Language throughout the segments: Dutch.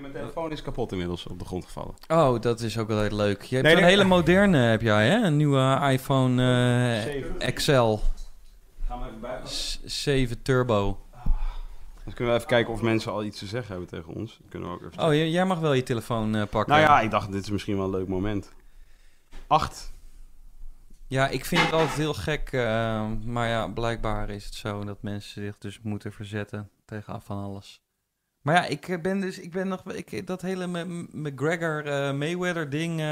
Mijn telefoon is kapot inmiddels op de grond gevallen. Oh, dat is ook altijd leuk. Je hebt Nee, een nee. hele moderne, heb jij hè? Een nieuwe iPhone eh, Zeven. XL Gaan we even bij. S- 7 Turbo. Dan kunnen we even kijken of mensen al iets te zeggen hebben tegen ons. Dan kunnen we ook even Oh, j- jij mag wel je telefoon eh, pakken. nou ja, ik dacht, dit is misschien wel een leuk moment. Acht. Ja, ik vind het altijd heel gek. eh, maar ja, blijkbaar is het zo dat mensen zich dus moeten verzetten tegen af van alles. Maar ja, ik ben dus, ik ben nog, ik, dat hele M- McGregor eh, Mayweather ding. eh,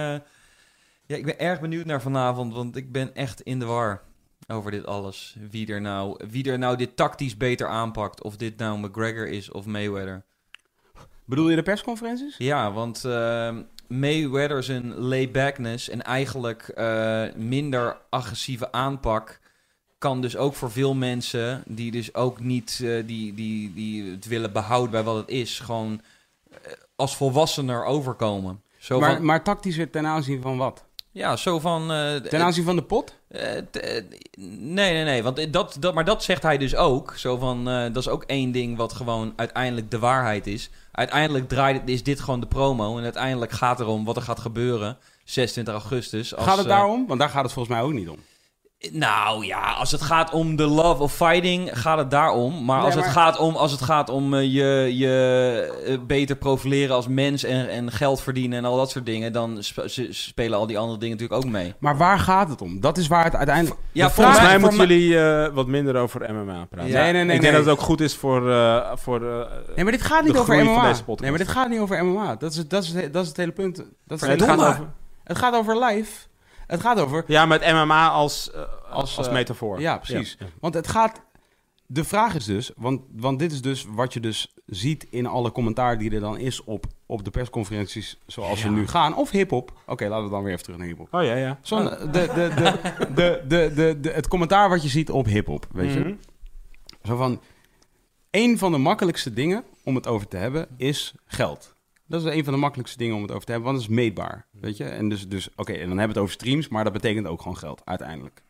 ja, ik ben erg benieuwd naar vanavond, want ik ben echt in de war over dit alles. Wie er nou, wie er nou dit tactisch beter aanpakt, of dit nou McGregor is of Mayweather. Bedoel je de persconferenties? Ja, want eh, Mayweather zijn laybackness en eigenlijk eh, minder agressieve aanpak kan dus ook voor veel mensen die dus ook niet eh, die, die, die het willen behouden bij wat het is, gewoon eh, als volwassener overkomen. Zo Maar, van, maar tactischer ten aanzien van wat? ja, zo van. eh, Ten aanzien van de pot? eh, t- eh, nee, nee, nee. Want eh, dat, dat, maar dat zegt hij dus ook. Zo van, eh, dat is ook één ding wat gewoon uiteindelijk de waarheid is. Uiteindelijk draait, is dit gewoon de promo. En uiteindelijk gaat het erom wat er gaat gebeuren 26 augustus. Als, gaat het eh, daarom? Want daar gaat het volgens mij ook niet om. nou ja, als het gaat om de love of fighting, gaat het daarom. Maar, Nee, als, maar- Het gaat om, als het gaat om eh, je, je eh, beter profileren als mens en, en geld verdienen en al dat soort dingen, dan sp- ze- spelen al die andere dingen natuurlijk ook mee. Maar waar gaat het om? Dat is waar het uiteindelijk... Ja, De volgens Volgens vraag- mij voor moeten jullie eh, wat minder over MMA praten. Ja. Nee, nee, nee. ik denk nee. dat het ook goed is voor... eh, voor eh, Nee, maar dit gaat niet de over groei van MMA. deze podcast. Nee, maar dit gaat niet over MMA. Dat is, het- dat is, het- dat is het hele punt. Dat is het, het hele gaat domme. over, het gaat over live. Het gaat over... ja, met MMA als, eh, Als, als, als eh, metafoor. ja, precies. Want het gaat. De vraag is dus, want, want dit is dus wat je dus ziet in alle commentaar die er dan is op, op de persconferenties zoals ze Ja. nu gaan. Of hip-hop. Oké, laten we dan weer even terug naar hip-hop. Oh ja, ja. Zo'n- de, de, de, de, de, de, de- het commentaar wat je ziet op hip-hop. Weet je? Mhm. Zo van. Een van de makkelijkste dingen om het over te hebben is geld. Dat is een van de makkelijkste dingen om het over te hebben, want het is meetbaar. Weet je? En dus, dus oké, en dan hebben we het over streams, maar dat betekent ook gewoon geld uiteindelijk.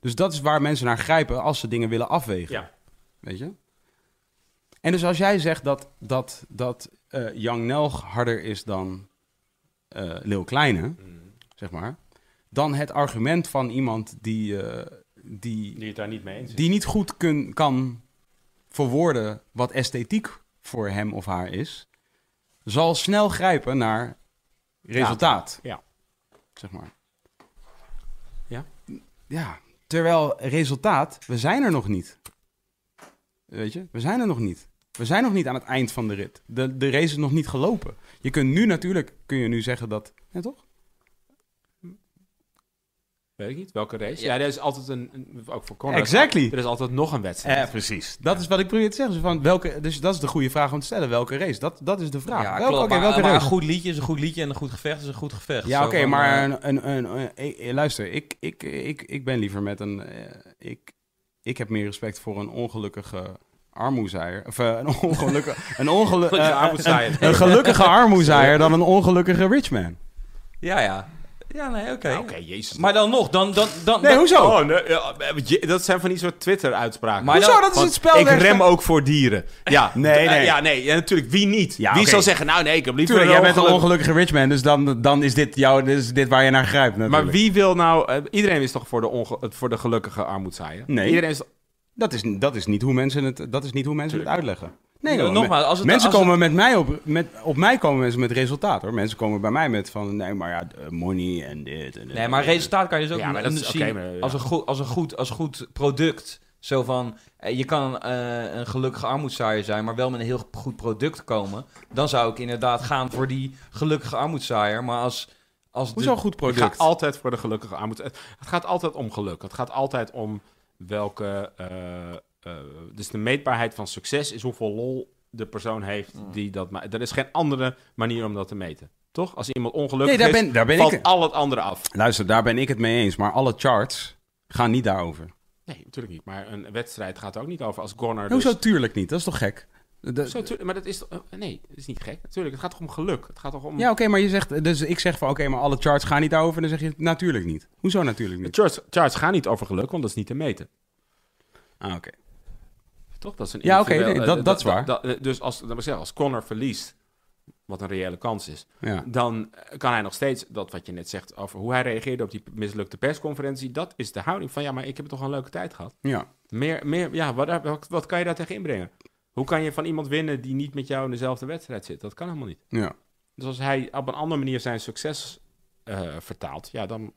Dus dat is waar mensen naar grijpen als ze dingen willen afwegen. Ja. Weet je? En dus als jij zegt dat, dat, dat eh Young Nelg harder is dan eh Lil Kleine, zeg maar, dan het argument van iemand die, eh, die Die het daar niet mee eens is. die niet goed kun, kan verwoorden wat esthetiek voor hem of haar is, zal snel grijpen naar resultaat. Ja. Zeg maar. Ja? Ja. Terwijl resultaat, we zijn er nog niet. Weet je, we zijn er nog niet. We zijn nog niet aan het eind van de rit. De, de race is nog niet gelopen. Je kunt nu natuurlijk, kun je nu zeggen dat... Ja, toch? Weet ik niet. Welke race? Ja. Ja, er is altijd een... een- ook voor Conor. Exactly. Er is altijd nog een wedstrijd. precies. Dat is wat ik probeer te zeggen. Zo Van welke, dus dat is de goede vraag om te stellen. Welke race? Dat, dat is de vraag. Ja, welke, klopt. oké, Maar, welke maar een race? goed liedje is een goed liedje en een goed gevecht is een goed gevecht. Ja, Zo oké, van, maar eh, een, een, een, een- eh, eh, luister, ik, ik, ik, ik ben liever met een. eh, ik, ik heb meer respect voor een ongelukkige armoezaaier. Of eh, een ongelukkige. een, ongelu- Gelukkige eh, armoezaaier. een, een gelukkige armoezaaier dan een ongelukkige rich man. Ja, ja. Ja, nee, oké. Ja, Ah, Oké, jezus. Maar dan nog, dan... dan, dan Nee, dan- hoezo? Oh, nee, ja, je- dat zijn van die soort Twitter-uitspraken. Maar hoezo? dan- dat is Want het spel. Ik werkt- rem ook voor dieren. Ja, Nee, d- nee. Ja, nee. Ja, natuurlijk. Wie niet? Ja, wie oké. zal zeggen, nou nee, ik heb liever Tuurlijk, jij bent een ongeluk. ongelukkige rich man, dus dan, dan is dit jouw, dit is dit waar je naar grijpt. Natuurlijk. Maar wie wil nou... eh, iedereen is toch voor de, onge- eh, voor de gelukkige armoedzaaier? Nee. Iedereen is Dat is, dat is niet hoe mensen het, dat is niet hoe mensen het uitleggen. Nee, Ja, hoor, nogmaals, als het, mensen als het- komen met mij op, met, op mij komen mensen met resultaat hoor. Mensen komen bij mij met van, nee, maar ja, eh, money en dit. En dit. Nee, maar resultaat kan je dus ook Ja, maar dat is- zien oké, maar, ja. als, een goed, als, een goed, als goed product. Zo van, eh, je kan eh, een gelukkige armoedzaaier zijn, maar wel met een heel goed product komen. Dan zou ik inderdaad gaan voor die gelukkige armoedzaaier. Maar als, als de- Hoezo een goed Het product? gaat altijd voor de gelukkige armoede. Het het gaat altijd om geluk. Het gaat altijd om welke. eh, eh, dus de meetbaarheid van succes is hoeveel lol de persoon heeft Mm. die dat maakt. Er is geen andere manier om dat te meten. Toch? Als iemand ongelukkig Nee, daar is, ben- daar ben valt ik- al het andere af. Luister, daar ben ik het mee eens. Maar alle charts gaan niet daarover. Nee, natuurlijk niet. Maar een wedstrijd gaat er ook niet over als Gorner. Hoezo dus- tuurlijk niet? Dat is toch gek? De- Zo, tuurlijk, maar dat is toch- eh, nee, dat is niet gek. Natuurlijk, het gaat toch om geluk. Het gaat toch om. Ja, oké, maar je zegt, dus ik zeg van, oké, maar alle charts gaan niet daarover. Dan zeg je, natuurlijk niet. Hoezo natuurlijk De niet? charts, charts gaan niet over geluk, want dat is niet te meten. Ah, oké. Toch? Dat is een Ja, oké, individueel- nee, dat- eh, dat is waar. dat- eh, dus als, dat wil zeggen, als Connor verliest, wat een reële kans is, Ja. dan eh, kan hij nog steeds dat wat je net zegt over hoe hij reageerde op die mislukte persconferentie. Dat is de houding van ja, maar ik heb toch een leuke tijd gehad. ja. Meer, meer, ja, wat, wat, wat kan je daar tegen inbrengen? Hoe kan je van iemand winnen die niet met jou in dezelfde wedstrijd zit? Dat kan helemaal niet. Ja. Dus als hij op een andere manier zijn succes eh, vertaalt, ja, dan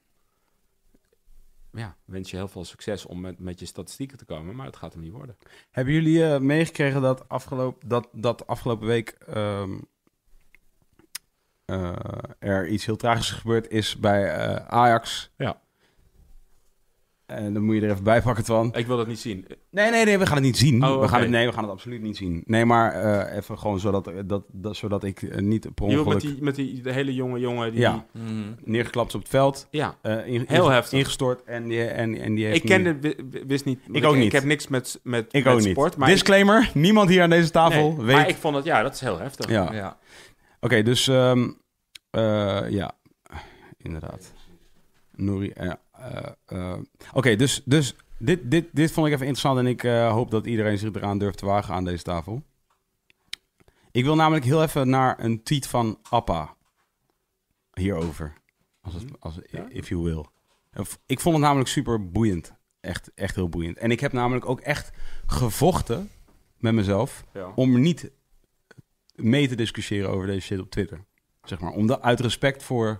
ja, wens je heel veel succes om met, met je statistieken te komen, maar het gaat hem niet worden. Hebben jullie eh, meegekregen dat, afgelopen dat, dat afgelopen week ehm, eh, er iets heel tragisch gebeurd is bij eh, Ajax? Ja. En dan moet je er even bij pakken, Twan. Ik wil dat niet zien. Nee, nee, nee, we gaan het niet zien. Eh. Oh, we oké. gaan het, nee, we gaan het absoluut niet zien. Nee, maar eh, even gewoon zodat, dat, dat, zodat ik eh, niet per Je bedoelt ongeluk met die, met die de hele jonge jongen die... Ja. Mhm. neergeklapt is op het veld. Ja. eh, in- Heel in- heftig. Ingestort en die, en, en die heeft Ik nu- kende, wi- wi- wist niet. want ook niet. Ik heb niks met, met, ik met ook sport. niet. Maar Disclaimer, niemand hier aan deze ik, tafel nee, weet... Maar ik vond het, ja, dat is heel heftig. ja. ja. Oké, dus ehm, eh, ja, inderdaad. Nouri, eh, eh, eh. Oké, dus, dus dit, dit, dit vond ik even interessant en ik eh, hoop dat iedereen zich eraan durft te wagen aan deze tafel. Ik wil namelijk heel even naar een tweet van Appa hierover. Als het, als, If you will. Of- Ik vond het namelijk super boeiend. Echt, echt heel boeiend. En ik heb namelijk ook echt gevochten met mezelf Ja. om niet mee te discussiëren over deze shit op Twitter. Zeg maar, omdat, uit respect voor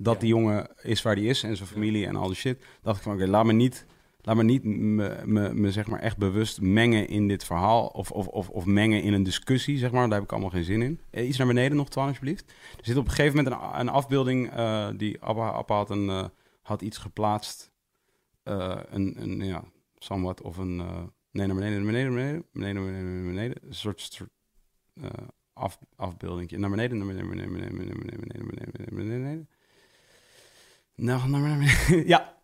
dat Ja. die jongen is waar die is en zijn familie en al die shit, dacht ik van oké, laat me niet, laat me, niet me, me, me, zeg maar echt bewust mengen in dit verhaal of, of, of, of mengen in een discussie, zeg maar. Daar heb ik allemaal geen zin in. Eh, Iets naar beneden nog, Twan, alsjeblieft. Er zit op een gegeven moment een, een afbeelding eh, die Abba, Abba had, een, eh, had iets geplaatst. Eh, een, een, ja, somewhat of een... eh, nee, naar beneden, naar beneden, naar beneden, beneden, beneden, beneden, beneden. Een soort, soort eh, af, afbeelding. Naar beneden, naar beneden, naar beneden, naar beneden, naar beneden, beneden, beneden, beneden, beneden. Nou, naar beneden, naar beneden. Ja.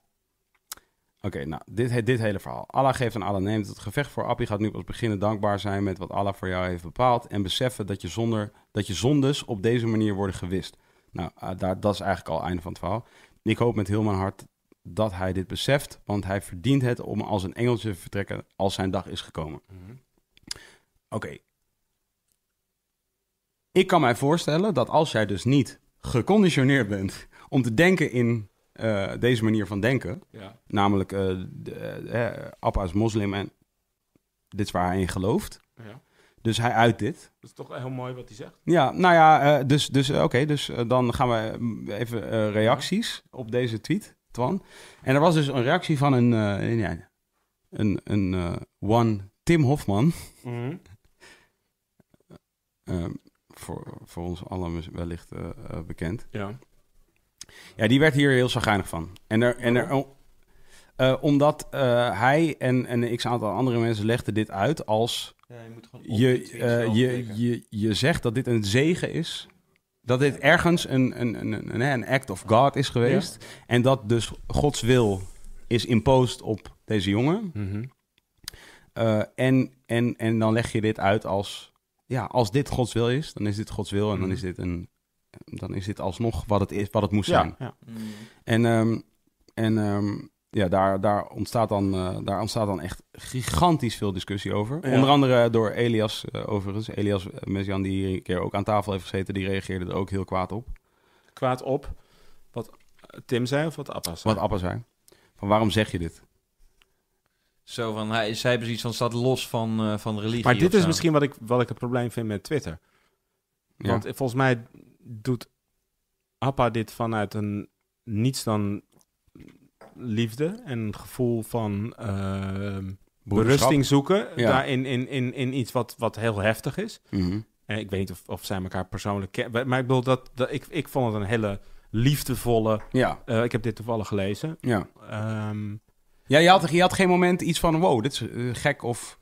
Oké, nou, dit, he- dit hele verhaal. Allah geeft en Allah neemt. Het gevecht voor Appie gaat nu pas beginnen. Dankbaar zijn met wat Allah voor jou heeft bepaald. En beseffen dat je, zonder, dat je zondes op deze manier worden gewist. Nou, ah, daar, dat is eigenlijk al het einde van het verhaal. Ik hoop met heel mijn hart dat hij dit beseft. Want hij verdient het om als een engeltje te vertrekken als zijn dag is gekomen. Oké. Ik kan mij voorstellen dat als jij dus niet geconditioneerd bent om te denken in eh, deze manier van denken, Ja. namelijk eh de, eh, Appa is moslim en dit is waar hij in gelooft, Ja. dus hij uit dit. Dat is toch heel mooi wat hij zegt. Ja, nou ja, eh, dus, dus eh, oké, dus eh, dan gaan we mm, even eh, reacties op deze tweet, Twan. En er was dus een reactie van een, eh, een, ja, een, een eh, one Tim Hofman. Mhm. Ehm, voor, voor ons allen wellicht eh, eh, bekend. Ja. Ja, die werd hier heel zagrijnig van. En er, en er, eh, omdat eh, hij en, en een x-aantal andere mensen legden dit uit als... Ja, je moet gewoon op de Je, tweet eh, zelf je, klikken. je, je zegt dat dit een zegen is. Dat dit ergens een, een, een, een, een act of God is geweest. En dat dus Gods wil is imposed op deze jongen. Mhm. Eh, en, en, en dan leg je dit uit als... Ja, als dit Gods wil is, dan is dit Gods wil. En dan Mhm. is dit, een, dan is dit alsnog wat het, is, wat het moest zijn. Ja. ja. Mhm. En, ehm, en ehm, ja, daar, daar, ontstaat dan, eh, daar ontstaat dan echt gigantisch veel discussie over. Ja. Onder andere door Elias, eh, overigens. Elias eh, Messian, die hier een keer ook aan tafel heeft gezeten, die reageerde er ook heel kwaad op. Kwaad op wat Tim zei of wat Appa zei. Wat Appa zei. Van waarom zeg je dit? Zo van, hij, zij hebben zoiets van, staat los van, eh, van religie Maar dit of is zo. misschien wat ik, wat ik het probleem vind met Twitter. Ja. Want volgens mij doet Appa dit vanuit een niets dan liefde en een gevoel van ehm, Broederschap. berusting zoeken Ja. daar in, in, in, in iets wat, wat heel heftig is. Mhm. En ik weet niet of, of zij elkaar persoonlijk kennen, maar ik bedoel, dat, dat, ik, ik vond het een hele liefdevolle... Ja, eh, ik heb dit toevallig gelezen. ja. Ehm, Ja, je had, je had geen moment iets van, wow, dit is eh, gek of...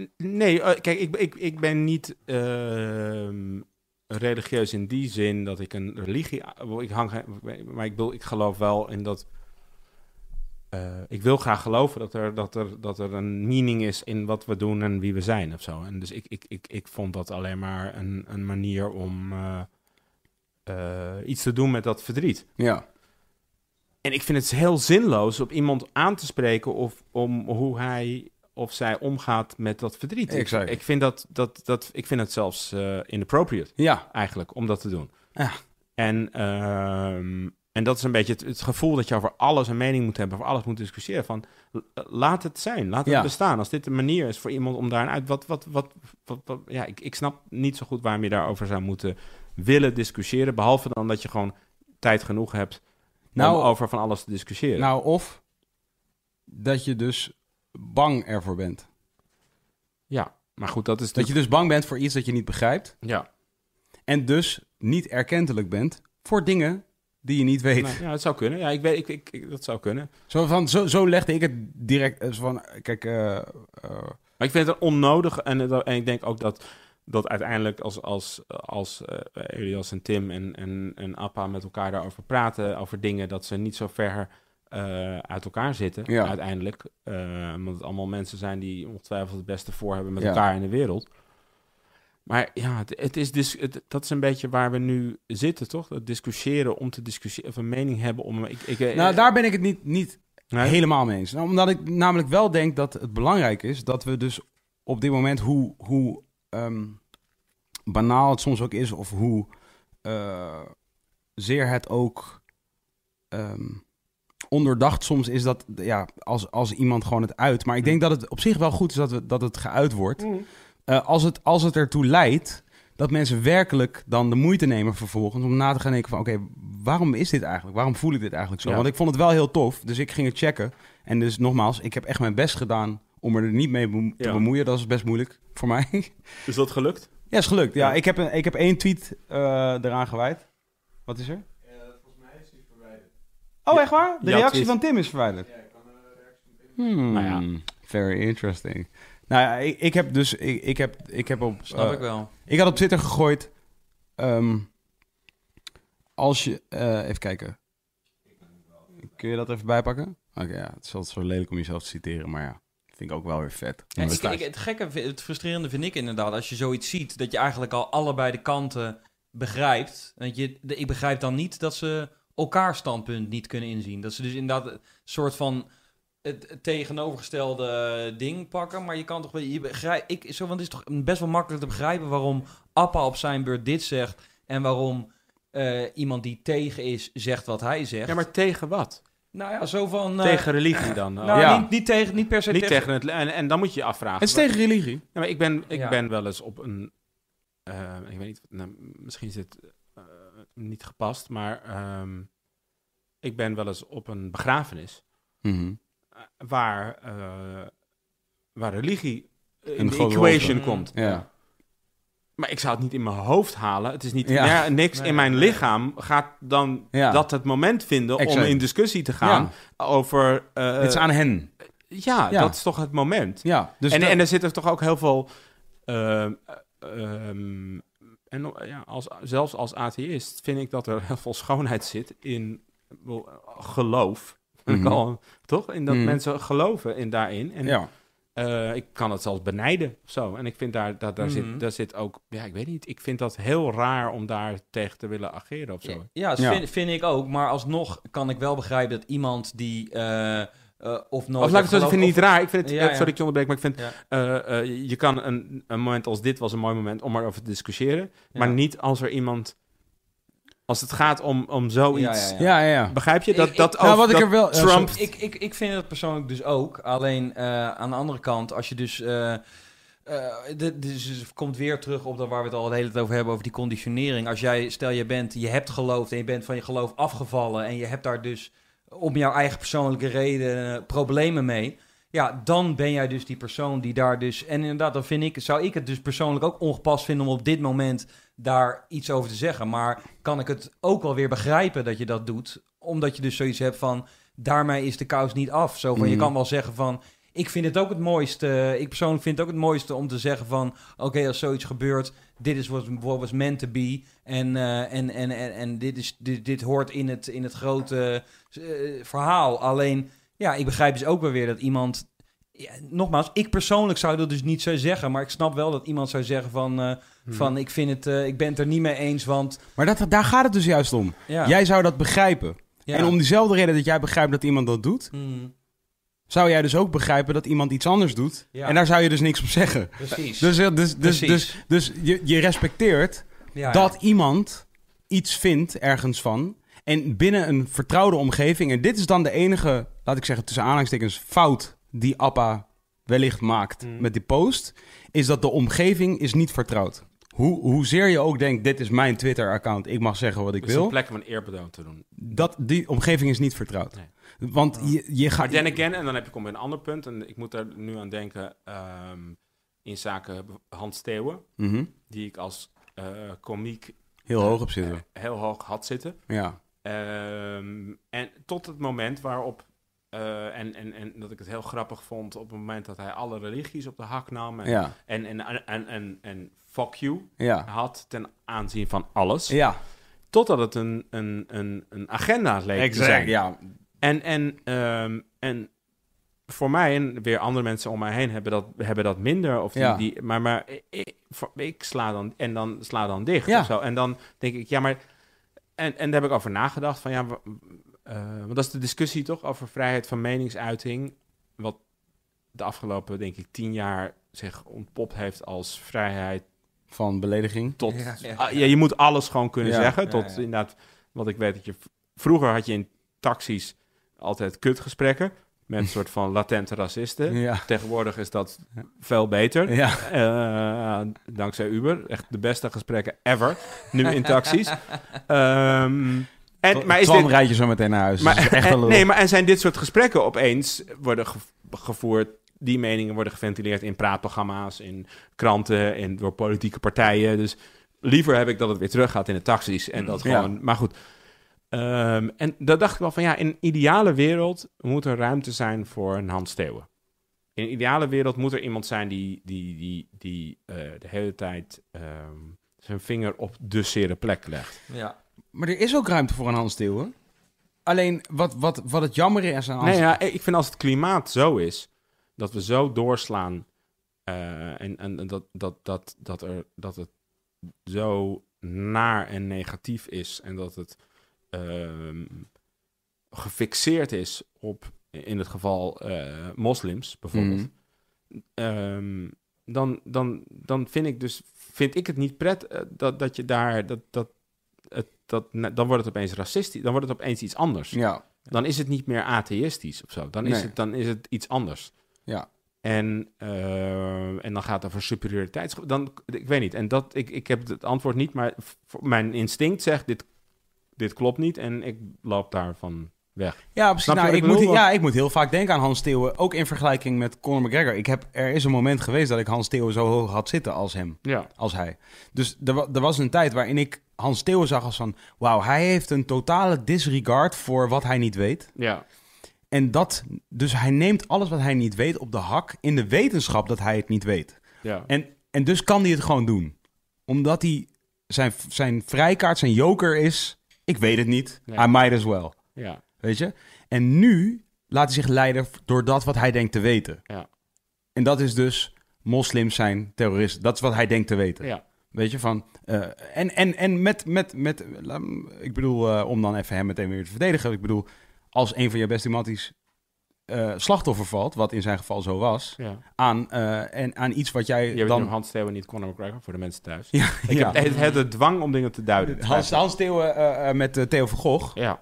N- Nee, eh, kijk, ik, ik, ik ben niet ehm, religieus in die zin dat ik een religie. Ik hang, geen- maar ik, wil, ik geloof wel in dat. eh, ik wil graag geloven dat er, dat, er, dat er een meaning is in wat we doen en wie we zijn of zo. En dus ik, ik, ik, ik vond dat alleen maar een, een manier om eh, eh, iets te doen met dat verdriet. Ja, En ik vind het heel zinloos om iemand aan te spreken of om hoe hij of zij omgaat met dat verdriet. Ik- Exact. Ik, vind dat, dat, dat, ik vind het zelfs eh, inappropriate ja, eigenlijk om dat te doen. Ja. En, ehm, en dat is een beetje het, het gevoel dat je over alles een mening moet hebben, over alles moet discussiëren. Van, l- laat het zijn, laat het Ja. bestaan. Als dit een manier is voor iemand om daarin uit. Wat, wat, wat, wat, wat- ja, ik, ik snap niet zo goed waarom je daarover zou moeten willen discussiëren. Behalve dan dat je gewoon tijd genoeg hebt Nou- om over van alles te discussiëren. nou of dat je dus bang ervoor bent. ja, maar goed, dat is Dat je dus bang bent voor iets dat je niet begrijpt ja, en dus niet erkentelijk bent voor dingen die je niet weet. nou, ja, het zou kunnen. Ja, ik weet, ik, ik, ik- dat zou kunnen. Zo, van, zo, zo legde ik het direct. eh, zo van, kijk, eh, eh, Maar ik vind het onnodig en, het- en ik denk ook dat dat uiteindelijk als, als, als eh, Elias en Tim en, en, en Appa met elkaar daarover praten, over dingen dat ze niet zo ver eh, uit elkaar zitten Ja. uiteindelijk. Eh, omdat het allemaal mensen zijn die ongetwijfeld het beste voor hebben met Ja. elkaar in de wereld. Maar ja, het, het is dus, het- dat is een beetje waar we nu zitten, toch? Dat discussiëren om te discussiëren, of een mening hebben om... Ik, ik, eh, nou, daar ben ik het niet, niet Nee? helemaal mee eens. Nou, omdat ik namelijk wel denk dat het belangrijk is dat we dus op dit moment, hoe, hoe ehm, banaal het soms ook is, of hoe eh, zeer het ook ehm, onderdacht soms is dat, ja, als, als iemand gewoon het uit. Maar ik denk dat het op zich wel goed is dat, we, dat het geuit wordt. Eh, als, het, als het ertoe leidt dat mensen werkelijk dan de moeite nemen vervolgens om na te gaan denken van oké, waarom is dit eigenlijk? Waarom voel ik dit eigenlijk zo? Ja. Want ik vond het wel heel tof, dus ik ging het checken. En dus nogmaals, ik heb echt mijn best gedaan om er niet mee bemo- te Ja. bemoeien. Dat is best moeilijk voor mij. Is dat gelukt? Ja, is gelukt. Ja, Ja. Ik, heb een, ik heb één tweet eh eraan gewijd. Wat is er? volgens mij is die verwijderd. Oh, echt waar? De Ja, reactie tweet. van Tim is verwijderd. Ja, hmm, Nou Very interesting. Nou ja, ik, ik heb dus... Ik, ik, heb, ik, heb op, Snap eh, ik wel. ik had op Twitter gegooid... ehm, als je... eh, even kijken. Kun je dat even bijpakken? Oké, ja. Het is altijd zo lelijk om jezelf te citeren, maar ja. Vind ik ook wel weer vet. Ja, ik, ik- het gekke, vi- het frustrerende vind ik inderdaad, als je zoiets ziet, dat je eigenlijk al allebei de kanten begrijpt. Want je, de- ik begrijp dan niet dat ze elkaar standpunt niet kunnen inzien. Dat ze dus inderdaad een soort van het, het tegenovergestelde ding pakken. Maar je kan toch wel, je begrijpt, ik, zo, want het is toch best wel makkelijk te begrijpen waarom Appa op zijn beurt dit zegt en waarom eh, iemand die tegen is, zegt wat hij zegt. Ja, maar tegen wat? Nou ja, zo van... eh, tegen religie dan? nou, Ja. niet, niet, tegen, niet per se Niet tegen het... En, en dan moet je je afvragen. Het is tegen religie. Ja, maar ik ben, ik Ja. ben wel eens op een... eh, ik weet niet, nou, misschien is dit eh, niet gepast, maar ehm, ik ben wel eens op een begrafenis Mhm. eh, waar, eh, waar religie eh, in Een de grote equation rol speelt. komt. Ja. Maar ik zou het niet in mijn hoofd halen. Het is niet Ja. ja, niks Nee, in mijn nee. lichaam gaat dan Ja. dat het moment vinden om Exact. in discussie te gaan over. eh, het is aan hen. Ja, Ja. dat is toch het moment. Ja, dus en, dat- en er zit er toch ook heel veel. ehm, ehm, en nog- ja, als, zelfs als atheïst vind ik dat er heel veel schoonheid zit in ik bedoel, geloof. En ik Mhm. al- toch? In dat Mhm. mensen geloven in daarin. En ja. eh, ik kan het zelfs benijden of zo. En ik vind daar, daar, daar, Mhm. zit, daar zit ook... Ja, ik weet niet. Ik vind dat heel raar om daar tegen te willen ageren of zo. Ja, ja, dat Ja. Vind, vind ik ook. Maar alsnog kan ik wel begrijpen dat iemand die eh, eh, of nooit... Of laat heeft ik het zo zeggen, ik vind het niet geloofd- raar. Ik vind het, Ja, eh, sorry ja. dat ik je onderbreek, maar ik vind... eh, eh, je kan een, een moment als dit was een mooi moment om erover te discussiëren. Ja. Maar niet als er iemand Als het gaat om, om zoiets. Ja. Ja, ja, ja. Begrijp je? Dat, Ik- dat ik- Nou, over- wat ik dat er wel... ja, Trump... Ik, ik, ik vind dat persoonlijk dus ook. Alleen eh, aan de andere kant, als je dus. eh, eh, dit dit is- dus komt weer terug op dat waar we het al de hele tijd over hebben, over die conditionering. Als jij, stel je bent, je hebt geloofd en je bent van je geloof afgevallen en je hebt daar dus om jouw eigen persoonlijke reden eh, problemen mee. Ja, dan ben jij dus die persoon die daar dus. En inderdaad, dan vind ik, zou ik het dus persoonlijk ook ongepast vinden om op dit moment daar iets over te zeggen. Maar kan ik het ook wel weer begrijpen dat je dat doet? Omdat je dus zoiets hebt van daarmee is de kous niet af. Zo van, Je Mhm. kan wel zeggen van, ik vind het ook het mooiste. Ik persoonlijk vind het ook het mooiste om te zeggen van, oké, als zoiets gebeurt, dit is what, what was meant to be. En, eh, en, en, en, en dit, is, dit, dit hoort in het, in het grote eh, verhaal. Alleen, ja, ik begrijp dus ook wel weer dat iemand... Ja, nogmaals, ik persoonlijk zou dat dus niet zo zeggen, maar ik snap wel dat iemand zou zeggen van, eh, Hmm. van ik vind het, eh, ik ben het er niet mee eens, want Maar dat, daar gaat het dus juist om. ja. Jij zou dat begrijpen. ja. En om diezelfde reden dat jij begrijpt dat iemand dat doet... Hmm, zou jij dus ook begrijpen dat iemand iets anders doet. Ja. En daar zou je dus niks op zeggen. precies. Dus, eh, dus, dus, Precies. dus, dus je, je respecteert Ja, ja. dat iemand iets vindt ergens van. En binnen een vertrouwde omgeving. En dit is dan de enige, laat ik zeggen tussen aanhalingstekens, fout die Appa wellicht maakt Mm. met die post. Is dat de omgeving is niet vertrouwd. Hoe, hoezeer je ook denkt, dit is mijn Twitter-account, ik mag zeggen wat ik Het is een wil. plek om een eerbetoon te doen. Dat, die omgeving is niet vertrouwd. Want je, je Maar gaat... then again, en dan heb ik om een ander punt, en ik moet daar nu aan denken, ehm, in zaken Hans Steeuwen, Mhm. die ik als eh komiek Heel hoog op zitten. eh, heel hoog had zitten. Ja. Ehm, en tot het moment waarop, eh, en, en, en dat ik het heel grappig vond, op het moment dat hij alle religies op de hak nam en, Ja. en, en, en, en, en, en fuck you Ja. had ten aanzien van alles. Ja. Totdat het een, een, een, een agenda leek te zijn. Ja. En, en, ehm, en voor mij en weer andere mensen om mij heen hebben dat, hebben dat minder. Of die, Ja. die, maar maar ik, voor- ik sla dan en dan sla dan dicht. Ja. Of zo. En dan denk ik, ja, maar. En, en daar heb ik over nagedacht. Van ja, wa- eh, want dat is de discussie toch over vrijheid van meningsuiting. Wat de afgelopen, denk ik, tien jaar zich ontpopt heeft als vrijheid Van belediging. tot. Ja, Ja, ja. ja, je moet alles gewoon kunnen Ja. zeggen. Ja, Tot ja. inderdaad, wat ik weet dat je. v- Vroeger had je in taxis altijd kutgesprekken. Met een soort van latente racisten. Ja. Tegenwoordig is dat veel beter. Ja. Eh, dankzij Uber. Echt de beste gesprekken ever. Nu in taxis. Ehm, en, maar is Twan dit, rijdt je zo meteen naar huis. maar, Dus echt en- een lul. nee, maar en zijn dit soort gesprekken opeens worden ge- gevoerd? Die meningen worden geventileerd in praatprogramma's, in kranten en door politieke partijen. Dus liever heb ik dat het weer terug gaat in de taxis. En dat Mm, ja. gewoon. Maar goed. Ehm, en daar dacht ik wel van ja, in een ideale wereld moet er ruimte zijn voor een Hans Steeuwen. In een ideale wereld moet er iemand zijn die, die, die, die eh, de hele tijd ehm, zijn vinger op de zere plek legt. ja. Maar er is ook ruimte voor een Hans Steeuwen. Alleen wat, wat, wat het jammer is aan Hans... Nee, ja, ik vind als het klimaat zo is, dat we zo doorslaan eh, en, en en dat, dat, dat, dat, er, dat het zo naar en negatief is en dat het ehm, gefixeerd is op, in het geval eh, moslims bijvoorbeeld, ehm, dan, dan, dan vind ik dus vind ik het niet pret eh, dat, dat je daar dat, dat, het, dat, dan wordt het opeens racistisch, dan wordt het opeens iets anders Ja. dan is het niet meer atheïstisch of zo. Dan, is, Nee. het, dan is het iets anders. Ja. En, eh, en dan gaat het over superioriteits... Dan, ik weet niet. En dat, ik, ik heb het antwoord niet, maar v- mijn instinct zegt... Dit, dit klopt niet en ik loop daarvan weg. Ja, precies. Snap je Nou, wat ik ik bedoel? moet, ja, ik moet heel vaak denken aan Hans Steeuwen. Ook in vergelijking met Conor McGregor. Ik heb, er is een moment geweest dat ik Hans Steeuwen zo hoog had zitten als hem. Ja. Als hij. Dus er, wa- er was een tijd waarin ik Hans Steeuwen zag als van... Wauw, hij heeft een totale disregard voor wat hij niet weet. Ja. En dat, dus hij neemt alles wat hij niet weet op de hak in de wetenschap dat hij het niet weet. Ja. En, en dus kan hij het gewoon doen. Omdat hij zijn, zijn vrijkaart, zijn joker is. Ik weet het niet. Ja. I might as well. ja. Weet je? En nu laat hij zich leiden door dat wat hij denkt te weten. Ja. En dat is dus moslims zijn terroristen. Dat is wat hij denkt te weten. Ja. Weet je, van... eh, en en, en met, met, met... laat m- Ik bedoel, eh, om dan even hem meteen weer te verdedigen. Ik bedoel, als een van je beste matties eh, slachtoffer valt, wat in zijn geval zo was, Ja. aan, eh, en, aan iets wat jij Je hebt dan... nu Hans Theo en niet Conor McGregor voor de mensen thuis. Ja, Ik ja. heb het, het, de dwang om dingen te duiden. Hans, Hans Theeuwen eh, eh, met eh, Theo van Gogh. Ja,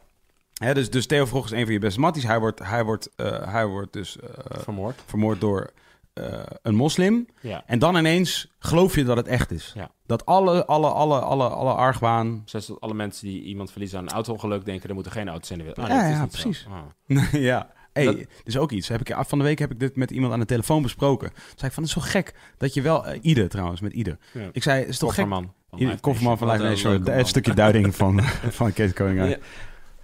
Hè, dus, dus Theo van Gogh is een van je beste matties. Hij wordt, hij wordt, eh, hij wordt dus eh, vermoord. vermoord door eh, een moslim. Ja. En dan ineens geloof je dat het echt is. Ja. Dat alle, alle, alle, alle, alle argwaan... Zoals dat alle mensen die iemand verliezen aan een auto-ongeluk denken, er moeten geen auto's in de wereld. Ja, dat is ja, niet zo. precies. Ah. ja. Hey, Dat- dus ook iets. Heb ik, van de week heb ik dit met iemand aan de telefoon besproken. Toen zei ik van, het is zo gek dat je wel... eh, Ieder trouwens, met Ieder. Ja. Ik zei, het is toch gek... Kofferman. van Ieder- Live Kofferman van Live Wat een Nation. leuke Het man. stukje duiding van, van Kees Koninga. Ja.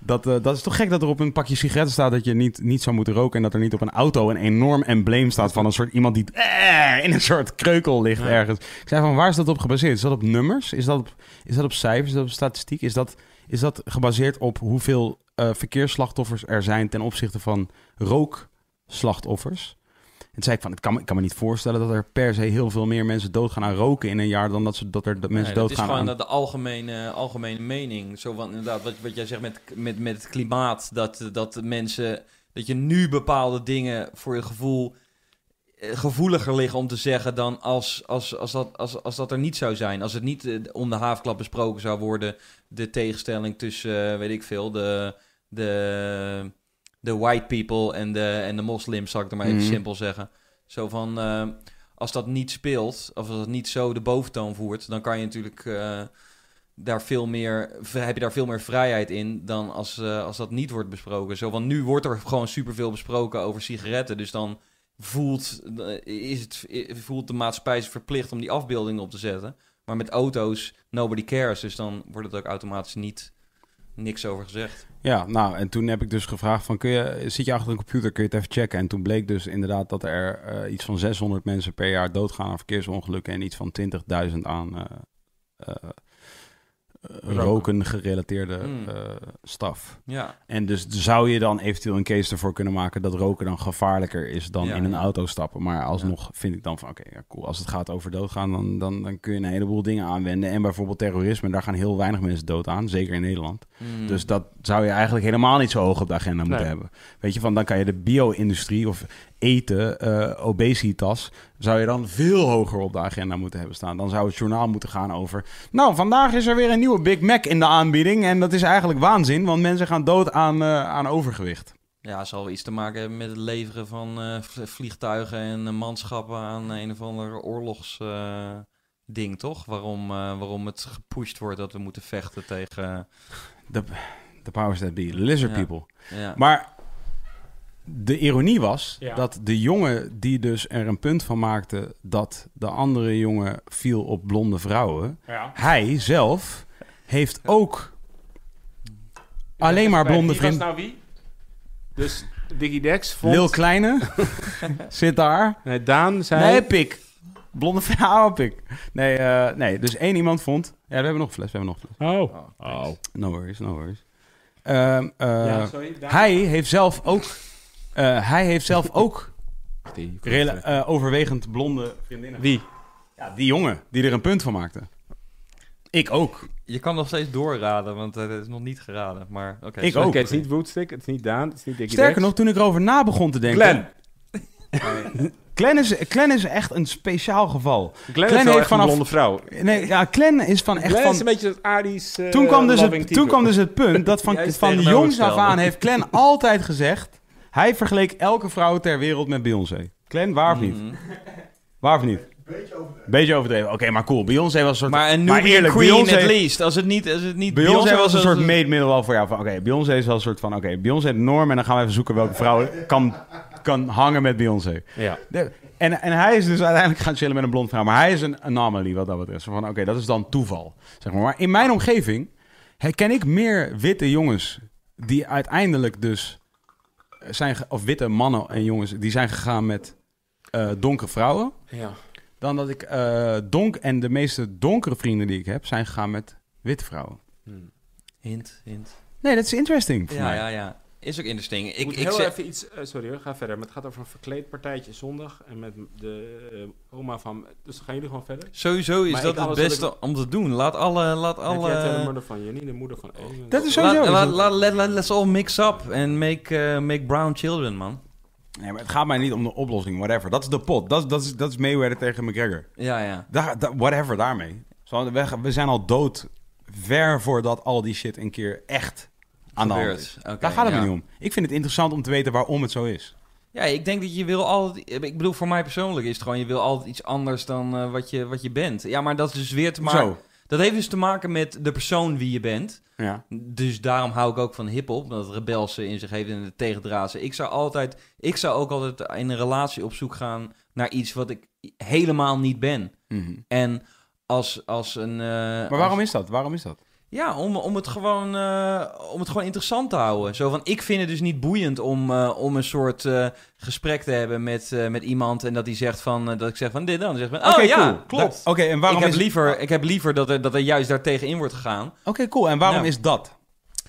Dat, eh, dat is toch gek dat er op een pakje sigaretten staat dat je niet, niet zou moeten roken. En dat er niet op een auto een enorm embleem staat van een soort iemand die eh, in een soort kreukel ligt Ja. ergens. Ik zei van waar is dat op gebaseerd? Is dat op nummers? Is dat op, is dat op cijfers? Is dat op statistiek? Is dat, is dat gebaseerd op hoeveel eh, verkeersslachtoffers er zijn ten opzichte van rookslachtoffers? En toen zei ik van, ik kan, me- ik kan me niet voorstellen dat er per se heel veel meer mensen doodgaan aan roken in een jaar dan dat, ze, dat er dat mensen Nee, dat is doodgaan gewoon aan... dat de algemene, algemene mening. Zo van, inderdaad, wat, wat jij zegt met, met, met het klimaat. Dat, dat de mensen. Dat je nu bepaalde dingen voor je gevoel eh, gevoeliger liggen om te zeggen dan als, als, als, dat, als, als dat er niet zou zijn. Als het niet eh, om de haafklap besproken zou worden, de tegenstelling tussen, eh, weet ik veel, de, de, de white people en de, en de moslims, zal ik het maar even Mhm. simpel zeggen. Zo van, eh, als dat niet speelt, of als dat niet zo de boventoon voert, dan kan je natuurlijk eh, daar veel meer, v- heb je daar veel meer vrijheid in dan als, eh, als dat niet wordt besproken. Zo van nu wordt er gewoon superveel besproken over sigaretten, dus dan voelt, eh, is het, eh, voelt de maatschappij zich verplicht om die afbeeldingen op te zetten. Maar met auto's, nobody cares, dus dan wordt het ook automatisch niet niks over gezegd. Ja, nou, en toen heb ik dus gevraagd van, kun je, zit je achter een computer, kun je het even checken? En toen bleek dus inderdaad dat er eh, iets van 600 mensen per jaar doodgaan aan verkeersongelukken en iets van 20.000 aan eh, eh, eh, roken gerelateerde Hmm. eh, staf. Ja, En dus zou je dan eventueel een case ervoor kunnen maken dat roken dan gevaarlijker is dan Ja, in een ja. auto stappen. Maar alsnog vind ik dan van, oké, ja, cool. Als het gaat over doodgaan, dan, dan, dan kun je een heleboel dingen aanwenden. En bijvoorbeeld terrorisme, daar gaan heel weinig mensen dood aan, zeker in Nederland. Mm. Dus dat zou je eigenlijk helemaal niet zo hoog op de agenda moeten Nee. hebben. Weet je, van dan kan je de bio-industrie of eten, eh, obesitas, zou je dan veel hoger op de agenda moeten hebben staan. Dan zou het journaal moeten gaan over. Nou, vandaag is er weer een nieuwe Big Mac in de aanbieding. En dat is eigenlijk waanzin, want mensen gaan dood aan, eh, aan overgewicht. Ja, zal wel iets te maken hebben met het leveren van eh, v- vliegtuigen en eh, manschappen aan een of ander oorlogsding, ding toch? Waarom, eh, waarom het gepusht wordt dat we moeten vechten tegen... The powers that be, lizard Ja. people. eh, ja. Maar de ironie was Ja. dat de jongen die dus er een punt van maakte dat de andere jongen viel op blonde vrouwen. Ja. hij zelf heeft ook alleen maar blonde Wie was vrienden. nou wie? Dus Diggy Dex vond... Lil Kleine zit daar. Nee, Daan zei... Nee, pik. Blonde vrouw, pik. Nee, eh, nee, dus één iemand vond... Ja, we hebben nog een fles, we hebben nog een Oh. Oh. oh. fles. No worries, no worries. Ehm, eh, Ja, sorry. Daan. hij heeft zelf ook... eh, hij heeft zelf ook Die- rela- eh, overwegend blonde vriendinnen. Wie? Ja, die jongen die er een punt van maakte. Ik ook. Je kan nog steeds doorraden, want eh, het is nog niet geraden. Maar oké. Ik Oké, ook. het is niet Woodstick, het is niet Daan, het is niet Diggy Oh. Sterker nog, Dex. toen ik erover na begon te denken... Glenn. Glenn is, Glenn is echt een speciaal geval. Glenn, heeft is wel echt vanaf- een blonde vrouw. Nee, ja, Glenn is van echt Glenn van... is een beetje dat Aries eh, toen, kwam dus loving het, type. toen kwam dus het punt dat van, Juist van jongs af tegenovergestelde. aan heeft Glenn altijd gezegd... Hij vergeleek elke vrouw ter wereld met Beyoncé. Glenn, waar of niet? Mhm. Mm. Waar of niet? Beetje overdreven. Beetje overdreven. Oké, maar cool. Beyoncé was een soort... Maar een Maar newbie eerlijk, queen Beyoncé- at least. Als het niet... Als het niet Beyoncé, was een soort als- made middle wel voor jou. Van, oké, Beyoncé is wel een soort van... Oké, Beyoncé de norm en dan gaan we even zoeken welke vrouw kan, kan hangen met Beyoncé. Ja. De- en, en hij is dus uiteindelijk gaan chillen met een blond vrouw. Maar hij is een anomaly wat dat betreft. Zo Van oké, dat is dan toeval. Zeg maar. maar in mijn omgeving herken ik meer witte jongens die uiteindelijk dus zijn, ge- of witte mannen en jongens die zijn gegaan met eh donkere vrouwen. ja. Dan dat ik eh, donk en de meeste donkere vrienden die ik heb zijn gegaan met witte vrouwen. Hint, hint. Nee, dat is interesting voor Ja, mij. ja, ja. Is ook interesting. Ik Ik, moet ik heel zeg... even iets... eh, sorry hoor, ga verder. Maar het gaat over een verkleed partijtje zondag. En met de eh, oma van... Dus gaan jullie gewoon verder? Sowieso is Maar dat ik- het alles wat beste om te doen. Laat alle... Laat alle... Heb jij het, eh, de moeder van Janine, de moeder van Amy? Dat is Laat, sowieso. laat, laat- let- let- let's all mix up and make, eh, make brown children, man. Nee, maar het gaat mij niet om de oplossing, whatever. Dat is de pot. Dat, is- dat, is, dat is Mayweather tegen McGregor. Ja, ja. Daar, daar- whatever daarmee. Zo, we, we zijn al dood ver voordat al die shit een keer echt aan de hand Gebeurt. is. Oké, Daar gaat het ja. me niet om. Ik vind het interessant om te weten waarom het zo is. Ja, ik denk dat je wil altijd... Ik bedoel, voor mij persoonlijk is het gewoon... Je wil altijd iets anders dan eh, wat, je, wat je bent. Ja, maar dat is dus weer te maken... Zo. Dat heeft dus te maken met de persoon wie je bent. Ja. Dus daarom hou ik ook van hiphop. Omdat het rebelse in zich heeft en het tegendraadse. Ik zou altijd... Ik zou ook altijd in een relatie op zoek gaan naar iets wat ik helemaal niet ben. En als, als een... Mhm. Maar waarom is dat? Waarom is dat? Ja, om, om, het gewoon, eh, om het gewoon interessant te houden. Zo van, ik vind het dus niet boeiend om, eh, om een soort eh, gesprek te hebben met, eh, met iemand... en dat die zegt van, eh, dat ik zeg van dit dan. Dan zegt men, oh Oké, ja, cool. klopt. Oké, en waarom ik, heb is... liever, ik heb liever dat er, dat er juist daartegen in wordt gegaan. Oké, cool. En waarom Ja. is dat?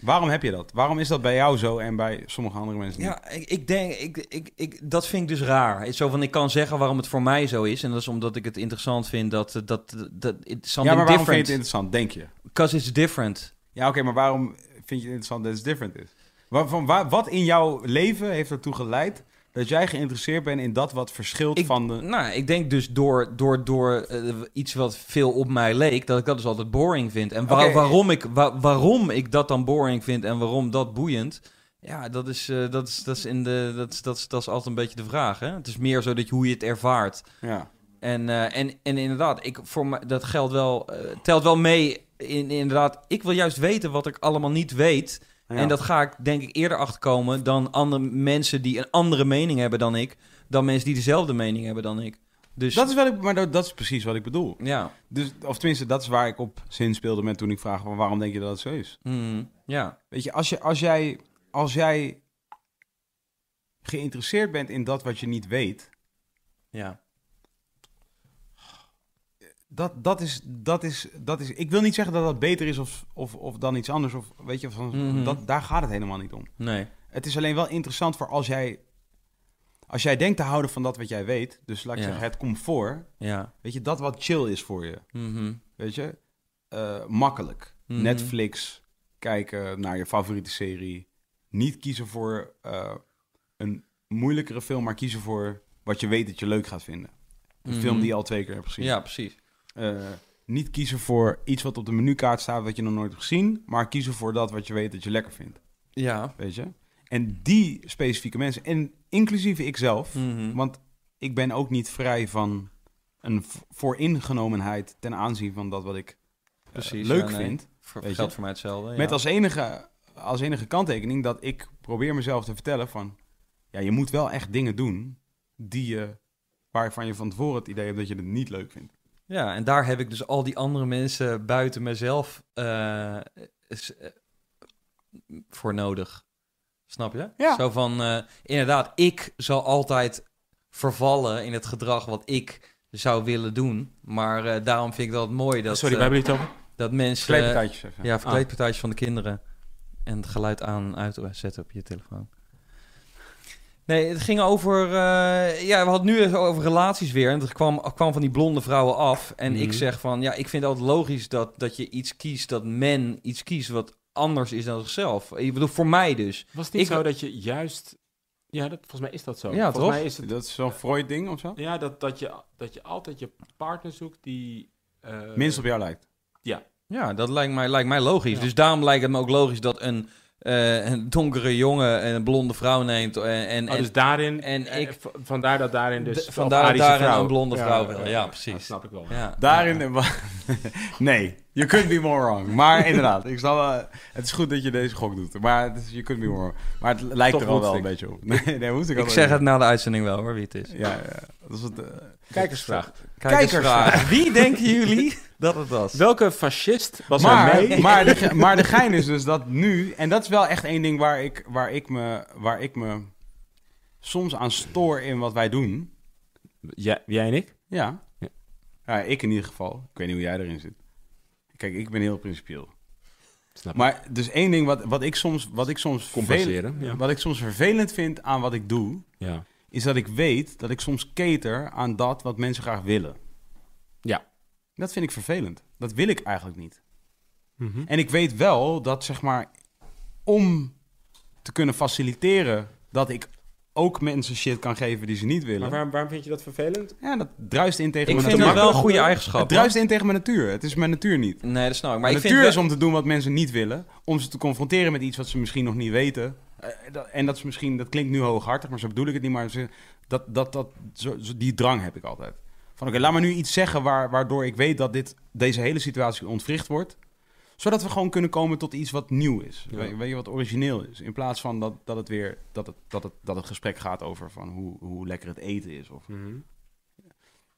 Waarom heb je dat? Waarom is dat bij jou zo en bij sommige andere mensen niet? Ja, ik, ik denk, ik, ik, ik, dat vind ik dus raar. Het is Zo van, ik kan zeggen waarom het voor mij zo is. En dat is omdat ik het interessant vind dat... eh, dat, dat, dat it's Ja, maar something waarom different. vind je het interessant, denk je? Because it's different. Ja, oké, maar waarom vind je het interessant dat het different is? Waar, van, waar, wat in jouw leven heeft ertoe geleid dat jij geïnteresseerd bent in dat wat verschilt Ik- van de... Nou, ik denk dus door, door, door eh, iets wat veel op mij leek, dat ik dat dus altijd boring vind. En wa- Oké. waarom, ik, wa- waarom ik dat dan boring vind en waarom dat boeiend, ja, dat is, eh, dat is, dat is, in de, dat is, dat is, dat is altijd een beetje de vraag. Hè? Het is meer zo dat je, hoe je het ervaart. Ja. En, eh, en, en inderdaad, ik, voor mij, dat geldt wel, eh, telt wel mee. In, inderdaad, ik wil juist weten wat ik allemaal niet weet. Ja. En dat ga ik denk ik eerder achterkomen dan andere mensen die een andere mening hebben dan ik. Dan mensen die dezelfde mening hebben dan ik. Dus Dat is wel, maar dat, dat is precies wat ik bedoel. ja. Dus, of tenminste, dat is waar ik op zin speelde met toen ik vraag van waarom denk je dat het zo is? Mhm. ja. Weet je, als, je, als, jij, als jij geïnteresseerd bent in dat wat je niet weet, Ja. dat, dat, is, dat, is, dat is... Ik wil niet zeggen dat dat beter is of, of, of dan iets anders. Of, weet je, van, Mhm. dat, daar gaat het helemaal niet om. Nee. Het is alleen wel interessant voor als jij... Als jij denkt te houden van dat wat jij weet, dus laat ik Ja. zeggen het comfort, Ja. weet je, dat wat chill is voor je. Mhm. Weet je? Eh, makkelijk. Mhm. Netflix, kijken naar je favoriete serie. Niet kiezen voor eh, een moeilijkere film, maar kiezen voor wat je weet dat je leuk gaat vinden. Een Mhm. film die je al twee keer hebt gezien. Ja, precies. Eh, niet kiezen voor iets wat op de menukaart staat wat je nog nooit hebt gezien, maar kiezen voor dat wat je weet dat je lekker vindt. Ja. Weet je? En die specifieke mensen, en inclusief ikzelf, Mhm. want ik ben ook niet vrij van een v- vooringenomenheid ten aanzien van dat wat ik eh, Precies, leuk ja, nee. vind. Voor- Weet je? geldt voor mij hetzelfde. ja. Met als enige, als enige kanttekening dat ik probeer mezelf te vertellen van... Ja, je moet wel echt dingen doen die je, waarvan je van tevoren het idee hebt dat je het niet leuk vindt. Ja, en daar heb ik dus al die andere mensen buiten mezelf eh, is, eh, voor nodig. Snap je? Ja. Zo van, eh, inderdaad, ik zal altijd vervallen in het gedrag wat ik zou willen doen. Maar eh, daarom vind ik dat mooi dat, Sorry, eh, waar hebben jullie het over? dat mensen... Kleedpartijtjes even. Eh, Ah. ja, verkleedpartijtjes van de kinderen. En het geluid aan uit zetten op je telefoon. Nee, het ging over... eh, ja, we hadden nu even over relaties weer. En dat kwam, kwam van die blonde vrouwen af. En ik Mhm. zeg van... Ja, ik vind het altijd logisch dat, dat je iets kiest... dat men iets kiest wat anders is dan zichzelf. Ik bedoel, voor mij dus. Was het niet Ik- zo dat je juist... Ja, dat, volgens mij is dat zo. Ja, volgens toch? mij is het... Dat is zo'n Freud-ding of zo? Ja, dat, dat, je, dat je altijd je partner zoekt die... eh, Minst op jou lijkt. Ja, dat lijkt mij, lijkt mij logisch. Ja. Dus daarom lijkt het me ook logisch dat een, eh, een donkere jongen... een blonde vrouw neemt en... en, Oh, dus daarin... en eh, ik- v- vandaar dat daarin dus... D- of vandaar dat Arische daarin vrouw. een blonde vrouw wel. Ja, precies. Dat snap ik wel. en- ja. Daarin... nee, you couldn't be more wrong. Maar inderdaad, ik snap, wel- het is goed dat je deze gok doet. Maar het is, you couldn't be more wrong. Maar het lijkt Toch er al moest wel ik. een beetje op. Nee, nee, moest ik, Ik al zeg wel. het na de uitzending wel hoor, wie het is. Ja, ja. Dat is het... eh, Kijkersvraag. Kijkersvraag. Wie denken jullie dat het was? Welke fascist was er mee? Maar, maar, de, ge- maar de gein is dus dat nu... En dat is wel echt één ding waar ik, waar ik, me, waar ik me soms aan stoor in wat wij doen. Ja, jij en ik? Ja. Ja. ja. Ik in ieder geval. Ik weet niet hoe jij erin zit. Kijk, ik ben heel principieel. Snap ik. Maar dus één ding wat, wat ik soms, wat ik soms vervelend, Compenseren, ja. wat ik soms vervelend vind aan wat ik doe, Ja. is dat ik weet dat ik soms cater aan dat wat mensen graag willen. Ja. Dat vind ik vervelend. Dat wil ik eigenlijk niet. En ik weet wel dat, zeg maar, om te kunnen faciliteren dat ik ook mensen shit kan geven die ze niet willen. Maar waarom, waarom vind je dat vervelend? Ja, dat druist in tegen Ik mijn vind natuur. dat wel een goede Het eigenschap. hoor. druist in tegen mijn natuur. Het is mijn natuur niet. Nee, dat snap ik. Maar mijn ik natuur vind is om te doen wat mensen niet willen. Om ze te confronteren met iets wat ze misschien nog niet weten. Eh, dat- En dat is misschien, dat klinkt nu hooghartig, maar zo bedoel ik het niet. Maar ze- dat, dat, dat, zo, zo- die drang heb ik altijd. Van oké, laat me nu iets zeggen waar, waardoor ik weet dat dit, deze hele situatie ontwricht wordt. Zodat we gewoon kunnen komen tot iets wat nieuw is. Ja. We- weet je, wat origineel is. In plaats van dat, dat het weer, dat het, dat het, dat het gesprek gaat over van hoe, hoe lekker het eten is. Of, Mhm.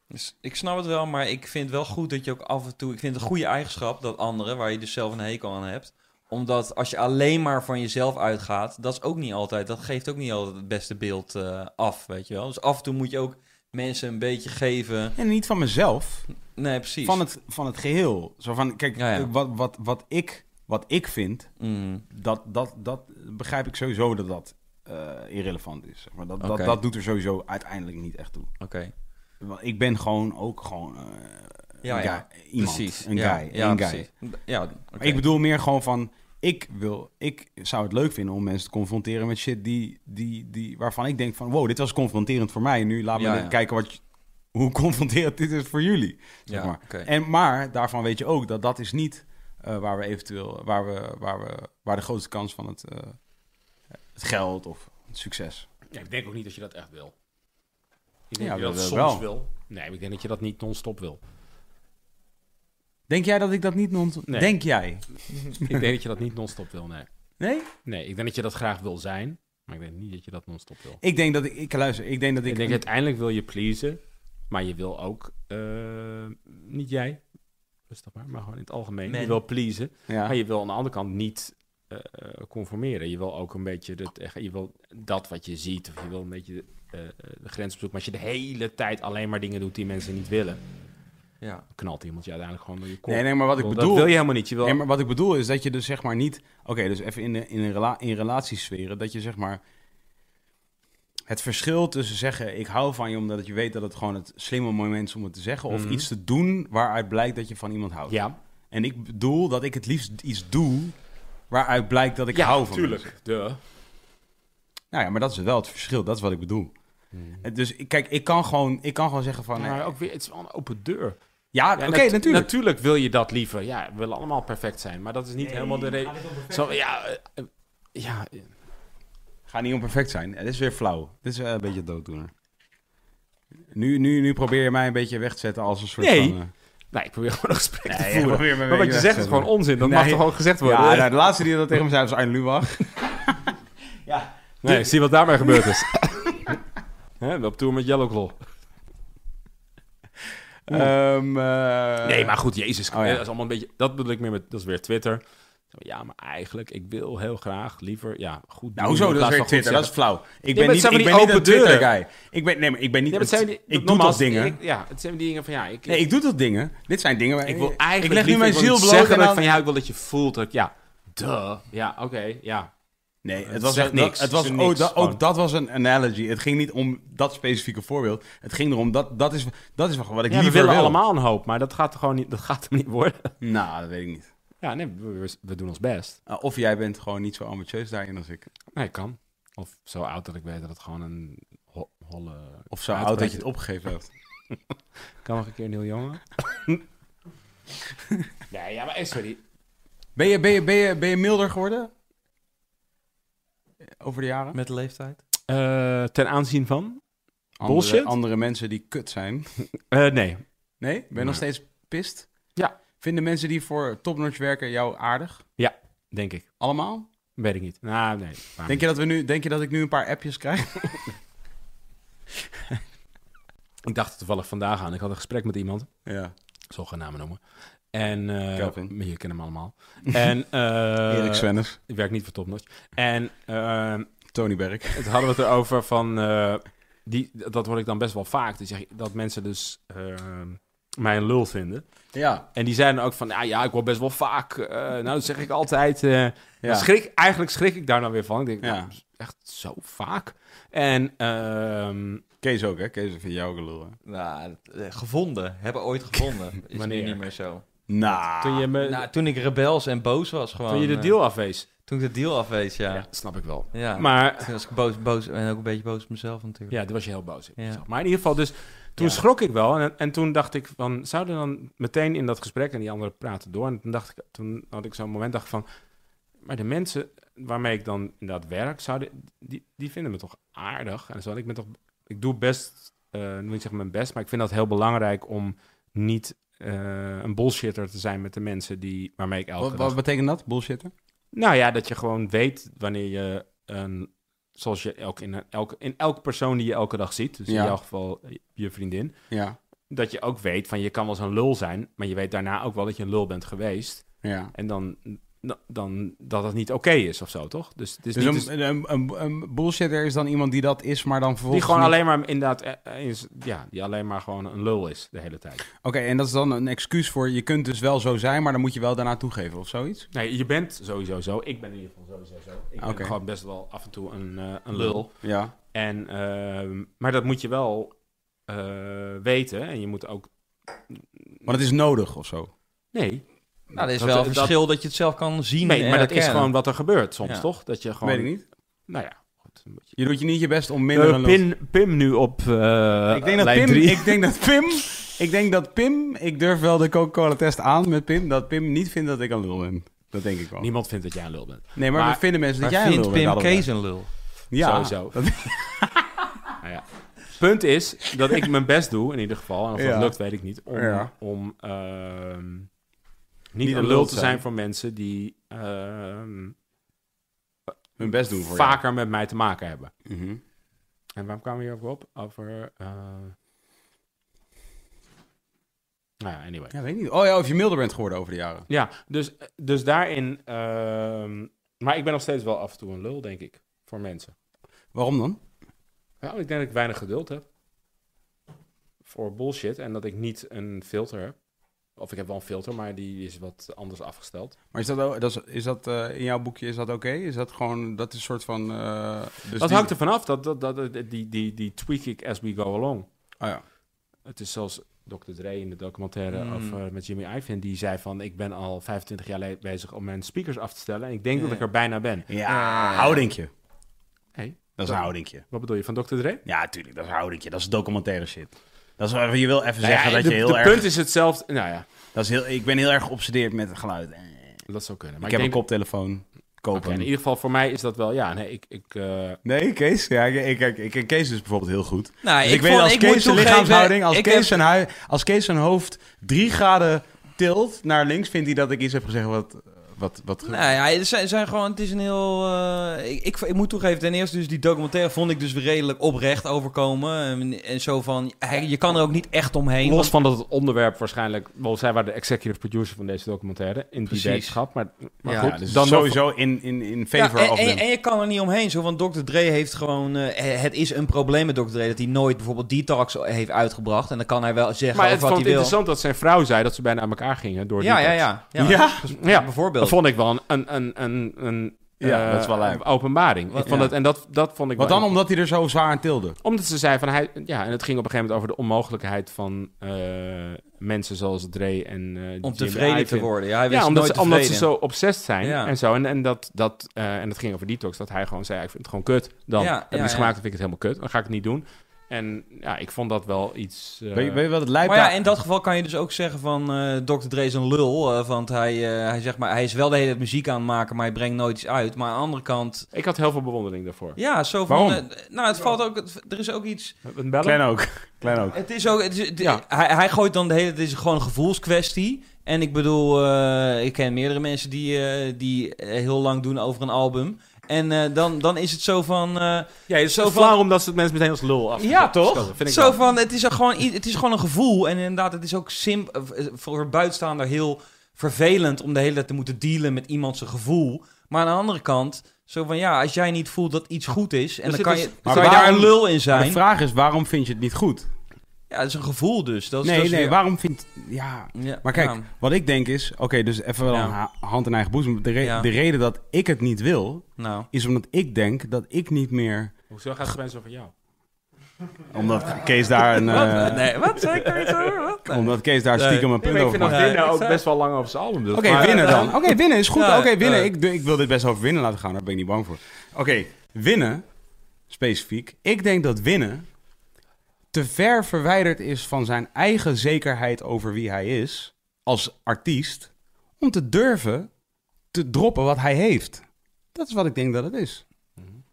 Dus Ik snap het wel, maar ik vind wel goed dat je ook af en toe... Ik vind het een goede eigenschap dat anderen, waar je dus zelf een hekel aan hebt... Omdat als je alleen maar van jezelf uitgaat, dat is ook niet altijd... Dat geeft ook niet altijd het beste beeld eh, af, weet je wel. Dus af en toe moet je ook mensen een beetje geven... en niet van mezelf, Nee, precies. van het, van het geheel. Zo van, kijk, eh, Ja, ja. Wat, wat, wat, ik, wat ik vind, Mm, dat, dat, dat begrijp ik sowieso dat dat eh, irrelevant is. Zeg maar dat, Oké. dat, dat doet er sowieso uiteindelijk niet echt toe. Oké. Want ik ben gewoon ook gewoon eh, Ja, een ja. guy, iemand, precies. een ja, guy, ja, een guy. precies. Ja, oké. Maar Ik bedoel meer gewoon van, ik, wil, ik zou het leuk vinden om mensen te confronteren met shit die, die, die, waarvan ik denk van, wow, dit was confronterend voor mij. Nu laten we Ja, even ja. kijken wat, je- hoe confronterend dit is voor jullie. Ja, zeg maar. oké. En, maar daarvan weet je ook dat dat is niet eh, waar we eventueel, waar, we, waar, we, waar de grootste kans van het, eh, het geld of het succes. Ja, ik denk ook niet dat je dat echt wil. Ja, Ik denk dat je dat dat wil wel. soms wil. Nee, maar ik denk dat je dat niet non-stop wil. Denk jij dat ik dat niet non Nee. Denk jij? ik denk dat je dat niet non-stop wil, nee. Nee? Nee, ik denk dat je dat graag wil zijn, maar ik denk niet dat je dat non-stop wil. Ik denk dat ik, ik luister, ik denk dat ik, Ik denk uiteindelijk wil je pleasen, maar je wil ook, eh, niet jij, rustig maar, maar gewoon in het algemeen. Men. Je wil pleasen, maar ja. Ah, je wil aan de andere kant niet eh, eh, conformeren. Je wil ook een beetje dat, eh, je wil dat wat je ziet, of je wil een beetje eh, eh, de grens opzoeken. Maar als je de hele tijd alleen maar dingen doet die mensen niet willen, Ja. dan knalt iemand je uiteindelijk gewoon door je kop. Nee, nee, maar wat ik Dat bedoel... wil je helemaal niet. Je wil Nee, maar wat ik bedoel is dat je dus zeg maar niet... Oké, dus even in, de, in, een rela in relatiesferen, dat je zeg maar... Het verschil tussen zeggen, ik hou van je omdat je weet dat het gewoon het slimme moment is om het te zeggen... of Mhm. iets te doen waaruit blijkt dat je van iemand houdt. Ja, En ik bedoel dat ik het liefst iets doe waaruit blijkt dat ik hou van mensen. Duh. Nou ja, maar dat is wel het verschil. Dat is wat ik bedoel. En Dus ik- kijk, ik kan gewoon, ik kan gewoon zeggen van... eh, Mhm. Maar ook weer, het is wel een open deur. ja, Ja, oké, nat- natuurlijk. Natuurlijk wil je dat liever. Ja, we willen allemaal perfect zijn. Maar dat is niet helemaal de reden. Zo, Ja, eh, eh, ja, eh, Ga niet onperfect zijn. Het is weer flauw. Dit is eh, een beetje dooddoener. Nu, nu, nu probeer je mij een beetje weg te zetten als een soort Nee. van... eh, nee, ik probeer gewoon een gesprek Nee, te je voeren. probeert me een Maar wat beetje je weg zegt te is gewoon zetten. onzin. Dat Nee. mag toch gewoon gezegd worden? Ja, nou, de laatste die dat tegen me zei was Arjen Lubach. nee, zie wat daarmee gebeurd is. Hè, op tour met Yellow Claw. Ehm, eh, nee, maar goed, Jezus. oh ja. Dat is allemaal een beetje... Dat bedoel ik meer met... Dat is weer Twitter. Zo, Ja, maar eigenlijk, ik wil heel graag liever... Ja, goed doen Nou, hoezo? in Dat is plaats weer van goed Twitter. Dat is zeggen. flauw. Ik maar ben het niet, zijn ik van ben die niet een open deuren. Twitter-guy. Ik ben, nee, maar ik ben niet... Ja, maar het het- zijn die- ik doe toch nogmaals, dingen. ik- ja, het zijn die dingen van ja, ik, Nee, ik doe dat dingen. Dit zijn dingen waar Ik wil eigenlijk Ik leg nu liever mijn ik wil ziel niet bloot zeggen en dat ik dan- van ja, ik wil dat je voelt dat ik- ja, duh, ja, oké, ja. Nee, het Het was zegt echt niks. niks. het Het was, is oh, niks, dat- ook gewoon. dat was een analogy. Het ging niet om dat specifieke voorbeeld. Het ging erom dat dat is dat is wat ik ja we liever willen wil. allemaal een hoop, maar dat gaat er gewoon niet, dat gaat hem niet worden. Nou, dat weet ik niet. Ja, nee, we, we- we doen ons best. Uh, of jij bent gewoon niet zo ambitieus daarin als ik. Nee, kan. Of zo oud dat ik weet dat het gewoon een ho- holle... Of zo Uitgebreid. oud dat je het opgegeven hebt. Kan nog een keer Neil Jongen? nee, ja, maar eh, sorry. Ben je, ben je, ben je, ben je milder geworden? Eh, Over de jaren? Met de leeftijd? Eh, ten aanzien van? Andere- bullshit? Andere, mensen die kut zijn. Eh, nee. Nee? Ben je Nee. nog steeds pist? Ja. Vinden mensen die voor topnotch werken jou aardig? Denk ik. Allemaal? Weet ik niet. Nou, nee. Denk je dat, we nu, denk je dat ik nu een paar appjes krijg? Ik dacht er toevallig vandaag aan. Ik had een gesprek met iemand. Ja. Ik zal geen namen noemen. En eh Kelvin. je kent hem allemaal. en eh Erik Swennes. ik werk niet voor Topnotch. En eh, Tony Berk. het hadden we het erover van eh, die, dat hoor ik dan best wel vaak. Die zeggen dat mensen dus eh, mij een lul vinden. Ja. En die zeiden ook van, ja, ja, ik word best wel vaak. eh, nou, dat zeg ik altijd. eh, ja. dan schrik, eigenlijk schrik ik daar nou weer van. Ik denk, Ja. nou, echt zo vaak. En ehm, Kees ook, hè? Kees vindt jou ook een lul, hè? Nou, dat- eh, gevonden. Hebben ooit gevonden. Is nu Wanneer? niet meer zo. Nou. toen je me, nou, toen ik rebels en boos was gewoon. toen je de eh, deal afwees. Toen ik de deal afwees, ja. Ja, Ja. snap ik wel. Maar... Maar Toen was ik boos, boos en ook een beetje boos op mezelf natuurlijk. ja, daar was je heel boos. op Ja. jezelf. Maar in ieder geval, dus toen Ja. schrok ik wel. En, en toen dacht ik van, zouden dan meteen in dat gesprek en die anderen praten door. En toen dacht ik, toen had ik zo'n moment dacht ik van, maar de mensen waarmee ik dan inderdaad werk, zouden, die, die vinden me toch aardig. En zo, en ik ben toch, ik doe best, eh niet zeg mijn best, maar ik vind dat heel belangrijk om niet eh, een bullshitter te zijn met de mensen die, waarmee ik elke Wat, dag wat betekent dat, bullshitter? nou ja, dat je gewoon weet wanneer je een. Zoals je elk, in, elk, in elk persoon die je elke dag ziet, dus Ja. in jouw geval je vriendin, Ja, dat je ook weet van je kan wel eens een lul zijn, maar je weet daarna ook wel dat je een lul bent geweest. ja. En dan, dan, dan dat dat niet oké is of zo, toch? Dus het is Dus niet. een, dus- een, een- een bullshitter is dan iemand die dat is, maar dan die vervolgens... gewoon niet- alleen maar inderdaad, eh, eh, is, ja, die alleen maar gewoon een lul is de hele tijd. Oké, en dat is dan een excuus voor... je kunt dus wel zo zijn, maar dan moet je wel daarna toegeven of zoiets? Nee, je bent sowieso zo. Ik ben in ieder geval sowieso zo. Ik Oké. ben gewoon best wel af en toe een, eh, een lul. Lul. Ja. En, ehm, maar dat moet je wel eh, weten. En je moet ook. Maar dat is nodig of zo? Nee, Nou, er is Dat- wel een dat- verschil dat je het zelf kan zien nee en maar dat is herkennen. gewoon wat er gebeurt soms, Ja. toch? Dat je gewoon. Weet ik niet. Nou ja, goed. een beetje- Je doet je niet je best om minder Eh, een lul- Pim, Pim nu op. eh, Ik denk, dat lijn Pim, drie. ik denk dat Pim... Ik denk dat Pim... Ik durf wel de Coca-Cola-test aan met Pim... dat Pim niet vindt dat ik een lul ben. Dat denk ik wel. Niemand vindt dat jij een lul bent. nee, maar, maar- we vinden mensen dat Maar jij een Dus vindt lul bent. Pim allebei. Kees een lul? Ja, Sowieso. Dat- Nou ja. Punt is dat ik mijn best doe, in ieder geval. En of Ja. dat lukt, weet ik niet. Om, Ja. om ehm, niet een lul te zijn voor mensen die ehm, hun best doen voor jou. vaker met mij te maken hebben. Mhm. En waarom kwamen we hier ook op? Over. eh, Nou ja, anyway. Ja, weet ik niet. Oh ja, of je milder bent geworden over de jaren. Ja, dus, dus daarin. ehm, maar ik ben nog steeds wel af en toe een lul, denk ik. Voor mensen. Waarom dan? Nou, ik denk dat ik weinig geduld heb. Voor bullshit. En dat ik niet een filter heb. Of ik heb wel een filter, maar die is wat anders afgesteld. Maar is dat, o- dat, is, is dat eh, in jouw boekje, is dat oké? Is dat gewoon, dat is een soort van... eh, dus dat die- hangt er vanaf. Dat, dat, dat, die, die, die tweak ik as we go along. Oh ja. Het is zoals Dr. Dre in de documentaire Mm. of, eh, met Jimmy Iovine. Die zei van, ik ben al 25 jaar le- bezig om mijn speakers af te stellen. En ik denk dat Ja. ik er bijna ben. Ja, Eh. houdinkje. Hé, Dat is een houdinkje. wat bedoel je van Dr. Dre? Ja, tuurlijk, dat is een houdinkje. Dat is documentaire shit. Dat is waar je wil even Nou ja, zeggen dat de, je heel de erg... punt is hetzelfde. Nou ja, Dat is heel, ik ben heel erg geobsedeerd met het geluid. Eh, dat zou kunnen. ik, Maar heb ik, een denk, koptelefoon. Oké, Kopen. in ieder geval voor mij is dat wel... Ja, nee, ik... ik eh, Nee, Kees. Ja, ik, ik, ik ken Kees dus bijvoorbeeld heel goed. Nou, Dus ik, weet vond- als ik moet Kees zijn toegeven, lichaamshouding, als ik Kees, heb- zijn hui, als Kees zijn hoofd drie graden tilt naar links, vindt hij dat ik iets heb gezegd wat... wat, wat ge- Nou ja, het zijn, zijn gewoon, het is een heel... eh, ik, ik, ik moet toegeven, ten eerste dus die documentaire vond ik dus redelijk oprecht overkomen. En, en zo van, hij- je kan er ook niet echt omheen. los want- van dat het onderwerp waarschijnlijk... Wel, zij waren de executive producer van deze documentaire. In die Precies. wetenschap. Maar, maar Ja, goed, ja, dus dan nog- sowieso in, in, in favor ja, e- of en, en, them. en je kan er niet omheen, zo, want Dr. Dre heeft gewoon... eh, het is een probleem met Dr. Dre dat hij nooit bijvoorbeeld detox heeft uitgebracht. En dan kan hij wel zeggen Maar over het wat vond hij wil. interessant dat zijn vrouw zei dat ze bijna aan elkaar gingen. Door Ja, die ja, tekst. ja. Ja? Dat is Ja. Dat Bijvoorbeeld. vond ik wel een, een, een, een, een, Ja, eh, dat is wel lijp. een openbaring. Wat- Ik vond ja. het, en dat, dat vond ik Wat wel... dan omdat hij er zo zwaar aan tilde? Omdat ze zei van hij... Ja, en het ging op een gegeven moment over de onmogelijkheid van eh, mensen zoals Dre en eh Om Jimmy tevreden te Iovine. worden. Ja, hij wist Ja, omdat nooit ze, omdat ze tevreden. zo obsessed zijn Ja. en zo. En, en, dat, dat, eh, en dat ging over detox. Dat hij gewoon zei, ja, ik vind het gewoon kut. Dan Ja, heb ik ja, iets ja. gemaakt, dan vind ik het helemaal kut. Dan ga ik het niet doen. En ja, ik vond dat wel iets... eh, weet, je, weet je wat het lijkt? Maar ja, in dat geval kan je dus ook zeggen van eh Dr. Dre is een lul. eh, want hij, eh, hij, zegt maar, hij is wel de hele tijd muziek aan het maken, maar hij brengt nooit iets uit. Maar aan de andere kant... Ik had heel veel bewondering daarvoor. Ja, zo van... Waarom? eh, nou, het valt ook... het- er is ook iets... Een bellen? Klein ook. Klein ook. Het is ook... Het is, de- Ja. hij, hij gooit dan de hele... Het is gewoon een gevoelskwestie. En ik bedoel, eh, ik ken meerdere mensen die, eh, die eh, heel lang doen over een album. En eh, dan, dan is het zo van... eh, Ja, het is Zo zo van- flauw omdat ze het mensen meteen als lul af. Ja, toch? Vind ik Zo wel. van, het is, er gewoon, i- het is gewoon een gevoel. En inderdaad, het is ook simp eh, v- voor een buitenstaander heel vervelend om de hele tijd te moeten dealen met iemand zijn gevoel. Maar aan de andere kant, zo van ja, als jij niet voelt dat iets goed is, en Dus dan het kan is- je, dan maar kan je daar waarom- een lul in Maar De zijn. vraag is, waarom vind je het niet goed? Ja, dat is een gevoel dus. Dat is, dat Nee, is nee, weer- waarom vind... Ja, Ja, nou, Maar kijk, ja. wat ik denk is... Oké, dus even wel Ja. een ha- hand in eigen boezem. De, re- Ja. de reden dat ik het niet wil... nou. is omdat ik denk dat ik niet meer... Hoezo gaat het mensen over jou? Omdat Kees daar een... eh, Wat? Nee, wat? Zeg ik daar iets over? Wat? Nee. Omdat Kees daar Nee. stiekem een punt maar ik over vind dat maakt. Nee, Winner ik ook zou- best wel lang over zijn album dus- doet. Oké, Maar- winnen eh, dan. Dus Oké, winnen is goed. ja, Oké, winnen. eh. Ik, doe- ik wil dit best over winnen laten gaan. Daar ben ik niet bang voor. Oké, winnen. Specifiek. Ik denk dat winnen te ver verwijderd is van zijn eigen zekerheid over wie hij is als artiest. Om te durven te droppen wat hij heeft. Dat is wat ik denk dat het is.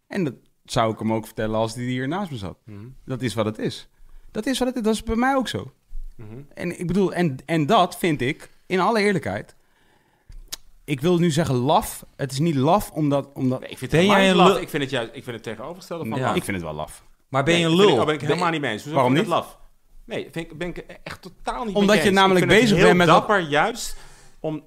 En dat zou ik hem ook vertellen als hij hier naast me zat. Mhm. Dat is wat het is. Dat is wat het is. Dat is bij mij ook zo. Mhm. En ik bedoel, en, en dat vind ik, in alle eerlijkheid. Ik wil nu zeggen laf. Het is niet laf, omdat. omdat Nee, eh, ik vind Ben het helemaal jij niet een laf. lul- Ik vind het juist, ik vind het tegenovergestelde van Ja. laf. Ik vind het wel laf. Maar ben je een Nee, vind lul? Ik, oh, ben ik Ben- helemaal niet mee eens. Hoezo Waarom vind ik het laf? Nee, vind ik, ben ik echt totaal niet Omdat mee je eens. namelijk Ik vind het bezig heel bent met wat- dapper juist om...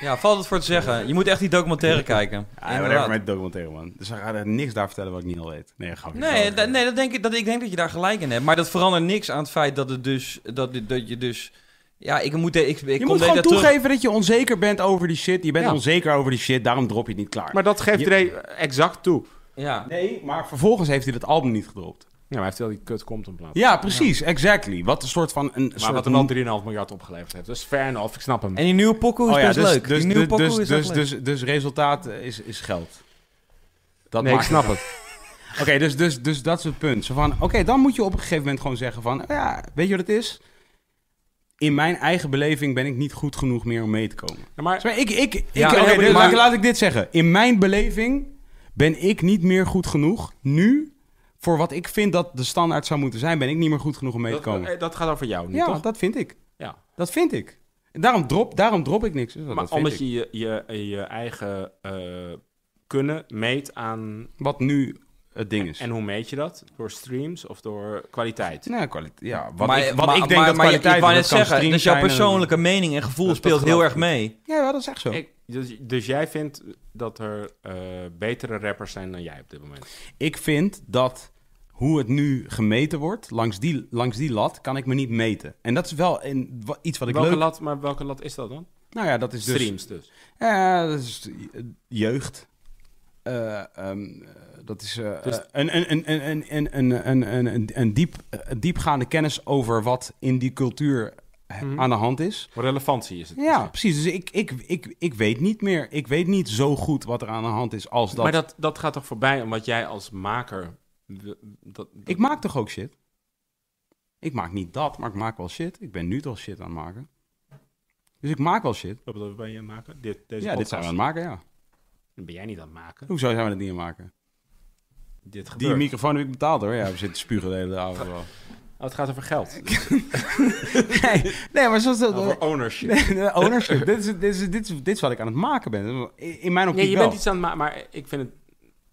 Ja, valt het voor te zeggen. Je moet echt die documentaire kijken. Ja, Inderdaad. whatever met documentaire, man. Dus ze gaan er niks daar vertellen wat ik niet al weet. Nee, ga Nee, da- nee dat denk ik, dat, ik denk dat je daar gelijk in hebt. Maar dat verandert niks aan het feit dat, het dus, dat, dit- dat je dus... Ja, ik moet... Ik, ik Je kom moet de gewoon hele tijd terug- toegeven dat je onzeker bent over die shit. Je bent Ja. onzeker over die shit, daarom drop je het niet klaar. Maar dat geeft Je- Dre exact toe. Ja. nee, maar vervolgens heeft hij dat album niet gedropt. Ja, maar hij heeft wel die kut komt in plaats. Ja, precies, exactly. Wat een soort van... Een Maar soort wat hem wel 3,5 miljard opgeleverd heeft. Dus fair enough, ik snap hem. En die nieuwe pokoe is Oh ja, best dus, leuk. Dus, die nieuwe dus, pokoe dus, is dus, echt dus, dus resultaat eh, is, is geld. Dat nee, ik maakt snap het. Oké, dus, dus, dus dat is het punt. Zo van, oké, dan moet je op een gegeven moment gewoon zeggen van... Ja, weet je wat het is? In mijn eigen beleving ben ik niet goed genoeg meer om mee te komen. Ja, maar Dus maar ik, ik, ik, Ja, oké, oké, dus maar- laat- laat ik dit zeggen. In mijn beleving ben ik niet meer goed genoeg nu... voor wat ik vind dat de standaard zou moeten zijn... ben ik niet meer goed genoeg om mee te dat, komen. eh, dat gaat over jou nu, ja, toch? dat vind ik. Ja. Dat vind ik. En daarom drop, daarom drop ik niks. Dus dat Maar vind omdat ik. je je, je je eigen eh, kunnen meet aan... Wat nu het ding is. En hoe meet je dat? Door streams of door kwaliteit? nou, kwaliteit. Ja, wat Maar- ik, wat maar- ik denk maar- dat maar je- kwaliteit... Ik wou dat net kan zeggen, stream dus jouw zijn en- persoonlijke mening en gevoel Dat- dat speelt heel geloof erg mee. Ja, ja, dat is echt zo. Ik- dus, dus jij vindt dat er eh, betere rappers zijn dan jij op dit moment? Ik vind dat hoe het nu gemeten wordt, langs die, langs die lat, kan ik me niet meten. En dat is wel een, wa- iets wat ik welke leuk... lat, maar welke lat is dat dan? Nou ja, dat is dus... Streams dus. Ja, dat is eh, jeugd. Eh, ehm, eh, dat is eh, Dus- eh, een, een, een, een, een, een, een, een, een, een, een diep, een diepgaande kennis over wat in die cultuur eh, Mhm. aan de hand is. Voor relevantie is het. Ja, precies. Dus ik, ik, ik, ik weet niet meer. Ik weet niet zo goed wat er aan de hand is als Dus dat. Maar dat, dat gaat toch voorbij omdat jij als maker... w- Dat, dat- Ik maak toch ook shit? Ik maak niet dat, maar ik maak wel shit. Ik ben nu toch shit aan het maken. Dus ik maak wel shit. Wat bedoel je bij je maken? Dit, deze ja, dit podcast. zijn we aan het maken, ja. Ben jij niet aan het maken? Hoezo zijn we dat niet aan het maken? Dit Die gebeurt. microfoon heb ik betaald hoor. Ja, we zitten spugen de hele avond wel. Oh, het gaat over geld. Nee, nee, maar zoals dat... over ownership. Nee, nee, ownership. dit, is, dit, is, dit, is, dit is wat ik aan het maken ben. In in mijn optiek Nee, je wel. bent iets aan het maken, maar ik vind het...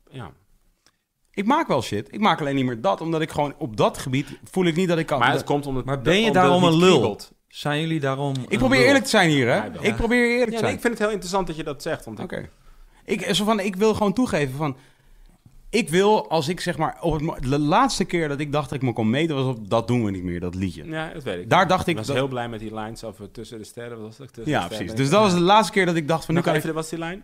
Ja. Ik maak wel shit. Ik maak alleen niet meer dat, omdat ik gewoon op dat gebied voel ik niet dat ik kan. Maar het komt omdat... Maar ben je omdat het daarom niet een lul? kriebelt. Zijn jullie daarom ik probeer eerlijk te zijn hier, hè? Ja, wel. Ik probeer eerlijk te Ja, zijn. nee, ik vind het heel interessant dat je dat zegt. Want ik- Oké. Ik, zo van, ik wil gewoon toegeven van... Ik wil, als ik zeg maar... Op het, mo- de laatste keer dat ik dacht dat ik me kon meten... was op dat doen we niet meer, dat liedje. Ja, dat weet ik. Daar dacht ik... was dat- heel blij met die lines over tussen de sterren. Wat was dat? Tussen ja, de sterren. precies. Dus dat was de laatste keer dat ik dacht van... Nu Nog kan ik, even, wat was die line?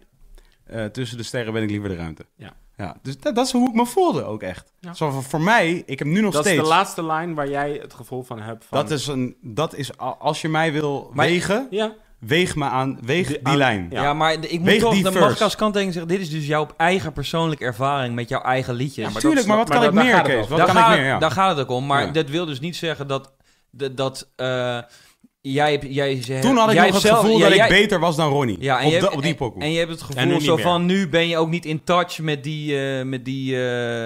eh, tussen de sterren ben ik liever de ruimte. Ja. ja dus dat, dat is hoe ik me voelde ook echt. Ja. Zo van, voor mij, ik heb nu nog Dat is steeds... de laatste line waar jij het gevoel van hebt. Van, dat is een... Dat is, a- als je mij wil Maar- wegen, Ja, weeg me aan... Weeg Die- die, aan- lijn. Ja. Ja, maar de- ik moet Weeg toch, die dan first. mag ik als kanttekening zeggen, dit is dus jouw eigen persoonlijke ervaring met jouw eigen liedjes. maar dat Tuurlijk, maar wat maar kan ik daar- daar meer, gaat het Kees? over. Wat kan gaat, ik meer, ja. daar gaat het ook om, maar Ja. dat wil dus niet zeggen dat, dat, dat eh, jij, hebt- jij ze- Toen had ik nog jij hebt het zelf- gevoel ja, dat jij- ik beter was dan Ronnie. ja, en op, je de- hebt- op die en- pokoe. En je hebt het En nu gevoel niet zo meer. van, nu ben je ook niet in touch met die, eh, met die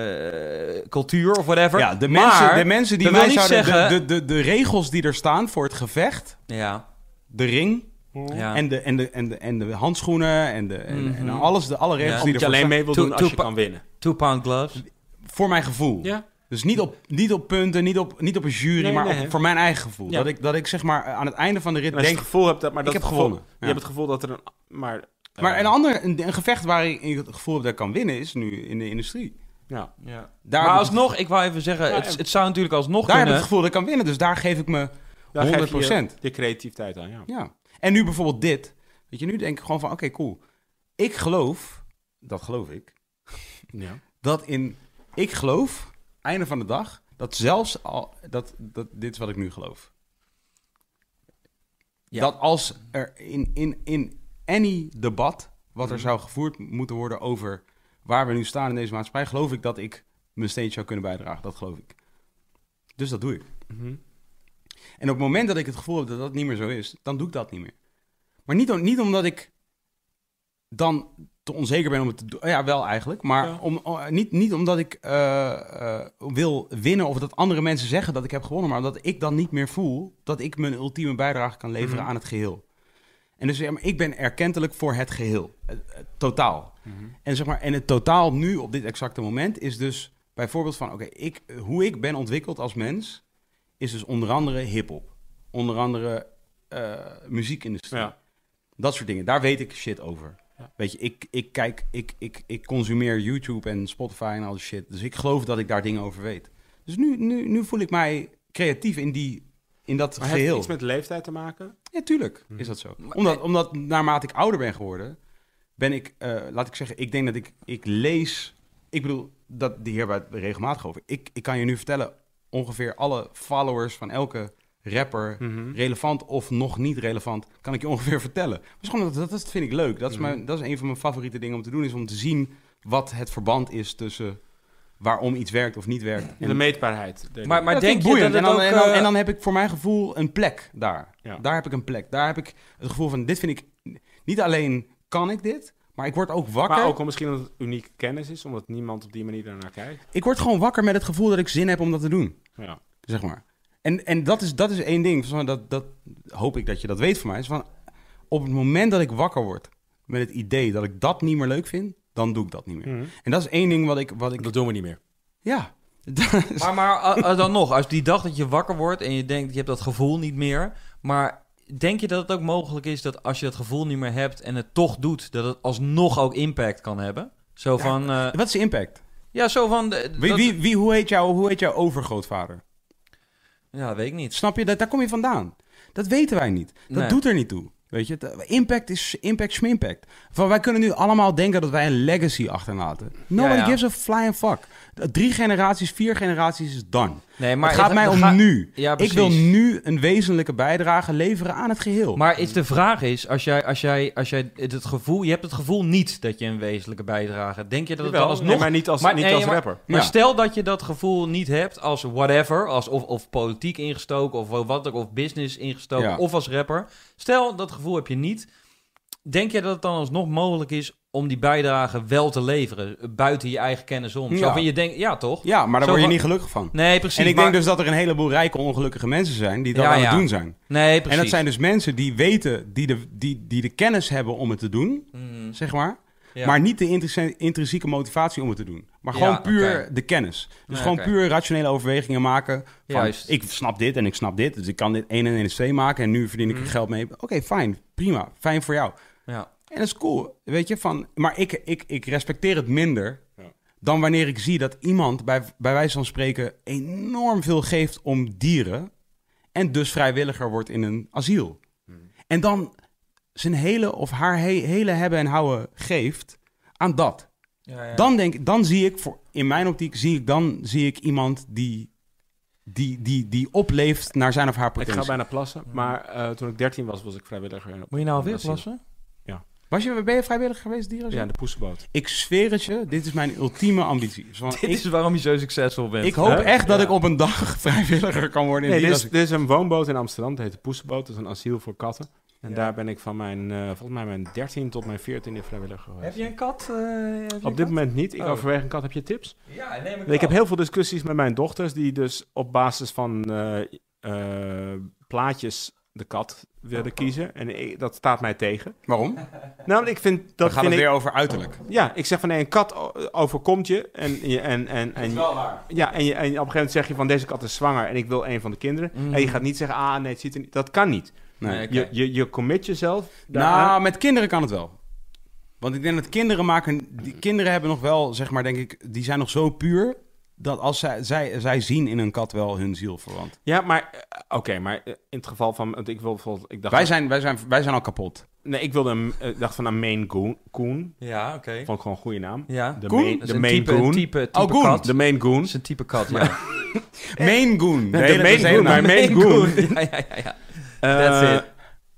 eh, cultuur of whatever. Ja, de Maar- mensen, de mensen die dat wil mij niet zouden... zeggen- De, de, de, de regels die er staan voor het gevecht, Ja, de ring ja. en, de, en, de, en, de, en de handschoenen en, de, en, en alles, de, alle regels Ja. die omdat er Mhm. je alleen mee wil Toe- doen als je toepa- kan winnen. two pound gloves. staan. Voor mijn gevoel. Ja. Dus niet op, niet op punten, niet op, niet op een jury, Nee, maar nee, op- hè. voor mijn eigen gevoel. Ja. Dat, ik, dat ik zeg maar eh, aan het einde van de rit En als je denk... het gevoel hebt dat... Maar Ik dat heb gevoel- gewonnen. Je Ja. hebt het gevoel dat er een... Maar... eh, Maar een ander, een, een gevecht waar ik in het gevoel heb dat ik kan winnen is nu in de industrie. Ja. Ja. Daar, maar heb, ik, alsnog, ik wou even zeggen, Ja, het, en- het zou natuurlijk alsnog daar heb ik kunnen. het gevoel dat ik kan winnen, dus daar geef ik me... Daar geef je 100%. Je, je creativiteit aan, ja. Ja. En nu bijvoorbeeld dit. Weet je, nu denk ik gewoon van, oké, cool. Ik geloof, dat geloof ik, ja. dat in... Ik geloof einde van de dag, dat zelfs al, dat, dat, dit is wat ik nu geloof. Ja. Dat als er in, in, in any debat wat er zou gevoerd moeten worden over waar we nu staan in deze maatschappij, geloof ik dat ik mijn steentje zou kunnen bijdragen. Dat geloof ik. Dus dat doe ik. En op het moment dat ik het gevoel heb dat dat niet meer zo is, dan doe ik dat niet meer. Maar niet, om- niet omdat ik dan te onzeker ben om het te doen. Ja, wel eigenlijk. Maar om, om- niet, niet omdat ik eh, eh, wil winnen of dat andere mensen zeggen dat ik heb gewonnen. Maar omdat ik dan niet meer voel dat ik mijn ultieme bijdrage kan leveren aan het geheel. En dus ja, maar ik ben erkentelijk voor het geheel. Het- het totaal. Mhm. En, zeg maar, en het totaal nu op dit exacte moment is dus bijvoorbeeld van... Oké, ik, eh, hoe ik ben ontwikkeld als mens is dus onder andere hiphop. Onder andere eh, muziekindustrie. Ja. Dat soort dingen. Daar weet ik shit over. Weet je, ik, ik kijk, ik, ik, ik consumeer YouTube en Spotify en al die shit. Dus ik geloof dat ik daar dingen over weet. Dus nu, nu, nu voel ik mij creatief in, die, in dat Maar heeft het geheel. iets met leeftijd te maken? Ja, tuurlijk is dat zo. Omdat, omdat naarmate ik ouder ben geworden, ben ik, eh, laat ik zeggen, ik denk dat ik, ik lees. Ik bedoel, dat die hierbij regelmatig over. Ik, ik kan je nu vertellen, ongeveer alle followers van elke rapper, relevant of nog niet relevant, kan ik je ongeveer vertellen. Maar is gewoon, dat, dat, dat vind ik leuk. Dat is, mijn, dat is een van mijn favoriete dingen om te doen, is om te zien wat het verband is tussen waarom iets werkt of niet werkt. De meetbaarheid. denk Maar, ik. maar Dat denk vind je ik dat boeiend. het en, dan, ook... en, dan, eh, en dan heb ik voor mijn gevoel een plek daar. Ja. Daar heb ik een plek. Daar heb ik het gevoel van, dit vind ik... Niet alleen kan ik dit, maar ik word ook wakker. Maar ook al misschien dat het unieke kennis is, omdat niemand op die manier daarnaar kijkt. Ik word gewoon wakker met het gevoel dat ik zin heb om dat te doen. Ja. Zeg maar. En, en dat, is, dat is één ding. Van, Dat, dat hoop ik dat je dat weet van mij. Is van, op het moment dat ik wakker word met het idee dat ik dat niet meer leuk vind, dan doe ik dat niet meer. En dat is één ding wat ik... Wat ik Mhm. Dat doen we niet meer. ja. Dat is- Maar, maar eh, eh, dan nog, als die dag dat je wakker wordt en je denkt, je hebt dat gevoel niet meer. Maar denk je dat het ook mogelijk is dat als je dat gevoel niet meer hebt en het toch doet, dat het alsnog ook impact kan hebben? Zo van, eh, Wat is de impact? ja, zo van... de- Wie, dat- wie, wie, hoe, heet jou, hoe heet jouw overgrootvader? Ja, weet ik niet. Snap je? Dat, daar kom je vandaan. Dat weten wij niet. Dat Nee. doet er niet toe. Weet je, Het- impact is impact schmimpact. Van wij kunnen nu allemaal denken dat wij een legacy achterlaten. Nobody Ja, ja. gives a flying fuck. Drie generaties, vier generaties is dan. Nee, maar Maar het gaat mij om gaat- nu. Ja, ik precies. wil nu een wezenlijke bijdrage leveren aan het geheel. Maar is de vraag is, als jij, als jij, als jij het, het gevoel, je hebt het gevoel niet dat je een wezenlijke bijdrage. Denk je dat het Jawel, dan alsnog? nee, maar niet als- niet nee, als maar- rapper. Maar Ja. stel dat je dat gevoel niet hebt als whatever, als of, of politiek ingestoken of wat ook, of business ingestoken, Ja. of als rapper. Stel dat gevoel heb je niet. Denk je dat het dan alsnog mogelijk is om die bijdrage wel te leveren eh, buiten je eigen kennis om? Zo Ja. van je denkt, ja toch? ja, maar daar Zo word je van- niet gelukkig van. Nee, precies. en ik maar- denk dus dat er een heleboel rijke, ongelukkige mensen zijn die dat Ja, aan het ja. doen zijn. nee, precies. En dat zijn dus mensen die weten, die de, die, die de kennis hebben om het te doen, Mm, zeg maar. ja. Maar niet de intrinsie- intrinsieke motivatie om het te doen. Maar Ja, gewoon puur oké. de kennis. Dus Nee, gewoon oké. puur rationele overwegingen maken. Van, Juist. Ik snap dit en ik snap dit. Dus ik kan dit 1 en 1 is 2 maken. En nu verdien ik er Mhm. geld mee. Oké, fijn. Prima. Fijn voor jou. ja. En dat is cool. Weet je, van, maar ik, ik, ik respecteer het minder dan wanneer ik zie dat iemand bij, bij wijze van spreken enorm veel geeft om dieren. En dus vrijwilliger wordt in een asiel. En dan zijn hele of haar he- hele hebben en houden geeft aan dat. Ja, ja. Dan denk dan zie ik voor, in mijn optiek zie ik dan zie ik iemand die, die, die, die opleeft naar zijn of haar Ik potentie. ga bijna plassen, maar eh, toen ik 13 was, was ik vrijwilliger. in- Moet je nou in weer asiel. plassen? Was je, ben je vrijwillig geweest, dieren? Ja, in de poesenboot. Ik zweer het je, dit is mijn ultieme ambitie. Dus van, Dit ik, is waarom je zo succesvol bent. ik hoop Hè? echt dat Ja. ik op een dag vrijwilliger kan worden in Nee, nee, dit is, dit is een woonboot in Amsterdam, dat heet de poesenboot. Dat is een asiel voor katten. En daar ben ik van mijn, eh, volgens mij mijn 13 tot mijn 14e vrijwilliger geweest. Heb je een kat? eh, heb je een Op dit kat? moment niet. Ik Oh. overweeg een kat. Heb je tips? Ja, neem Ik heb heel veel discussies met mijn dochters, die dus op basis van eh, eh, plaatjes de kat willen kiezen. En ik- dat staat mij tegen. Waarom? Dan Nou, ik vind dat. gaat vind het ik, weer over uiterlijk. Ja, ik zeg van nee, een kat o- overkomt je. En, je- en, en, en, Ja, en, je, en op een gegeven moment zeg je van deze kat is zwanger en ik wil een van de kinderen. Mm. En je gaat niet zeggen, ah nee, het ziet er niet. Dat kan niet. Nee. Nee, ik- Je, je, je commit jezelf. daaraan. Nou, met kinderen kan het wel. Want ik denk dat kinderen maken... Die kinderen hebben nog wel, zeg maar, denk ik... Die zijn nog zo puur... Dat als zij, zij, zij zien in een kat wel hun ziel verwant. Ja, maar eh, oké, maar eh, in het geval van. want Ik wil bijvoorbeeld. Ik dacht, Wij zijn, wij, zijn, wij zijn al kapot. Nee, ik wilde een, eh, dacht van een Maine Goon. Koen. Ja, oké. Vond ik gewoon een goede naam. Ja. De Goon? Maine, Dat de is een main type, Goon. een type, type Oh, Goon. kat. De Maine Goon. Dat is een type kat, ja. Main Goon. Eh, de hele- Maine hele Goon, naam. maar Maine Goon. Ja, ja, ja, ja. Eh, That's it.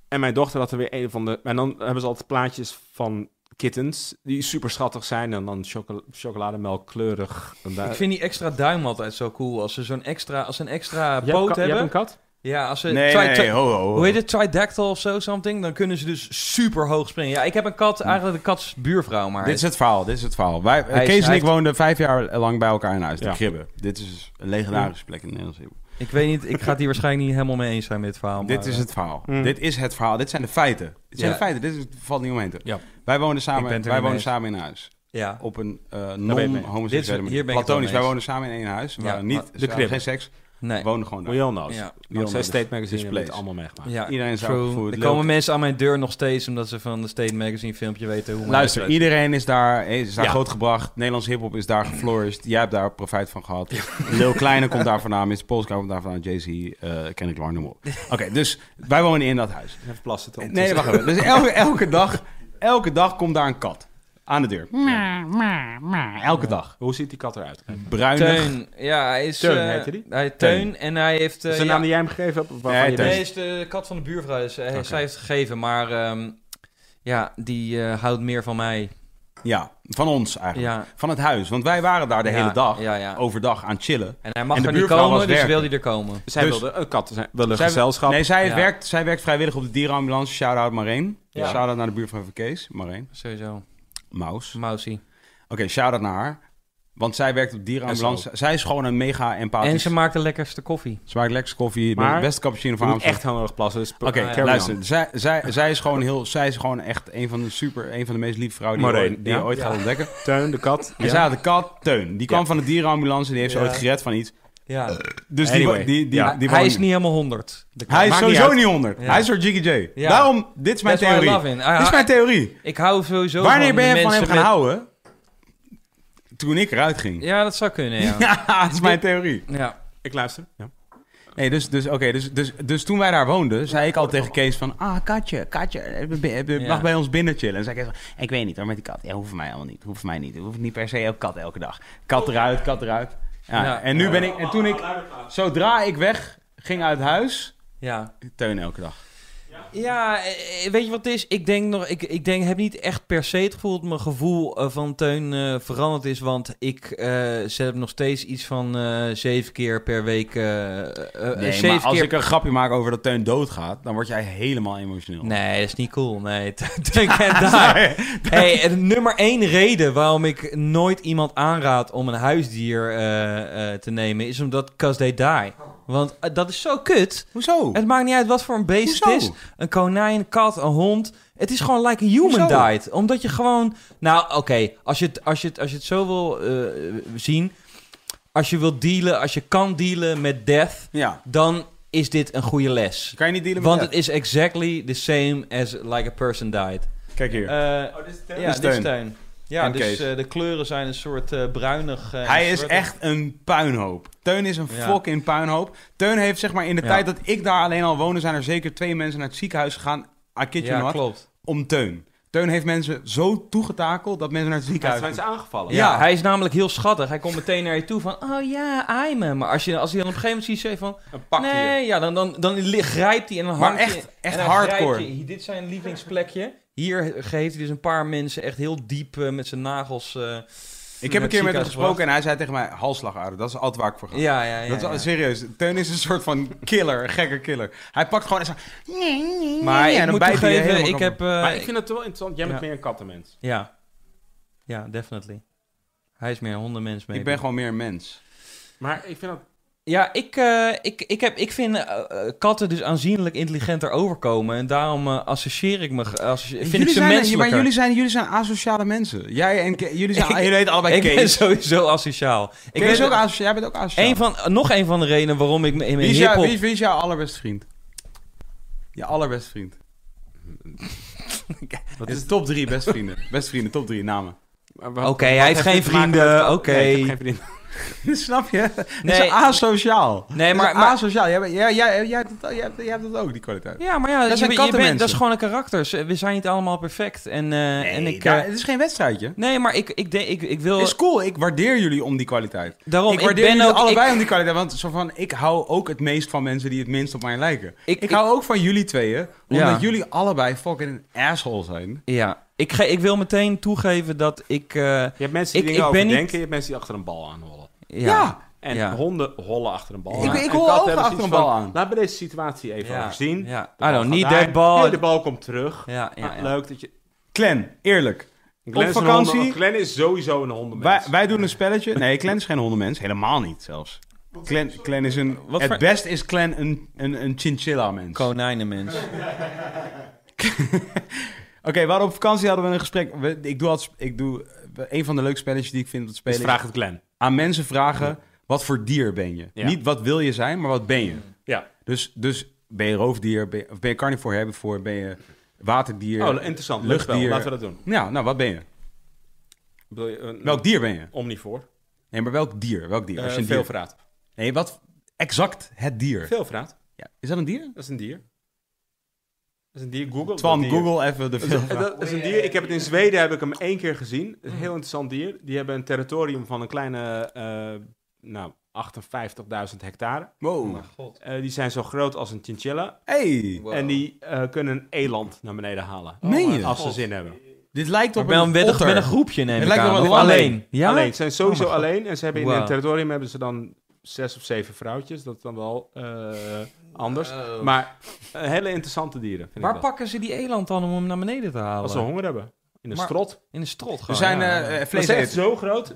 En mijn dochter had er weer een van de... En dan hebben ze altijd plaatjes van kittens die super schattig zijn. En dan chocola chocolademelkkleurig. En daar- Ik vind die extra duim altijd zo cool. Als ze zo'n extra, als ze een extra Jij hebt poot ka- jij hebt hebben. een kat? Ja, als ze Nee, tri- nee, tri- nee, ho, ho, ho. Hoe heet het? Tridactyl of zo, something. Dan kunnen ze dus super hoog springen. Ja, ik heb een kat, eigenlijk de kats buurvrouw, maar... Dit is het verhaal, dit is het verhaal. Wij, Hij is- Kees en hij ik heeft- woonden vijf jaar lang bij elkaar in huis, de Ja. Gribben. Dit is een legendarische plek in Nederland. Ik weet niet, ik ga het hier waarschijnlijk niet helemaal mee eens zijn met dit verhaal. Dit maar, is eh, het verhaal. Mm. Dit is het verhaal. Dit zijn de feiten. Dit zijn Ja. de feiten. Dit is, valt niet omheen te. Ja. Wij woonden Ik ben samen, het wij er mee woonden eens. samen in huis. Ja, Op een eh mee. Dit is- non-homoseksuele manier. hier ben ik het wel mee Platonisch. Wij eens. woonden samen in één huis. We Ja, waren niet, maar- de Gribben. geen seks. nee. We woonden gewoon daar. We all know. Ja. We all know. Zij nou, State This Magazine hebben het place. allemaal meegemaakt. Ja, Iedereen is true. opgevoed, Er leuk. komen mensen aan mijn deur nog steeds omdat ze van de State Magazine filmpje weten hoe mijn Luister, huis eruit iedereen is daar, eh, is daar Ja. grootgebracht. Nederlands hiphop is daar geflourished. Jij hebt daar profijt van gehad. Lil Kleine komt daar vandaan. Mr. Polska komt daar vandaan. Jay-Z, eh Kendrick Lamar, noem maar op. Oké, dus wij wonen in dat huis. Even plassen toch? Nee, wacht even. Dus elke, elke, dag, elke dag komt daar een kat aan de deur. Elke dag. Hoe ziet die kat eruit? Is Bruinig. ziet. Teun, ja, hij is... Teun eh, heette die? Hij Teun en hij heeft... eh, dat een ja, naam die jij hem gegeven hebt? waarvan Nee, je Teun. weet- Nee, is de kat van de buurvrouw. Dus, eh, Zij heeft gegeven, maar ehm, ja, die eh, houdt meer van mij. Ja, van ons eigenlijk. Ja. Van het huis. Want wij waren daar de Ja, hele dag, ja, ja. overdag, aan het chillen. En hij mag En de er niet buurvrouw was komen, dus werken. wil hij er komen. Zij Dus- wilde een kat, zij wilde een Zij- gezelschap. Nee, zij, Ja. werkt, zij werkt vrijwillig op de dierenambulance. Shout-out Marijn. Ja. Shout-out naar de buurvrouw van Kees. Marijn. Sowieso. Maus. Mousie. Oké, shout-out naar haar. Want zij werkt op dierenambulance. Zij is gewoon een mega empathisch. En ze maakt de lekkerste koffie. Ze maakt lekker koffie, de Maar- beste cappuccino Je van moet Amsterdam. echt heel erg plassen. Dus Oké, Ah, ja. luister. Zij, zij, zij is gewoon heel, zij is gewoon echt een van de super, een van de meest lieve vrouwen die, je Maureen, ooit, die je ja. ooit gaat ontdekken. Teun, de kat. En zij had een kat, Teun. Die kwam van de dierenambulance en die heeft Ja. ze ooit gered van iets. Ja. Dus Anyway, die, die, die, ja. die hij woont- is niet helemaal 100. de kat. Hij is Maakt niet sowieso uit. niet, onder. Ja. Hij is door Jiggy J. Ja. Daarom, dit is mijn That's why I theorie. love him. Ah, Dit is mijn theorie. Ik hou sowieso Wanneer van ben de je van hem mensen gaan met- houden? Toen ik eruit ging. Ja, dat zou kunnen, ja. Ja, dat is mijn theorie. Ja. Ik luister. Ja. Nee, dus, dus, oké, dus, dus, dus toen wij daar woonden, zei ik al tegen Kees van... Ah, katje, katje, eh, be- be- Ja. mag bij ons binnen chillen. En zei Kees van, ik weet niet hoor, met die kat. Ja, hoeft voor mij allemaal niet. Hoeft voor mij niet. Hoeft niet per se ook kat elke dag. Kat eruit, kat eruit. Ja, Ja. En nu ben ik... En toen ik... Zodra ik weg ging uit huis... Ja, Teun elke dag. ja eh, weet je wat het is? Ik denk nog, ik, ik denk, heb niet echt per se het gevoel dat mijn gevoel eh, van Teun eh, veranderd is. Want ik eh, zet hem nog steeds iets van eh, zeven keer per week. eh, eh, eh, Nee, zeven maar als keer ik een grapje maak over dat Teun doodgaat... dan word jij helemaal emotioneel. Nee, dat is niet cool. Nee, Teun kent daar. Hey, en nummer één reden waarom ik nooit iemand aanraad om een huisdier eh, eh, te nemen... is omdat 'cause they die. Want eh, dat is zo kut. Hoezo? Het maakt niet uit wat voor een beest het Hoezo? is. Een konijn, een kat, een hond. Het is gewoon like a human Hoezo? died. Omdat je gewoon... Nou, oké. Als, je het- als, je het- als je het zo wil eh, zien... Als je wilt dealen, als je kan dealen met death... Ja. dan is dit een goede les. Kan je niet dealen met Want dat? het is exactly the same as like a person died. Kijk hier. oh, dit is Teun? Ja, Dit is dit is Teun. Teun. Ja, En dus Kees. eh, de kleuren zijn een soort eh, bruinig... eh, Hij is zwart- echt een puinhoop. Teun is een Ja. fucking puinhoop. Teun heeft zeg maar in de Ja. tijd dat ik daar alleen al woonde... zijn er zeker twee mensen naar het ziekenhuis gegaan... I kid you Ja, not, klopt. om Teun. Teun heeft mensen zo toegetakeld dat mensen naar het ziekenhuis... zijn ze aangevallen. Ja, hij is namelijk heel schattig. Hij komt meteen naar je toe van... Oh ja, I'm him. Maar als, je, als hij dan op een gegeven moment ziet... zo van... Een pak nee, hier. ja, dan, dan, dan li- grijpt hij en dan Maar hangt echt- hij- echt en dan grijpt hardcore. je. Hier- Dit is zijn lievelingsplekje. Hier geeft hij dus een paar mensen echt heel diep eh, met zijn nagels... eh, Ik heb een het keer met hem ziekenhuis gesproken en hij zei tegen mij... halsslagader, dat is altijd waar ik voor ga. ja, ja, ja. dat is al- ja. serieus. Teun is een soort van killer, een gekke killer. Hij pakt gewoon en zo... Maar Ja, ik dan moet bijt hij je toegeven, helemaal ik heb... eh, Maar ik vind het wel interessant. Jij bent Ja. meer een kattenmens. Ja. Ja, definitely. Hij is meer een hondenmens mee. Ik ben gewoon meer een mens. Maar ik vind dat... Ja, ik, eh, ik, ik, heb, ik vind eh, eh, katten dus aanzienlijk intelligenter overkomen. En daarom eh, associeer ik me... ge- associe- vind ik ze zijn, menselijker. Maar jullie zijn, jullie zijn asociale mensen. Jij en Ke- jullie zijn... Ik- jullie heten allebei ik Kees. ben sowieso asociaal. Ik Kees ben ook asociaal. Jij bent ook asociaal. een van, Nog een van de redenen waarom ik me in Wie mijn is, jou- hiphop... wie, wie is jouw allerbeste vriend? Je allerbeste vriend. Wat is top drie best vrienden? Best vrienden, top drie namen. Oké, hij heeft geen vrienden. Oké. Nee, ik heb geen vrienden. Snap je? Nee. Nee. is asociaal. Nee, maar, maar- maar- asociaal. Jij, bent- jij, jij, jij, hebt dat, jij, hebt- jij hebt dat ook, die kwaliteit. Ja, maar ja, Dat dat, zijn je, je bent, dat is kattenmensen. gewoon een karakters. We zijn niet allemaal perfect. En, eh, en ik, daar- eh, het is geen wedstrijdje. nee, maar ik, ik, denk- ik, ik wil... is cool. Ik waardeer jullie om die kwaliteit. daarom, ik waardeer ben jullie ook, allebei ik- om die kwaliteit. Want zo van, ik hou ook het meest van mensen die het minst op mij lijken. Ik, Ik- hou ook van jullie tweeën. Omdat Ja. jullie allebei fucking een asshole zijn. Ja, ik, ge, ik wil meteen toegeven dat ik... eh, Je hebt mensen die Ik- dingen ik ben overdenken, niet- je hebt mensen die achter een bal aanhollen. ja. En Ja. honden hollen achter een bal Ik- aan. ik En hol katten ook hebben achter zoiets een bal van, aan. Laat me deze situatie even Ja. overzien. Ja. De bal I don't gaat need daar. that ball. Nee, de bal komt terug. Ja, ja, Ah, ja. Leuk dat je... Clan, eerlijk. Glenn op is een vakantie. honden- oh, Glenn is sowieso een hondenmens. Wij, wij doen een spelletje. Nee, Clan is geen hondenmens. Helemaal niet zelfs. Clan, Clan is een... Wat het voor- best is Clan een, een, een chinchilla mens. Oh, Konijnenmens. Oké, we hadden op vakantie hadden we een gesprek. We- ik doe altijd, ik doe eh, een van de leuke spelletjes die ik vind om te Dus spelen. vraag het Glenn. is aan mensen vragen: wat voor dier ben je? Ja. Niet wat wil je zijn, maar wat ben je? Ja. Dus, dus ben je roofdier? Ben je, of ben je carnivore hebben voor? Ben je waterdier? Oh, interessant. Leuk spel. Luchtdier. Laten we dat doen. Ja, nou wat ben je? Wil je een Welk dier ben je? omnivoor? Nee, maar welk dier? Welk dier? Eh Als je een dier- veelvraat. Nee, wat exact het dier? Veelvraat. Ja, is dat een dier? Dat is een dier. Dat is een dier. Google. Twan, dat dier. Google even de Eh, veelvraat. Dat is een dier. Ik heb het in Zweden heb ik hem één keer gezien. Een heel interessant dier. Die hebben een territorium van een kleine, eh, nou, 58.000 hectare. Wow. Eh, die zijn zo groot als een chinchilla. Hey, Wow. En die eh, kunnen een eland naar beneden halen. meen je? Als ze zin hebben. Dit lijkt Maar op wel een met, een- otter. met een groepje neem Het ik lijkt aan. wel Of wat- alleen. Ja? Alleen. Ze zijn sowieso Oh mijn alleen. En ze hebben in Wow. hun territorium hebben ze dan zes of zeven vrouwtjes. Dat is dan wel eh, anders. Oh. Wow. Maar eh, hele interessante dieren. Vind Waar ik dat. pakken ze die eland dan om hem naar beneden te halen? Als ze honger hebben. In een Maar- strot. In een strot We Oh, gewoon. zijn ja. eh, eh, Het is echt vleeseters. zo groot.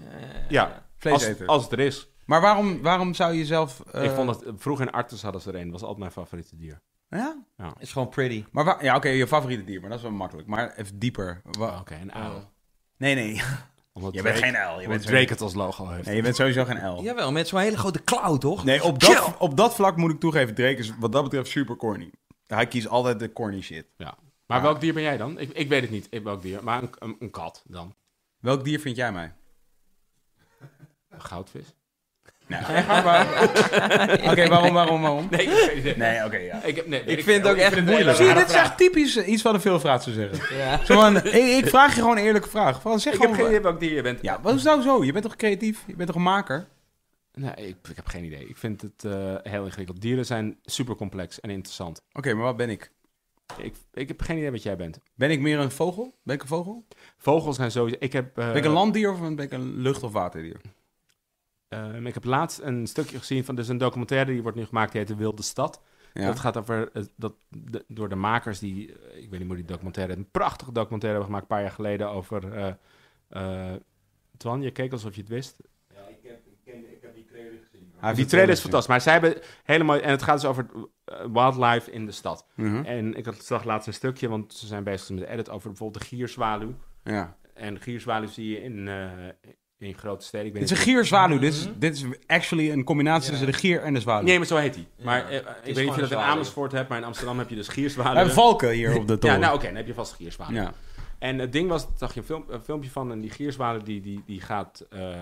Ja, als, Vleeseters. als het er is. Maar waarom, waarom zou je jezelf... eh, ik vond dat vroeger in Artus hadden ze er een. was altijd mijn favoriete dier. Ja? Is gewoon pretty. Maar waar- ja, oké, je favoriete dier, maar dat is wel makkelijk. Maar even dieper. Wa- Oké, een uil. Nee, nee. Omdat Oh. Je bent Drake- geen L. Je omdat bent, Drake sowieso, het als logo heeft. nee, je bent sowieso geen L. Jawel, met zo'n hele grote klauw, toch? Nee, op dat, op dat vlak moet ik toegeven, Drake is wat dat betreft super corny. Hij kiest altijd de corny shit. Ja. Maar welk dier ben jij dan? Ik, ik weet het niet. Ik, welk dier? Maar een, een, een kat dan. Welk dier vind jij mij? Een goudvis. Nou, echt waar? Oké, waarom, waarom, waarom? Nee, ik weet het niet. Nee, oké, ja. Ik, heb- nee, weet vind het ook echt een hele moeilijk. Zie je, rare dit is vraag. echt typisch eh, iets wat een veelvraat zou zeggen. Ja. Zo van, ik, ik vraag je gewoon een eerlijke vraag. Van, zeg Ik heb gewoon... geen idee welk dier je bent. Ja, wat is nou zo? Je bent toch creatief? Je bent toch een maker? Nee, ik, ik heb geen idee. Ik vind het eh, heel ingewikkeld. Dieren zijn super complex en interessant. Oké, maar wat ben ik? Ik, ik heb geen idee wat jij bent. Ben ik meer een vogel? Ben ik een vogel? Vogels zijn sowieso... Ik heb, eh, Ben ik een landdier of ben ik een lucht- of waterdier? Ehm, ik heb laatst een stukje gezien van dus een documentaire die wordt nu gemaakt, die heet De Wilde Stad. Ja. Dat gaat over eh, dat de- door de makers die, eh, ik weet niet hoe die documentaire, een prachtige documentaire hebben gemaakt een paar jaar geleden over. eh eh, Twan, je keek alsof je het wist. Ah, Hij heeft die het trailer is gezien. fantastisch, maar zij hebben helemaal en het gaat dus over eh, wildlife in de stad. Mhm. En ik had zag laatst een stukje, want ze zijn bezig met de edit over bijvoorbeeld de gierzwaluw. Ja. En gierzwaluw zie je in, eh, in grote steden. Ik weet Dit is niet- Mhm. een gierzwaluw. Dit is, dit is actually een combinatie tussen de gier en de zwaluw. Nee, maar zo heet hij. Maar eh, het is ik weet gewoon niet of je een dat in zwaluw. Amersfoort hebt, maar in Amsterdam heb je dus We gierzwaluwen. hebben valken hier op de ja, toren. nou oké, dan heb je vast gierzwaluwen. Ja. En het ding was, daar zag je een, film, een filmpje van, en die gierzwaluw die, die, die gaat eh,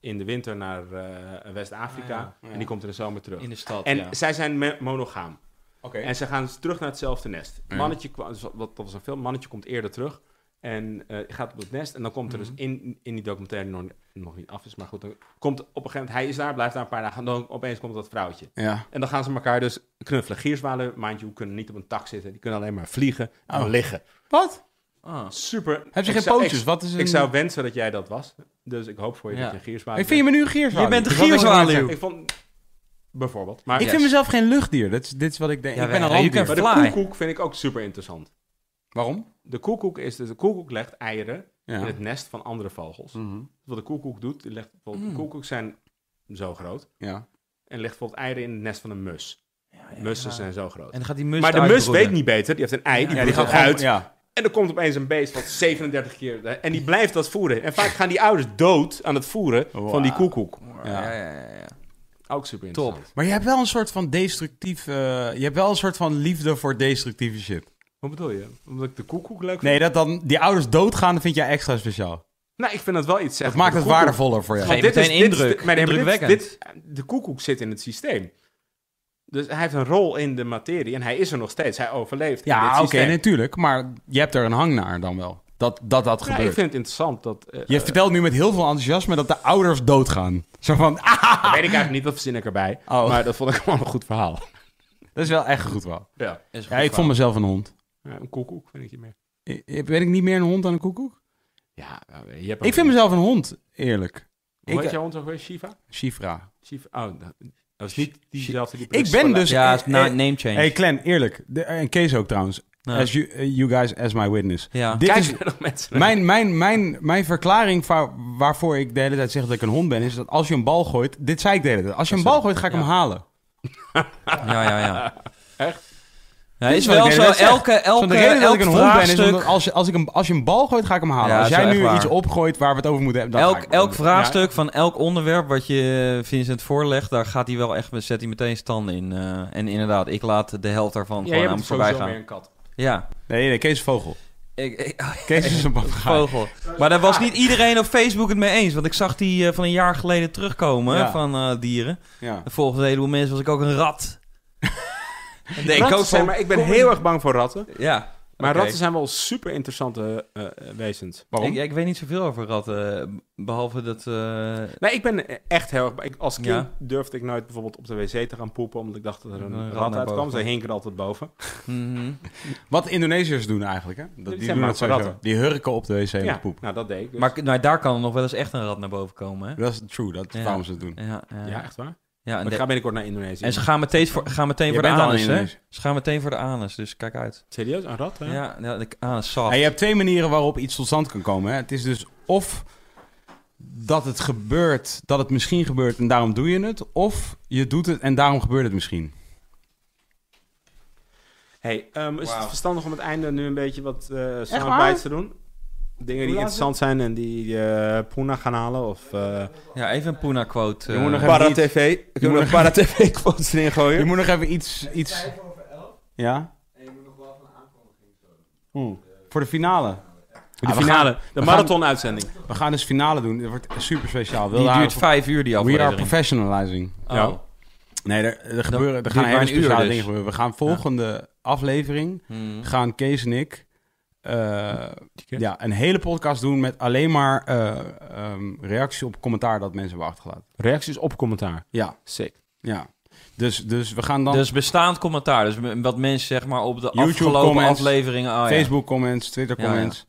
in de winter naar eh, West-Afrika Ah, en die komt in de zomer terug. In de stad, en ja. zij zijn me- monogaam. Oké. En ze gaan dus terug naar hetzelfde nest. Ja. Mannetje kwam, dus wat, dat was een film, mannetje komt eerder terug en eh, gaat op het nest. En dan komt er Mhm. dus in, in die documentaire, die nog, nog niet af is, maar goed, dan komt op een gegeven moment, hij is daar, blijft daar een paar dagen, en dan opeens komt dat vrouwtje. Ja. En dan gaan ze elkaar dus knuffelen. Gierzwalen, mind you, kunnen niet op een tak zitten. Die kunnen alleen maar vliegen en Oh. liggen. Wat? Ah. Super. Heb je Ik geen zou- pootjes? Ik, Wat is een... ik zou wensen dat jij dat was. Dus ik hoop voor je Ja. dat je een gierzwaluw Ik vind je me nu een gierzwaluw. Je bent een Dat wil ik maar gierzwaluw. zeggen. bent. Ik vond... Bijvoorbeeld. Maar, Ik Ja. vind mezelf geen luchtdier. Dat is, dit is wat ik denk. Ja, ik ben een wij- you landdier. can maar de fly. koekoek vind ik ook super interessant. Waarom? De koekoek is... Dus de koekoek legt eieren Ja. in het nest van andere vogels. Mhm. Wat de koekoek doet... Die legt bijvoorbeeld, Mm. De koekoeks zijn zo groot. ja. En legt bijvoorbeeld eieren in het nest van een mus. Mussen zijn zo groot. En dan gaat die mus maar de het mus uitbroeden. weet niet beter. Die heeft een ei. Ja, die die ja, gaat gaat uit. Ja. En er komt opeens een beest van 37 keer. En die blijft dat voeren. En vaak gaan die ouders dood aan het voeren van die koekoek. Ja. Ja, ja, ja, ja. Ook super Top. interessant. Maar je hebt wel een soort van destructief... eh, je hebt wel een soort van liefde voor destructieve shit. Wat bedoel je? Omdat ik de koekoek leuk vind? Nee, dat dan die ouders doodgaan, dat vind jij extra speciaal. Nou, ik vind dat wel iets Dat zeggen. maakt het waarde. waardevoller voor jou. Geen- meteen indruk. de- maar nee, maar dit is- Indrukwekkend. dit- de koekoek zit in het systeem. Dus hij heeft een rol in de materie en hij is er nog steeds. Hij overleeft. in dit Ja, oké, systeem. natuurlijk. maar je hebt er een hang naar dan wel. Dat dat, dat Ja, ik gebeurt. vind het interessant dat. eh, Je vertelt nu met heel veel enthousiasme dat de ouders doodgaan. Zo van, ah, dat weet ik eigenlijk niet, dat verzin ik erbij. Oh. Maar dat vond ik gewoon een goed verhaal. dat is wel echt goed wel. Ja, Is een Ja, goed ik vond mezelf een hond. Ja, een koekoek vind ik niet meer. I- i- Ben ik niet meer een hond dan een koekoek? Ja, nou, je hebt Ik vind mezelf een hond, eerlijk. Hoe heet Ik, jouw hond ook weer? Shiva? Shifra. Shiva? Oh, dat- dat is niet diezelfde die Ik ben dus... Ja, eh, is na- eh, name change. hey, Clan, eerlijk. De- en Kees ook trouwens. Ja. As you, eh, you guys as my witness. Nou. Ja. Dit Kijk is, er nog mensen. Mijn, mijn, mijn, mijn verklaring va- waarvoor ik de hele tijd zeg dat ik een hond ben, is dat als je een bal gooit. Dit zei ik de hele tijd. Als je een bal gooit, ga ik Ja. hem halen. Ja, ja, ja. Echt? Ja, is Dit is wat wel ik zo. net zeg. Elke, Van elke, de reden dat elk ik een hond ben, is vraagstuk, omdat als je, als, ik een, als je een bal gooit, ga ik hem halen. Ja, als dat jij is wel nu echt waar. iets opgooit waar we het over moeten hebben, dan elk, ga ik elk vraagstuk van elk onderwerp wat je eh, Vincent voorlegt, daar gaat hij wel echt, zet hij meteen stand in. eh, en inderdaad, ik laat de helft daarvan Ja, gewoon je aan me bent voorbij sowieso gaan. meer een kat. Ja. Nee, nee, Kees is vogel. Ik, ik- Kees is een papegaai. vogel. Maar daar was niet iedereen op Facebook het mee eens. Want ik zag die eh, van een jaar geleden terugkomen Ja. van eh, dieren. Ja. En volgens een heleboel mensen was ik ook een rat. En denk ik Ratten ook zijn, van, maar ik ben heel erg bang voor ratten. ja. Maar Oké. ratten zijn wel super interessante eh, eh, wezens. Waarom? Ik, ik weet niet zoveel over ratten, eh, behalve dat... eh, Nee, ik ben echt heel erg... Ik, als kind Ja. durfde ik nooit bijvoorbeeld op de wc te gaan poepen... omdat ik dacht dat er een, Een rat rat naar uitkwam. boven. Ze hinken altijd boven. mhm. Wat Indonesiërs doen eigenlijk, hè? Dat, zijn die, doen maar dat sowieso. ratten. die hurken op de wc en ja, met poep. nou dat deed ik dus. Maar k- nou, daar kan er nog wel eens echt een rat naar boven komen, hè? Dat is true, dat is Ja. waarom ze het doen. Ja, ja. ja, echt waar. Ja, en, Maar de- ik ga binnenkort naar Indonesië. en ze gaan meteen voor, gaan meteen Je voor de bent al in anus, hè? Indonesië. Ze gaan meteen voor de anus, dus kijk uit. Serieus, een rat? Hè? Ja, ja de anus soft. En je hebt twee manieren waarop iets tot stand kan komen. Hè? Het is dus of dat het gebeurt, dat het misschien gebeurt en daarom doe je het. Of je doet het en daarom gebeurt het misschien. Hey, ehm, is Wauw. het verstandig om het einde nu een beetje wat eh waar? soundbites te doen? Dingen die laat interessant zijn en die eh Poena gaan halen of... eh Ja, even een Poena-quote. Je moet nog eh, even Para iets- TV. moet Kunnen we nog- Para TV quotes erin Je gooien? moet nog even iets... iets... Ja? Oeh, Voor de finale. de we finale, gaan- de we marathon-uitzending. We gaan dus finale doen. Dat wordt super speciaal. Wil die daar- duurt vijf uur, die We are aflevering. professionalizing. Oh. Ja. Nee, er, er gebeuren, er duurt gaan maar hele een uur speciale dus. dingen gebeuren. We gaan volgende aflevering... Hmm. gaan Kees en ik eh, ja, een hele podcast doen met alleen maar eh, ehm, reacties op commentaar dat mensen hebben achtergelaten. Reacties op commentaar. Ja, Sick. ja. Dus, dus we gaan dan Dus bestaand commentaar. Dus m- wat mensen zeg maar op de YouTube afgelopen comments, afleveringen... ah, ja. Facebook comments, Twitter Ja, ja. comments,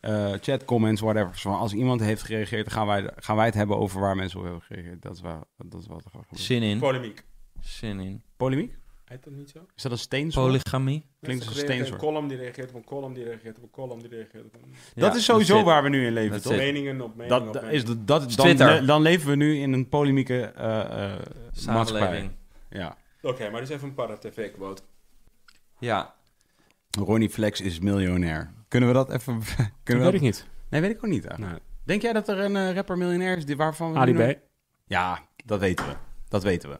eh, chat comments, whatever. Zo, als iemand heeft gereageerd, dan gaan wij, gaan wij het hebben over waar mensen op hebben gereageerd. Dat is, waar, dat is wat er gaat gebeuren. Zin in. Polemiek. Zin in. Polemiek? Heet dat niet zo? Is dat een steensoort? Polygamie. Klinkt als een Mensen reageren steensoort. op Een column die reageert op een column die reageert op een column die reageert op een... dat Ja, is sowieso zit. waar we nu in leven, That's toch? it. Meningen op meningen Dat, op dat meningen. is, de- dat, dan, Twitter. le- dan leven we nu in een polemieke eh, eh, maatschappij. Samenleving. Ja. Oké, maar dus even een para-tv-quote. Ja. Ronnie Flex is miljonair. Kunnen we dat even... Kunnen we dat... niet. Nee, weet ik ook niet. eigenlijk. Nee. Denk jij dat er een eh, rapper miljonair is die- waarvan we... Ali nu nog- B. Ja, dat weten we. Dat weten we.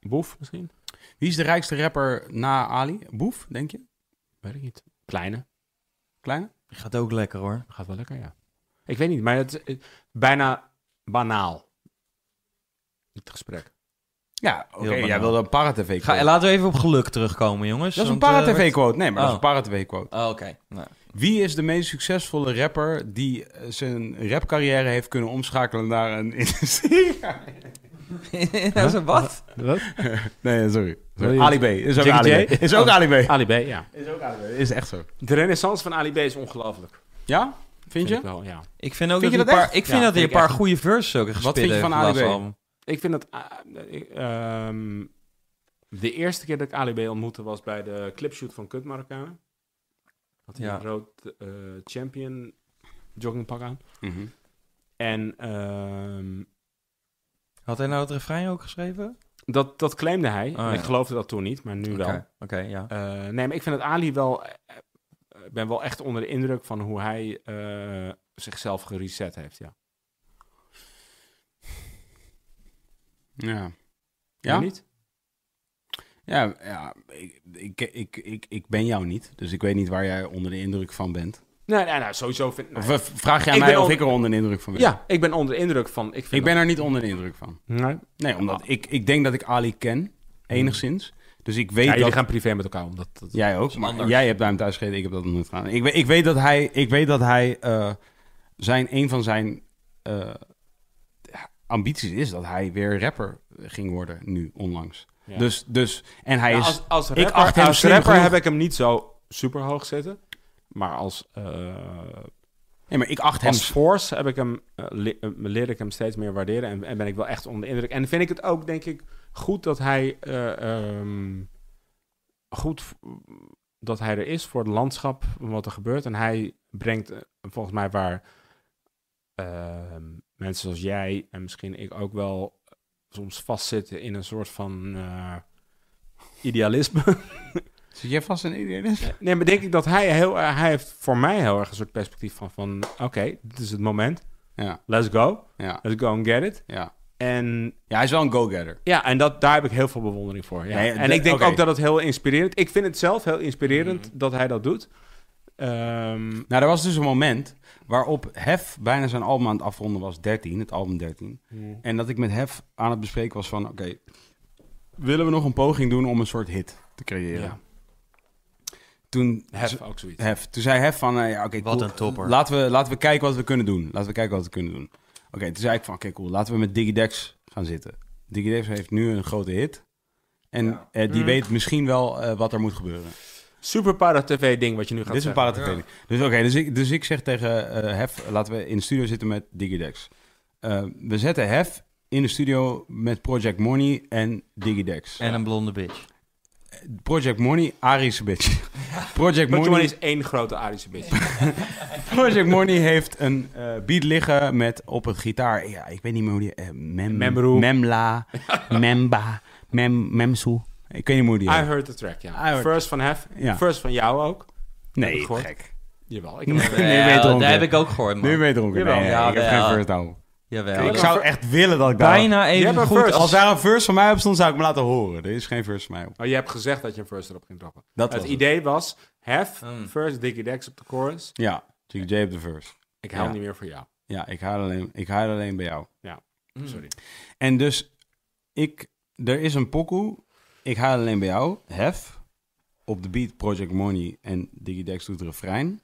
Boef misschien? Wie is de rijkste rapper na Ali? Boef, denk je? Weet ik niet. Kleine. Kleine? Gaat ook lekker hoor. Gaat wel lekker, ja. Ik weet niet, maar het is eh, bijna banaal. Het gesprek. Ja, oké. Heel jij banaal. wilde een paratv Ga, quote. laten we even op geluk terugkomen, jongens. Dat is een want, eh, paratv quote. Nee, maar dat Oh. is een paratv quote. Oh, oké. Nou, Wie is de meest succesvolle rapper die eh, zijn rapcarrière heeft kunnen omschakelen naar een industrie? dat is wat? nee, sorry. Wil je- Ali B. Is ook Jiggy Ali B. J? Is ook Oh. Ali B. Ali B, ja. Is ook Ali B. Is echt zo. De renaissance van Ali B is ongelooflijk. Vind, Ja? Vind ik je? wel, ja. Ik vind ook Vind je dat, dat die paar, echt? ik vind Ja, dat hij vind een ik paar echt. goede verses ook Wat vind je van Ali B? Ik vind dat... ah, ik, ehm, de eerste keer dat ik Ali B ontmoette was bij de clipshoot van Kut Marokkanen. Had hij Ja. een rood eh, champion joggingpak aan. Mhm. En ehm, Had hij nou het refrein ook geschreven? dat, dat claimde hij. Ah, Ik ja. geloofde dat toen niet, maar nu Oké, wel. oké, ja. Eh, nee, maar ik vind dat Ali wel... eh, eh, Ik ben wel echt onder de indruk van hoe hij eh, zichzelf gereset heeft, ja. Ja. Jij Ja? niet? Ja, ja ik, ik, ik, ik, ik ben jou niet. Dus ik weet niet waar jij onder de indruk van bent. Nee, nee, nou, sowieso vind Of, eh, vraag jij Ik mij ben of on- ik er onder de indruk van ben? Ja, ik ben onder de indruk van... Ik, vind Ik ben er niet onder de indruk van. dat- Nee. Nee, omdat Ah. ik, ik denk dat ik Ali ken, enigszins. Dus ik weet Ja, jullie dat... gaan privé met elkaar om. Dat, dat- Jij ook, maar anders. jij hebt bij hem thuis gegeten, ik heb dat nog nooit gedaan. Ik, weet- ik weet dat hij, ik weet dat hij eh, zijn, een van zijn eh, ambities is dat hij weer rapper ging worden nu, onlangs. Ja. Dus, dus, en hij Nou, is... als, als rapper, ik acht hem als slim rapper genoeg. heb ik hem niet zo super hoog zitten. Maar als, eh, nee, maar ik acht hem... als force heb ik hem, eh, le- eh, leer ik hem steeds meer waarderen. En, en ben ik wel echt onder de indruk. En vind ik het ook, denk ik, goed dat hij... eh, ehm, goed v- dat hij er is voor het landschap, wat er gebeurt. En hij brengt eh, volgens mij waar ehm, mensen zoals jij en misschien ik ook wel eh, soms vastzitten in een soort van eh, idealisme. Zit jij vast in E idealisme? Nee, maar denk ik dat hij heel erg- hij heeft voor mij heel erg een soort perspectief van, van oké, dit is het moment. Ja, Let's go. ja, Let's go and get it. ja. En Ja, hij is wel een go-getter. ja, en dat, daar heb ik heel veel bewondering voor. Ja. Nee, en de- ik denk oké. Mm. ook dat het heel inspirerend... Ik vind het zelf heel inspirerend dat hij dat doet. Ehm, Nou, er was dus een moment waarop Hef bijna zijn album aan het afronden was, 13, het album 13. Hmm. En dat ik met Hef aan het bespreken was van, oké, willen we nog een poging doen om een soort hit te creëren? Ja. Toen, Hef, ook zoiets. Hef, toen zei Hef van, eh, ja, oké, Wat cool. een topper. Laten we, laten we kijken wat we kunnen doen. Laten we kijken wat we kunnen doen. Oké, toen zei ik van, oké, cool, laten we met Digidex gaan zitten. Digidex heeft nu een grote hit. En eh, die weet misschien wel eh, wat er moet gebeuren. Super para tv ding wat je nu gaat Dit is een zeggen. paratateling. Dus oké, dus, ik, dus ik zeg tegen eh, Hef, laten we in de studio zitten met Digidex. Eh, we zetten Hef in de studio met Project Money en Digidex. En een blonde bitch. Project Money, Arische bitch. Project Project Money, Money is één grote Arische bitch. Project Money heeft een eh, beat liggen met op het gitaar. Ja, ik weet niet meer hoe die... eh, mem, Memroe. Memla, Memba, Mem, Memsoe. Ik weet niet meer hoe die Ah, I heet. heard the track, ja. I heard- First van Hef. Ja. First van jou ook. Nee, gehoord. gek. Jawel, ik Nu heb ben je dronken. dat heb ik ook gehoord, man. Nu ben je dronken. Nee, Jawel. nee, ik heb Jawel. geen first album. Jawel. Ik zou echt willen dat ik daar... bijna even hebt een goed first. Als als... daar een verse van mij op stond, zou ik me laten horen. Er is geen verse van mij op. Oh, je hebt gezegd dat je een first erop ging droppen. Dat was het het. idee was, hef, Mm. first Dickie Dex op de chorus. Ja, Jig J op de verse. Ik hou Ja. niet meer voor jou. Ja, ik haal alleen, ik haal alleen bij jou. Sorry. En dus, ik, er is een pokoe. Ik haal alleen bij jou. Hef. Op de beat Project Money en Digidex doet de refrein.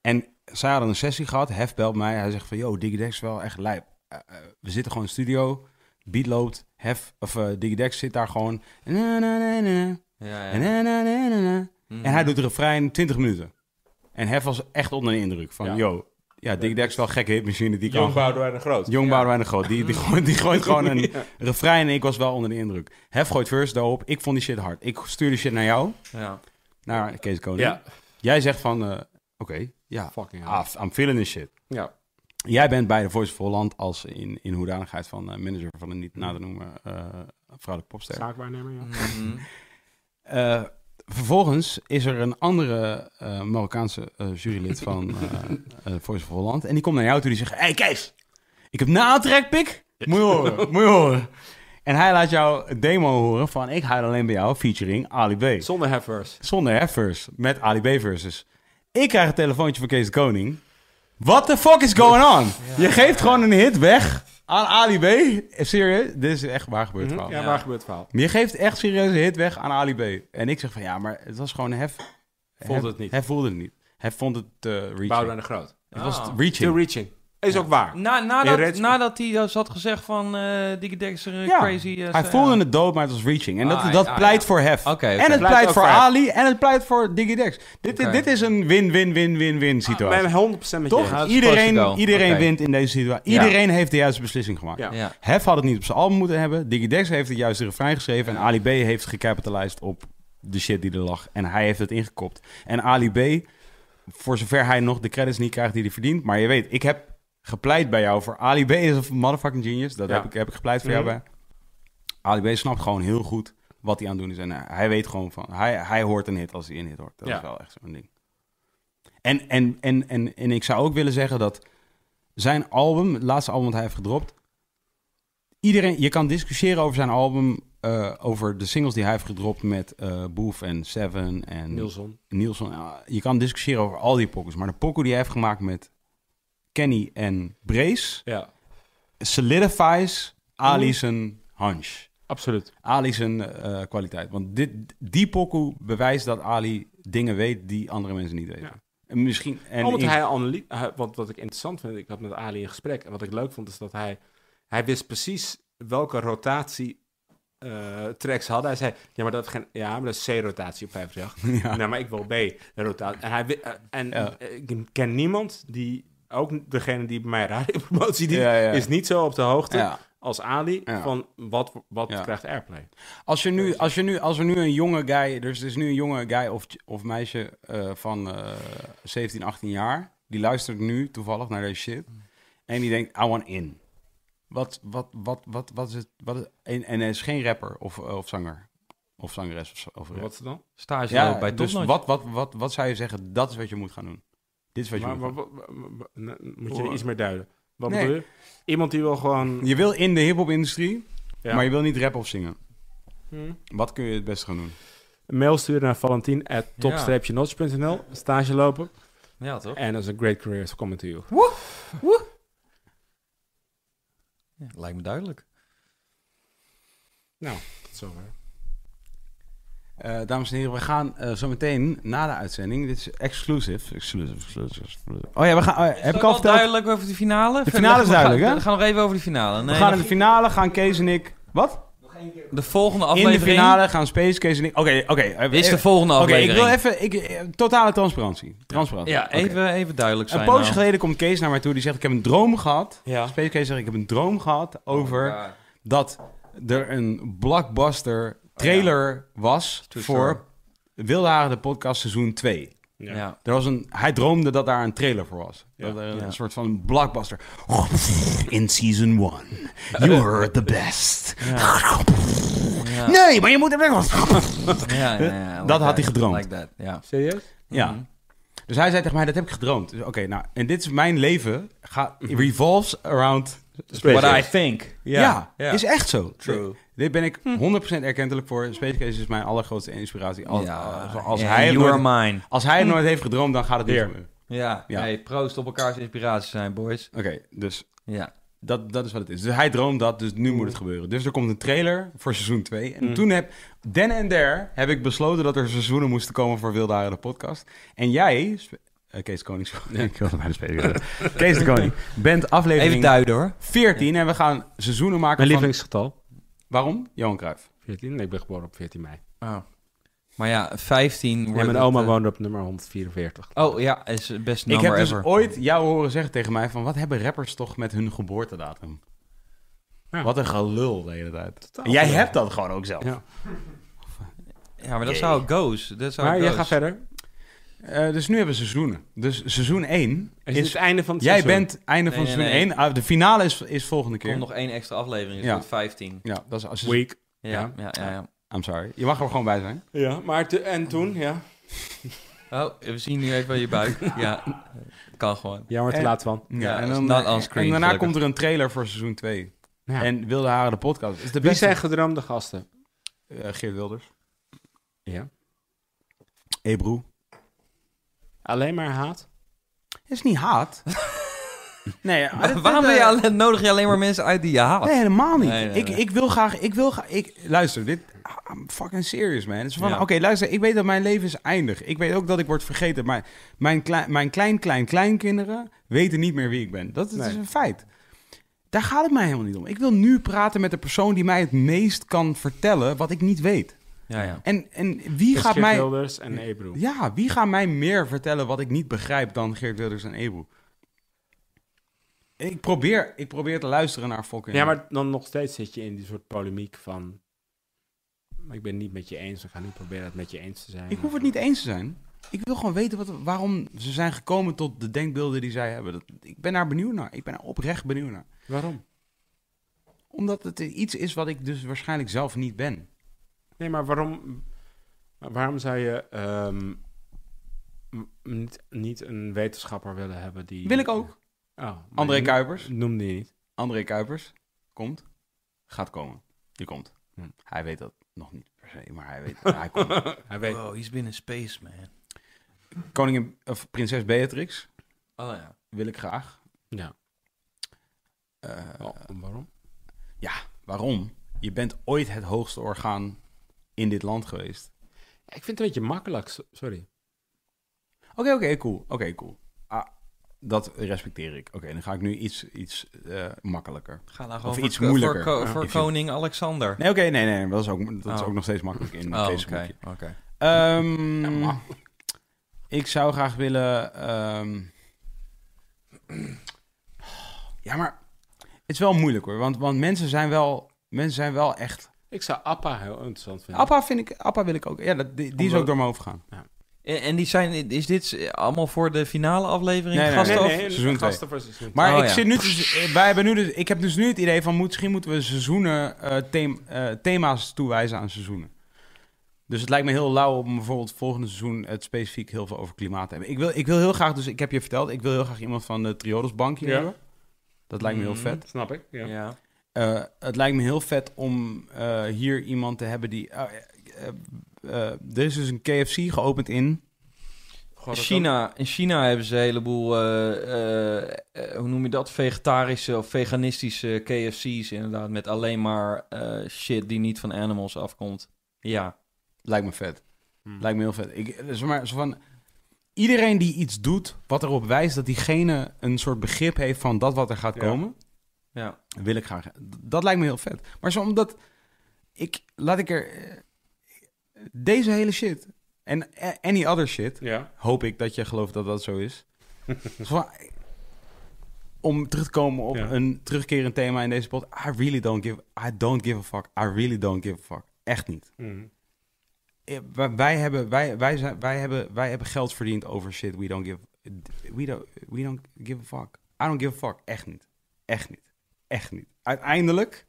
En zij hadden een sessie gehad. Hef belt mij. Hij zegt van, yo, Digidex is wel echt lijp. Eh, eh, we zitten gewoon in de studio. Beat loopt. Hef, of eh, Digidex zit daar gewoon. Na, na, na, na. Ja, ja. Na, na, na, na, na. Mhm. En hij doet de refrein 20 minuten. En Hef was echt onder de indruk van, Ja. yo, ja, Dick Dex is wel een gekke hitmachine. Die kan Jong gewoon- Boudewijn de Groot. Jong Boudewijn de Groot. Die, die, gooit, die gooit gewoon een refrein en ik was wel onder de indruk. Hef gooit first daarop. Ik vond die shit hard. Ik stuur die shit naar jou, Ja. naar Kees Koning. Ja, Jij zegt van, eh, oké, ja, fucking hell. af, I'm feeling this shit. Ja. Jij bent bij de Voice of Holland als in, in hoedanigheid van eh, manager van een niet na te noemen eh vrouwelijke popster. Zaakwaarnemer, ja. Mhm. Eh, vervolgens is er een andere eh, Marokkaanse eh, jurylid van eh eh, Voice of Holland. En die komt naar jou toe die zegt... hey Kees, ik heb na pik. Moet je horen, moet je horen. En hij laat jou een demo horen van... Ik huil alleen bij jou, featuring Ali B. Zonder heffers. Zonder heffers, met Ali B versus. Ik krijg een telefoontje van Kees de Koning. What the fuck is going on? Je geeft gewoon een hit weg aan Ali B. Eh, Serieus? Dit is echt waar gebeurd verhaal. Ja, waar gebeurt het verhaal? Maar Je geeft echt serieuze hit weg aan Ali B. En ik zeg van ja, maar het was gewoon hef. Voelde hef- het niet. Hij voelde het niet. Hij vond het eh reaching. Boudewijn de Groot. Het was het Ah. Still reaching. reaching. Is ook waar. Nou, Na, In nadat, Reds- nadat hij dus had gezegd van eh Dikke Dex er een Ja, crazy... eh, Hij zo- voelde ja. het dood, maar het was reaching. En dat, Ah, dat ja, pleit ja. voor hef. Oké, oké. En het Pleit pleit ook voor voor Hef. Ali en het pleit voor Digidex. Dit, Oké. dit is een win-win-win-win-win Ik situatie. ben 100% met je Toch? eens. het is iedereen Portugal. iedereen Oké. wint in deze situatie. Ja. Iedereen heeft de juiste beslissing gemaakt. Ja. Ja. Hef had het niet op zijn album moeten hebben. Digidex heeft het juiste refrein geschreven. En Ali B heeft gecapitalized op de shit die er lag. En hij heeft het ingekopt. En Ali B, voor zover hij nog de credits niet krijgt die hij verdient. Maar je weet, ik heb gepleit bij jou voor Ali B is een motherfucking genius. Dat Ja. heb, ik, heb ik gepleit voor jou Mhm. bij. Ali B snapt gewoon heel goed wat hij aan het doen is. En eh, hij weet gewoon van, hij, hij hoort een hit als hij een hit hoort. Dat Ja. is wel echt zo'n ding. En, en, en, en, en ik zou ook willen zeggen dat zijn album, het laatste album dat hij heeft gedropt. Iedereen, je kan discussiëren over zijn album eh, over de singles die hij heeft gedropt met eh Boef en Seven en Nielsen. Nielsen. Ja, je kan discussiëren over al die pokkels, maar de pokkel die hij heeft gemaakt met Kenny en Brace Ja, solidifies Ali zijn hunch. absoluut. Ali zijn eh, kwaliteit. Want dit, die pokoe bewijst dat Ali dingen weet die andere mensen niet weten. Ja. En misschien... En Omdat in- hij analy- hij- want wat ik interessant vind, ik had met Ali een gesprek. En wat ik leuk vond, is dat hij, hij wist precies welke rotatie eh, tracks hadden. Hij zei, ja, maar dat, is geen, ja, maar dat is C-rotatie op 538. Ja. Nou, maar ik wil B rotatie. En, hij, wi- eh, en Ja. eh, ik ken niemand die, ook degene die bij mijn radiopromotie, die Ja, ja. is niet zo op de hoogte Ja. als Ali Ja. van wat, wat Ja. krijgt Airplay. Als, je nu, als, je nu, als er nu een jonge guy... Dus er is nu een jonge guy of, of meisje eh, van eh, 17, 18 jaar... Die luistert nu toevallig naar deze shit. Mm. En die denkt, I want in. Wat, wat, wat, wat, wat is het? Wat is- en, en hij is geen rapper of, eh, of zanger. Of zangeres of, of rap. Wat is het dan? Stage Ja, loopt bij dus wat, Topnotch. wat, wat, wat zou je zeggen? Dat is wat je moet gaan doen. Dit is wat je Maar, moet gaan maar- maar- maar- maar- nou, moet je er iets meer duiden? Wat Nee. bedoel je? Iemand die wil gewoon... doen. Je wil in de hip-hop-industrie... Ja. Maar je wil niet rap of zingen. Hmm. Wat kun je het beste gaan doen? Een mail sturen naar valentien.top-notch.nl. Stage lopen. Ja, toch? En dat is een great career, so coming to you. Ja, lijkt me duidelijk. Nou, Tot zover. Eh, dames en heren, we gaan eh, zo meteen na de uitzending. Dit is exclusive. Exclusive, exclusive, exclusive. Oh ja, we gaan, oh ja, heb ik al verteld? duidelijk over de finale? De finale is We gaan- duidelijk, hè? We gaan nog even over de finale. we Nee, gaan in nog- de finale, gaan Kees en ik... Wat? de volgende In de aflevering finale gaan Space, Kees en ik... Oké, oké. eh, is eh, de volgende Oké, aflevering. ik wil even... Ik, eh, totale transparantie. Transparantie. Ja, Oké. even, even duidelijk zijn. Een poosje nou. geleden komt Kees naar mij toe. Die zegt, ik heb een droom gehad. Ja. Oh Space Kees zegt, ik heb een droom gehad over... dat er een blockbuster trailer was Oh True voor Wilde Haren de podcast seizoen 2. Ja. Ja. Er was een, hij droomde dat daar een trailer voor was. Dat er Ja. een soort van blockbuster. In season 1, you were the best. Eh. Ja. Mhm. Nee, maar je moet er Ja, ja, ja, Dat like had hij that, gedroomd. like that, ja. Serieus? Ja. Dus hij zei tegen mij, dat heb ik gedroomd. Dus Oké, nou, en dit is mijn leven. Ga, revolves around... What I think. Ja, Mhm. ja. is echt zo. True. Mhm. Dit ben ik 100% erkentelijk voor. Space Case is mijn allergrootste inspiratie. Als, als, als ja, hij het you nooit, are mine. Mhm. als hij het nooit heeft gedroomd, dan gaat het niet Weer. gebeuren. Ja, Ja. Hey, proost op elkaars inspiratie zijn, boys. Oké, dus Ja. dat, dat is wat het is. Dus hij droomt dat, dus nu moet het gebeuren. Dus er komt een trailer voor seizoen 2. En toen heb, then en there, heb ik besloten dat er seizoenen moesten komen voor Wilde Haren, de podcast. En jij, Sp- eh, Kees Konings, ik wilde bijna Space Case. Kees de Koning, bent Even aflevering duiden hoor. 14 en we gaan seizoenen maken van... Mijn lievelingsgetal? Waarom? Johan Cruijff. 14? Nee, ik ben geboren op 14 mei. Oh. Maar ja, 15 En wordt mijn het, oma eh, woonde op nummer 144. Oh ja, is het best Ik number heb dus ever. ooit jou horen zeggen tegen mij van... wat hebben rappers toch met hun geboortedatum? Ja. Wat een gelul de hele tijd. En jij hebt dat gewoon ook zelf. Ja. Ja, maar dat zou goes. Dat zou Maar goes. jij gaat verder. Eh, dus nu hebben we seizoenen. Dus seizoen 1 Is, is... het einde van het jij seizoen? bent einde van Nee, nee, seizoen nee. 1. Ah, de finale is, is volgende Er komt keer. nog één extra aflevering, dus Ja. ja. 15. Ja, dat is... Als je- Week. Ja, Ja. ja, ja. ja, I'm sorry. Je mag er gewoon bij zijn. Ja, maar te- en toen, ja. Oh, we zien nu even je buik. ja, kan gewoon. Jammer te En- eh, laat van. Ja, dat is not on screen, en daarna gelukkig. komt er een trailer voor seizoen 2. Ja. En Wilde Haren de podcast. Is de Wie beste... zijn gedroomde gasten? Eh, Geert Wilders. Ja. Ebro. Alleen maar haat? Is niet haat. nee, maar dit- Waarom dit, ben eh, je alleen, nodig je alleen maar mensen uit die je haat? Nee, helemaal niet. Nee, nee, ik, nee. ik wil graag, ik wil graag, ik, luister, dit, ah, I'm fucking serious man. Het is van, Ja. oké, luister, ik weet dat mijn leven is eindig. Ik weet ook dat ik word vergeten, maar mijn, klein, mijn klein, klein, kleinkinderen weten niet meer wie ik ben. Dat, dat is dus Nee. een feit. Daar gaat het mij helemaal niet om. Ik wil nu praten met de persoon die mij het meest kan vertellen wat ik niet weet. Ja, ja. En, en wie Dus gaat Geert mij... Wilders en Ebro. Ja, wie gaat mij meer vertellen wat ik niet begrijp dan Geert Wilders en Ebu? Ik probeer, ik probeer te luisteren naar fucking... Ja, maar dan nog steeds zit je in die soort polemiek van... Ik ben het niet met je eens, we gaan nu proberen het met je eens te zijn. Ik hoef het niet eens te zijn. Ik wil gewoon weten wat, waarom ze zijn gekomen tot de denkbeelden die zij hebben. Dat, ik ben daar benieuwd naar. Ik ben daar oprecht benieuwd naar. Waarom? Omdat het iets is wat ik dus waarschijnlijk zelf niet ben. Nee, maar waarom, waarom zou je ehm, m- niet, niet een wetenschapper willen hebben die... Wil ik ook. Oh, maar André je- Kuipers. Noemde je niet. André Kuipers komt. Gaat komen. Die komt. Hm. Hij weet dat nog niet per se, maar hij weet. hij komt. Hij weet. Wow, he's been in space, man. Koningin of prinses Beatrix Oh ja. wil ik graag. Ja. Eh, Oh, waarom? Waarom? Je bent ooit het hoogste orgaan in dit land geweest. Ik vind het een beetje makkelijk. so- Sorry. Oké, oké, cool. Oké, cool. Ah, dat respecteer ik. Oké, dan ga ik nu iets, iets eh, makkelijker. Ga nou gewoon Of voor, iets ko- moeilijker. voor, ko- Ja. voor If you- koning Alexander. Nee, oké, nee, nee. Dat is ook, dat is Oh. ook nog steeds makkelijk in oh, deze oké. boekje. oké. Ehm, Ja, maar- ik zou graag willen. ehm, ja, maar het is wel moeilijk hoor. Want, want mensen zijn wel. Mensen zijn wel echt. Ik zou Appa heel interessant vinden. Appa vind ik. Appa wil ik ook. Ja, dat, die, die is Omdat- ook door mijn hoofd gegaan. En, en die zijn, is dit allemaal voor de finale aflevering? Nee, nee, gasten Nee, of- nee, seizoen twee. gasten voor seizoen Maar Oh, ik ja. zit nu. te- wij hebben nu dus, ik heb dus nu het idee van moet- misschien moeten we seizoenen eh, them- eh, thema's toewijzen aan seizoenen. Dus het lijkt me heel lauw om bijvoorbeeld volgende seizoen het specifiek heel veel over klimaat te hebben. Ik wil, ik wil heel graag, dus ik heb je verteld, ik wil heel graag iemand van de Triodosbank hier Ja. hebben. Dat lijkt me heel Mhm. vet. twee. Snap ik. Ja. Ja. Eh, het lijkt me heel vet om eh, hier iemand te hebben die. eh, eh, eh, er is dus een KFC geopend in. In China, in China hebben ze een heleboel, eh, eh, eh, hoe noem je dat, vegetarische of veganistische KFC's inderdaad, met alleen maar eh, shit die niet van animals afkomt. Ja, Lijkt me vet. Hmm. Lijkt me heel vet. Ik, eh, zeg maar, zo van, iedereen die iets doet wat erop wijst dat diegene een soort begrip heeft van dat wat er gaat Ja. komen, ja. wil ik graag. Dat lijkt me heel vet. Maar zo omdat ik, laat ik er, eh, deze hele shit en eh, any other shit, Ja. hoop ik dat je gelooft dat dat zo is. Zo van, eh, om terug te komen op Ja. een terugkerend thema in deze pod, I really don't give, I don't give a fuck, I really don't give a fuck, echt niet. Mm. Ja, wij- wij hebben, wij, wij, zijn, wij, hebben, wij hebben geld verdiend over shit. We don't give. We don't, we don't give a fuck. I don't give a fuck. Echt niet. Echt niet. Echt niet. Uiteindelijk,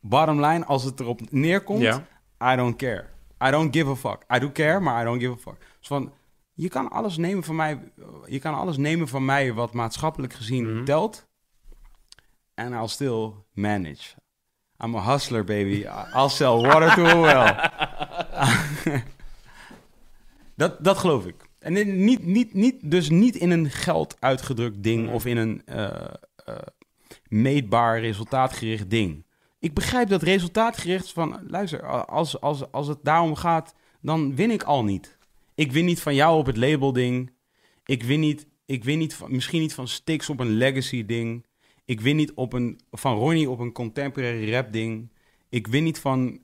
bottom line, als het erop neerkomt, Ja. I don't care. I don't give a fuck. I do care, maar I don't give a fuck. Dus van, je kan alles nemen van mij, je kan alles nemen van mij wat maatschappelijk gezien Mhm. telt. And I'll still manage. I'm a hustler, baby. I'll sell water to a well. dat, dat geloof ik. En in- niet, niet, niet, dus niet in een geld uitgedrukt ding Mhm. of in een eh, eh, meetbaar, resultaatgericht ding. Ik begrijp dat resultaatgericht van, luister, als, als, als het daarom gaat, dan win ik al niet. Ik win niet van jou op het label ding. Ik win niet, ik win niet van, misschien niet van Stix op een legacy ding. Ik win niet op een, van Ronnie op een contemporary rap ding. Ik win niet van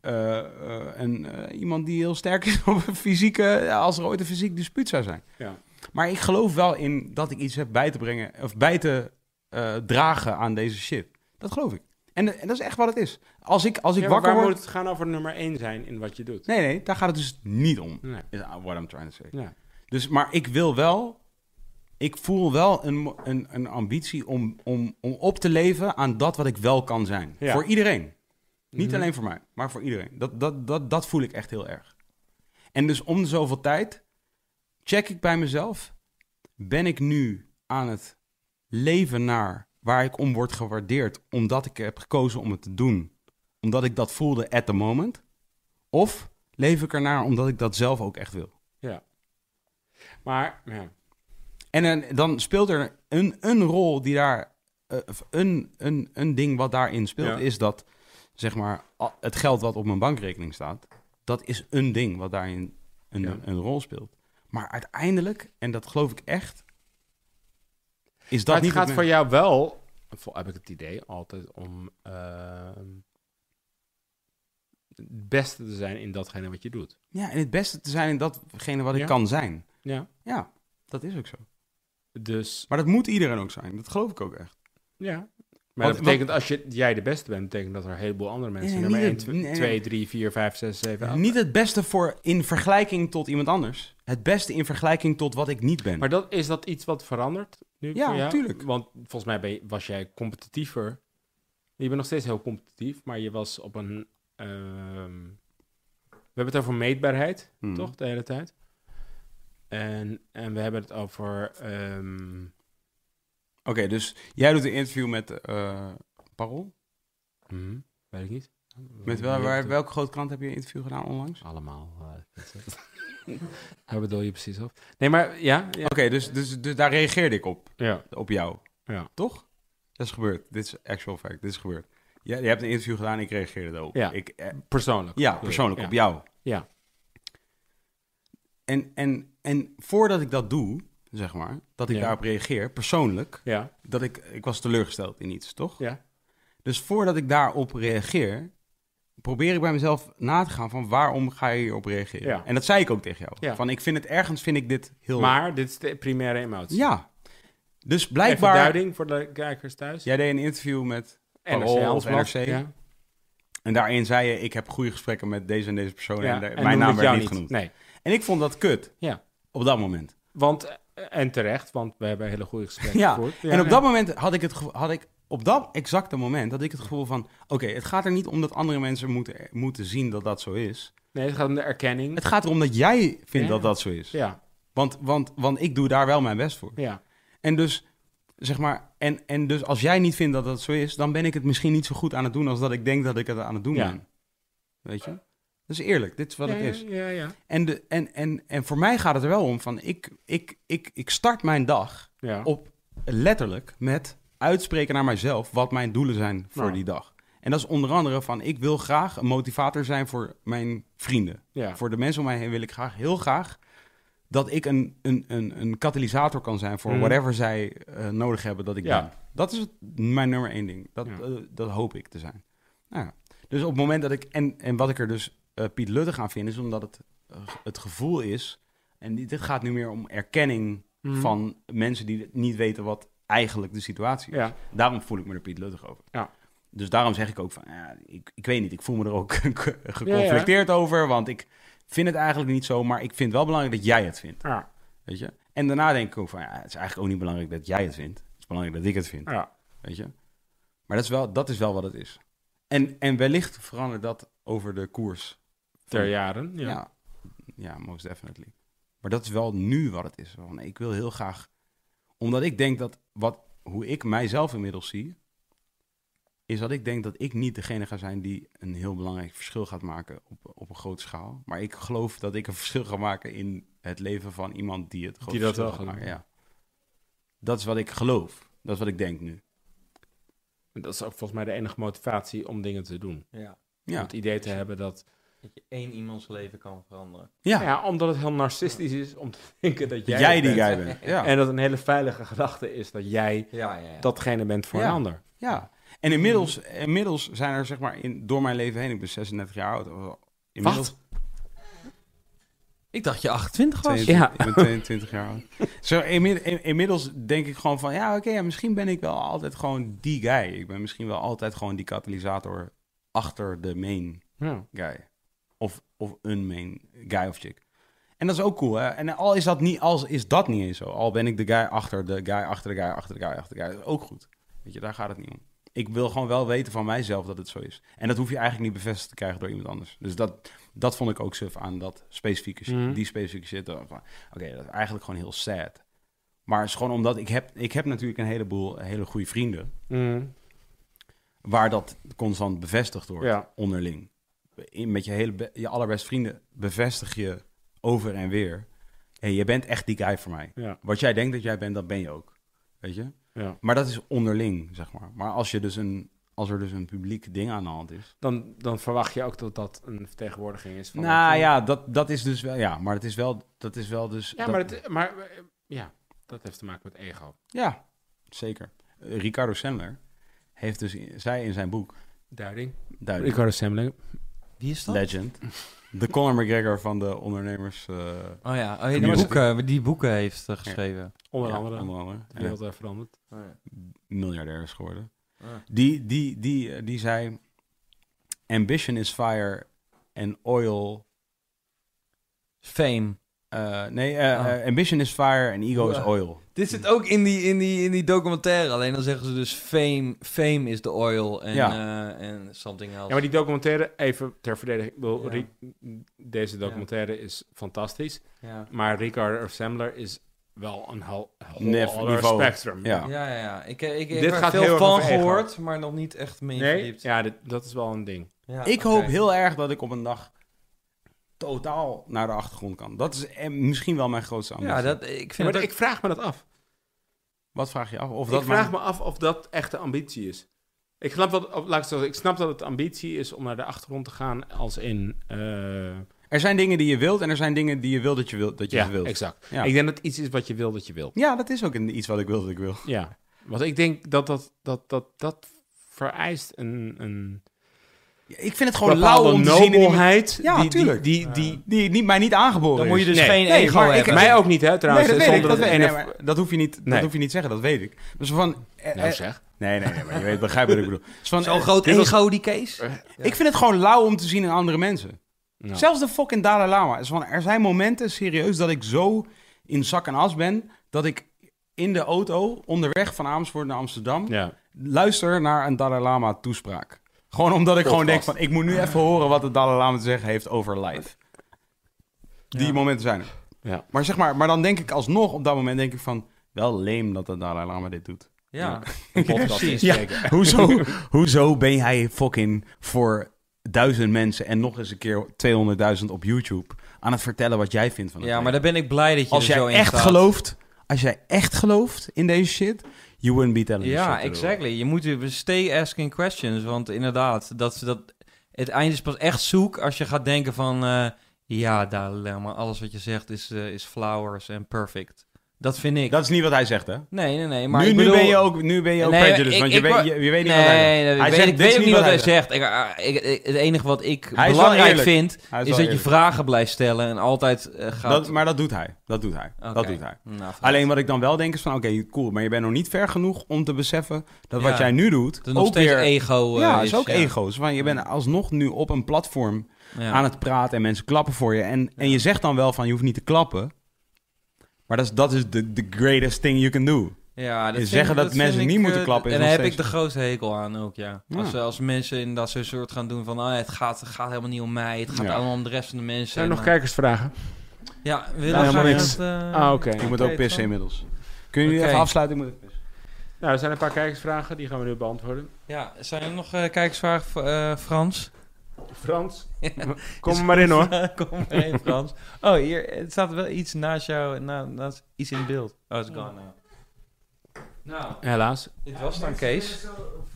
eh, eh, een, eh, iemand die heel sterk is op een fysieke, als er ooit een fysiek dispuut zou zijn. Ja. Maar ik geloof wel in dat ik iets heb bij te brengen, of bij te eh, dragen aan deze shit. Dat geloof ik. En, en dat is echt wat het is. Als ik, als ik Ja, maar wakker waar word... moet het gaan over nummer 1 zijn in wat je doet? Nee, nee, daar gaat het dus niet om. Nee. Is what I'm trying to say. Ja. Dus, maar ik wil wel... Ik voel wel een, mo- een, een ambitie om, om, om op te leven aan dat wat ik wel kan zijn. Ja. Voor iedereen. Niet Mhm. alleen voor mij, maar voor iedereen. Dat, dat, dat, dat voel ik echt heel erg. En dus om de zoveel tijd check ik bij mezelf... ben ik nu aan het leven naar waar ik om word gewaardeerd... omdat ik heb gekozen om het te doen. Omdat ik dat voelde at the moment. Of leef ik ernaar omdat ik dat zelf ook echt wil. Maar, nou ja. En eh, dan speelt er een, een rol die daar. eh, of een, een, een ding wat daarin speelt, Ja. is dat zeg maar al- het geld wat op mijn bankrekening staat, dat is een ding wat daarin een, Ja. een rol speelt. Maar uiteindelijk, en dat geloof ik echt, is dat Maar het niet. gaat wat voor men- jou wel, vol- heb ik het idee, altijd om ehm, het beste te zijn in datgene wat je doet. Ja, en het beste te zijn in datgene wat ik Ja. kan zijn. Ja. Ja, dat is ook zo. Dus, Maar dat moet iedereen ook zijn. Dat geloof ik ook echt. ja. Maar Want- dat betekent, als je, jij de beste bent, betekent dat er een heleboel andere mensen Nee, nummer niet 1, het- nee. 2, 3, 4, 5, 6, 7, 8. Niet het beste voor in vergelijking tot iemand anders. Het beste in vergelijking tot wat ik niet ben. Maar dat, is dat iets wat verandert nu Ja, voor jou? tuurlijk. Want volgens mij ben je- was jij competitiever. Je bent nog steeds heel competitief, maar je was op een... ehm, we hebben het over meetbaarheid. Hmm. toch? De hele tijd. En, en we hebben het over. ehm, Oké, dus jij doet een interview met eh Parool. mhm, weet ik niet. Met wel, waar, welke grote krant heb je een interview gedaan onlangs? Allemaal. eh, waar bedoel je precies op? Nee, maar ja. ja. Oké, dus, dus, dus daar reageerde ik op. Ja. Op jou. Ja. Toch? Dat is gebeurd. Dit is actual fact. Dit is gebeurd. Ja, je hebt een interview gedaan en ik reageerde daarop. Ja. Ik, eh, Persoonlijk. ja, persoonlijk Ja. op jou. Ja. En, en, en voordat ik dat doe, zeg maar, dat ik Ja. daarop reageer, persoonlijk, Ja. dat ik, ik was teleurgesteld in iets, toch? Ja. Dus voordat ik daarop reageer, probeer ik bij mezelf na te gaan van waarom ga je hierop reageren? Ja. En dat zei ik ook tegen jou. Ja. Van ik vind het ergens, vind ik dit heel... Maar dit is de primaire emotie. Ja. Dus Blijkbaar. blijkbaar... duiding voor de kijkers thuis. Jij deed een interview met Parool NRC Oh, of Handelsblad. NRC. Ja. En daarin zei je, ik heb goede gesprekken met deze en deze persoon. Ja, En, daar- en mijn noem naam het werd jou niet, genoemd. Nee. En ik vond dat kut. Ja. Op dat moment. Want, eh, en terecht, want we hebben hele goede gesprekken Ja. gevoerd. en op ja. dat moment had ik het gevo- had ik op dat exacte moment had ik het gevoel van, oké, het gaat er niet om dat andere mensen moeten, moeten zien dat dat zo is. Nee, het gaat om de erkenning. Het gaat erom dat jij vindt Ja. dat dat zo is. Ja, Want, want, want ik doe daar wel mijn best voor. ja. En dus, zeg maar, en, en dus als jij niet vindt dat dat zo is, dan ben ik het misschien niet zo goed aan het doen als dat ik denk dat ik het aan het doen Ja. ben. Weet je? Dat is eerlijk, dit is wat ja, het is. Ja, ja, ja. En, de, en, en, en voor mij gaat het er wel om van, ik, ik, ik, ik start mijn dag Ja. op letterlijk met uitspreken naar mijzelf wat mijn doelen zijn voor Nou. die dag. En dat is onder andere van, ik wil graag een motivator zijn voor mijn vrienden. ja. Voor de mensen om mij heen wil ik graag, heel graag, dat ik een, een, een, een katalysator kan zijn voor Mm. whatever zij eh, nodig hebben dat ik Ja. ben. Dat is het- mijn nummer één ding. Dat, Ja. eh, dat hoop ik te zijn. Nou, ja. dus op het moment dat ik, en, en wat ik er dus eh, Piet Luttig aan vind, is omdat het eh, het gevoel is, en dit dit gaat nu meer om erkenning Mhm. van mensen die niet weten wat eigenlijk de situatie is. Ja. Daarom voel ik me er Piet Luttig over. Ja. Dus daarom zeg ik ook van, ja, ik, ik weet niet, ik voel me er ook Ja, ja. geconflicteerd over, want ik vind het eigenlijk niet zo, maar ik vind het wel belangrijk dat jij het vindt, Ja, weet je. En daarna denk ik ook van, ja, het is eigenlijk ook niet belangrijk dat jij het vindt. Het is belangrijk dat ik het vind, ja. weet je. Maar dat is wel, dat is wel wat het is. En, en wellicht verandert dat over de koers. Ter jaren, ja. Ja. ja. most definitely. Maar dat is wel nu wat het is. Van, ik wil heel graag... Omdat ik denk dat wat, hoe ik mijzelf inmiddels zie... is dat ik denk dat ik niet degene ga zijn die een heel belangrijk verschil gaat maken op, op een grote schaal. Maar ik geloof dat ik een verschil ga maken in het leven van iemand die het grote Die dat verschil gaat wel gaat maken. Ja. Dat is wat ik geloof. Dat is wat ik denk nu. En Dat is ook volgens mij de enige motivatie om dingen te doen. Ja. Om Ja, het idee te hebben dat... Dat je één iemands leven kan veranderen. ja. Ja. omdat het heel narcistisch is om te denken dat jij... jij, het die bent. guy bent. Ja. En dat een hele veilige gedachte is dat jij Ja, ja, ja. datgene bent voor Ja. een ander. Ja, en inmiddels, inmiddels zijn er zeg maar in, door mijn leven heen, ik ben 36 jaar oud. Inmiddels Ik dacht je 28 was. 22, Ja. Ik ben 22 jaar oud. Zo, inmid- in- inmiddels denk ik gewoon van, ja oké, ja, misschien ben ik wel altijd gewoon die guy. Ik ben misschien wel altijd gewoon die katalysator achter de main Ja. guy. Of, of een main guy of chick. En dat is ook cool, hè? En al is dat niet, als is dat niet eens zo. Al ben ik de guy achter de guy, achter de guy, achter de guy, achter de guy. Dat is ook goed. Weet je, daar gaat het niet om. Ik wil gewoon wel weten van mijzelf dat het zo is. En dat hoef je eigenlijk niet bevestigd te krijgen door iemand anders. Dus dat, dat vond ik ook suf aan dat specifieke shit. Mhm. Die specifieke shit. eh, van, Oké, dat is eigenlijk gewoon heel sad. Maar het is gewoon omdat ik heb, ik heb natuurlijk een heleboel hele goede vrienden. Mm. Waar dat constant bevestigd wordt Ja. onderling. In- met je, hele be- je allerbeste vrienden bevestig je over en weer. hey, je bent echt die guy voor mij. Ja. Wat jij denkt dat jij bent, dat ben je ook. Weet je? Ja. Maar dat is onderling, zeg maar. Maar als, je dus een, als er dus een publiek ding aan de hand is. Dan, dan verwacht je ook dat dat een vertegenwoordiging is van... nou het- ja, dat, dat is dus wel. Ja, maar het is wel. Dat is wel dus. Ja, dat- maar, het, maar eh, ja, dat heeft te maken met ego. ja zeker. Eh, Ricardo Semmler heeft dus. in- Zij in zijn boek. Duiding. Duidelijk. Ricardo Semling. Wie is dat? Legend. De Conor McGregor van de ondernemers. eh, Oh ja, oh, ja, die, Music. boeken, die boeken heeft eh, geschreven. Onder ja, andere. Onder andere. De Ja. wereld heeft veranderd. Oh ja. miljardair is geworden. Oh Ah. Die, die, die, eh, die zei: Ambition is fire and oil. Fame. eh, nee, eh, Ah. eh, ambition is fire and ego is Ja. oil. Dit zit ook in die, in, die, in die documentaire. Alleen dan zeggen ze dus fame, fame is the oil en Ja. eh, en something else. Ja, maar die documentaire, even ter verdediging. ik bedoel, Ja. Ri- Deze documentaire is fantastisch. ja. Maar Ricardo Semler is wel een heel Nef- niveau. spectrum. Ja. Ja, ja, ja. Ik, ik, ik Dit heb er gaat heel veel erg van over ego. gehoord, maar nog niet echt mee Nee, verdiept. ja, dit- dat is wel een ding. Ja, ik oké. hoop heel erg dat ik op een dag totaal naar de achtergrond kan. Dat is eh, misschien wel mijn grootste ambitie. Ja, dat, ik vind maar dat ik vraag me dat af. Wat vraag je af? Of Ik dat vraag mijn- me af of dat echt de ambitie is. Ik snap, dat, of, laat ik, het zo zeggen, ik snap dat het ambitie is om naar de achtergrond te gaan als in... eh, Er zijn dingen die je wilt en er zijn dingen die je wil dat je, wilt, dat je ja, ze wilt. exact. Ja. Ik denk dat iets is wat je wil dat je wil. Ja, dat is ook een- iets wat ik wil dat ik wil. Ja, want ik denk dat dat, dat, dat, dat vereist een, een Ja, Ik vind het gewoon lauw bepaalde om te zien in iemand- nobelheid. Ja, die, die, tuurlijk. die, die, die niet, mij niet aangeboren Dan moet je is. dus Nee. geen Nee, ego maar ik- hebben. Mij ook niet, hè, trouwens. nee, dat weet ik. zonder Dat, dat weet, ene- nee, maar dat, hoef je niet, Nee. dat hoef je niet zeggen, dat weet ik. Dus van... eh, Nou eh, zeg. nee, nee, nee, maar je weet, begrijp wat ik bedoel. Dus van, Zo'n eh, groot dit was- ego, die Kees. Ik vind het gewoon lauw om te zien in andere mensen. Ja. Zelfs de fucking Dalai Lama. Is van, er zijn momenten, serieus, dat ik zo in zak en as ben... dat ik in de auto onderweg van Amersfoort naar Amsterdam... Ja. luister naar een Dalai Lama toespraak. Gewoon omdat ik gewoon denk Podcast. van... ik moet nu even horen wat de Dalai Lama te zeggen heeft over life. Die momenten zijn er. Ja. Maar, zeg maar, maar dan denk ik alsnog op dat moment denk ik van... wel leem dat de Dalai Lama dit doet. Ja, Een podcast precies. inspreken. Hoezo, hoezo ben jij fucking voor duizend mensen en nog eens een keer 200.000 op YouTube aan het vertellen wat jij vindt van het ja maar leven? dan ben ik blij dat je als er zo jij in echt staat. gelooft, als jij echt gelooft in deze shit, you wouldn't be telling this Ja, shit to the exactly. Je moet even stay asking questions, want inderdaad, dat, ze dat, het einde is pas echt zoek als je gaat denken van, eh, ja, Dalai maar alles wat je zegt is, eh, is flowers en perfect. Dat vind ik. world. Dat is niet wat hij zegt, hè? Nee, nee, nee. Maar nu, ik nu bedoel- ben je ook, nu ben je ook Nee, prejudiced, ik- want je, ik weet, wou- je, je weet niet nee, wat hij nee, zegt. nee, Hij ik zegt, weet, ik dit weet is ook niet wat hij zegt. zegt. Ik, ah, ik- ik- het enige wat ik Hij is wel belangrijk eerlijk. vind, Hij is, wel dat je eerlijk. vragen blijft stellen en altijd eh, gaat... Dat, maar dat doet hij. Dat doet hij. Dat Oké. doet hij. Nou, fijn. Alleen wat ik dan wel denk is van, oké, cool, maar je bent nog niet ver genoeg om te beseffen dat wat Ja. jij nu doet, Dat is nog ook steeds weer ego eh, ja, het is ook ja. ego's. Want je bent alsnog nu op een platform Ja. aan het praten en mensen klappen voor je. En, en je zegt dan wel van je hoeft niet te klappen. Maar dat is, dat is the, the greatest thing you can do. Ja, dat Je vind zeggen ik- dat vind mensen ik, niet moeten eh, klappen is En nog daar heb steeds- ik de grootste hekel aan ook, ja. Ja. Als, eh, als mensen in dat soort soort gaan doen van... Oh, het, gaat, het gaat helemaal niet om mij, het gaat Ja. allemaal om de rest van de mensen. Zijn er En, nog eh, kijkersvragen? Ja, willen Nou, we helemaal graag niks. dat, eh, Ah, oké. Ik moet Oké, ook pissen dan. inmiddels. Kunnen jullie Oké. even afsluiten? Ik moet even pissen. Nou, er zijn een paar kijkersvragen, die gaan we nu beantwoorden. Ja, zijn er nog eh, kijkersvragen, voor, eh, Frans? Frans, kom er maar in hoor. Kom maar heen, Frans. Oh, hier het staat wel iets naast jou, na, naast, iets in beeld. Oh, it's gone now. Nou, Helaas. dit was dan Kees.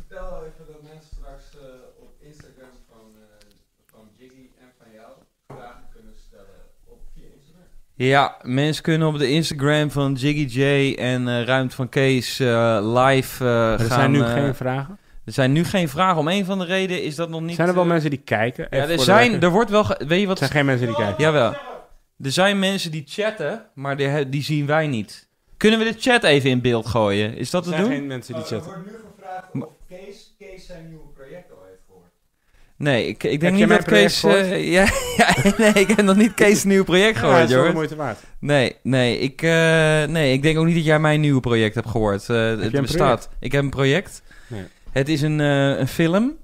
Vertel even dat mensen straks eh, op Instagram van, eh, van Jiggy en van jou vragen kunnen stellen op via Instagram. Ja, mensen kunnen op de Instagram van Jiggy J en eh Ruimt van Kees eh, live eh, gaan. Er zijn nu eh, geen vragen. Er zijn nu geen vragen. Om een van de redenen is dat nog niet... Zijn er wel eh, mensen die kijken? Even Ja, er voor de zijn... record. Er wordt wel... ge- Weet je Er wat... zijn geen mensen die kijken. Jawel. Er zijn mensen die chatten, maar die, he- die zien wij niet. Kunnen we de chat even in beeld gooien? Is dat Er te zijn doen? geen mensen die Oh, er chatten. wordt nu gevraagd of Kees, Kees zijn nieuwe project al heeft gehoord. Nee, ik, ik Heb denk jij niet mijn dat Kees... project eh, ja, ja, nee, ik heb nog niet Kees' nieuw project Ja, dat gehoord, is wel de Jorrit. moeite waard. Nee, nee ik, eh, nee, ik denk ook niet dat jij mijn nieuwe project hebt gehoord. Eh, het een bestaat. Ik heb een project. Nee. Het is een, eh, een film.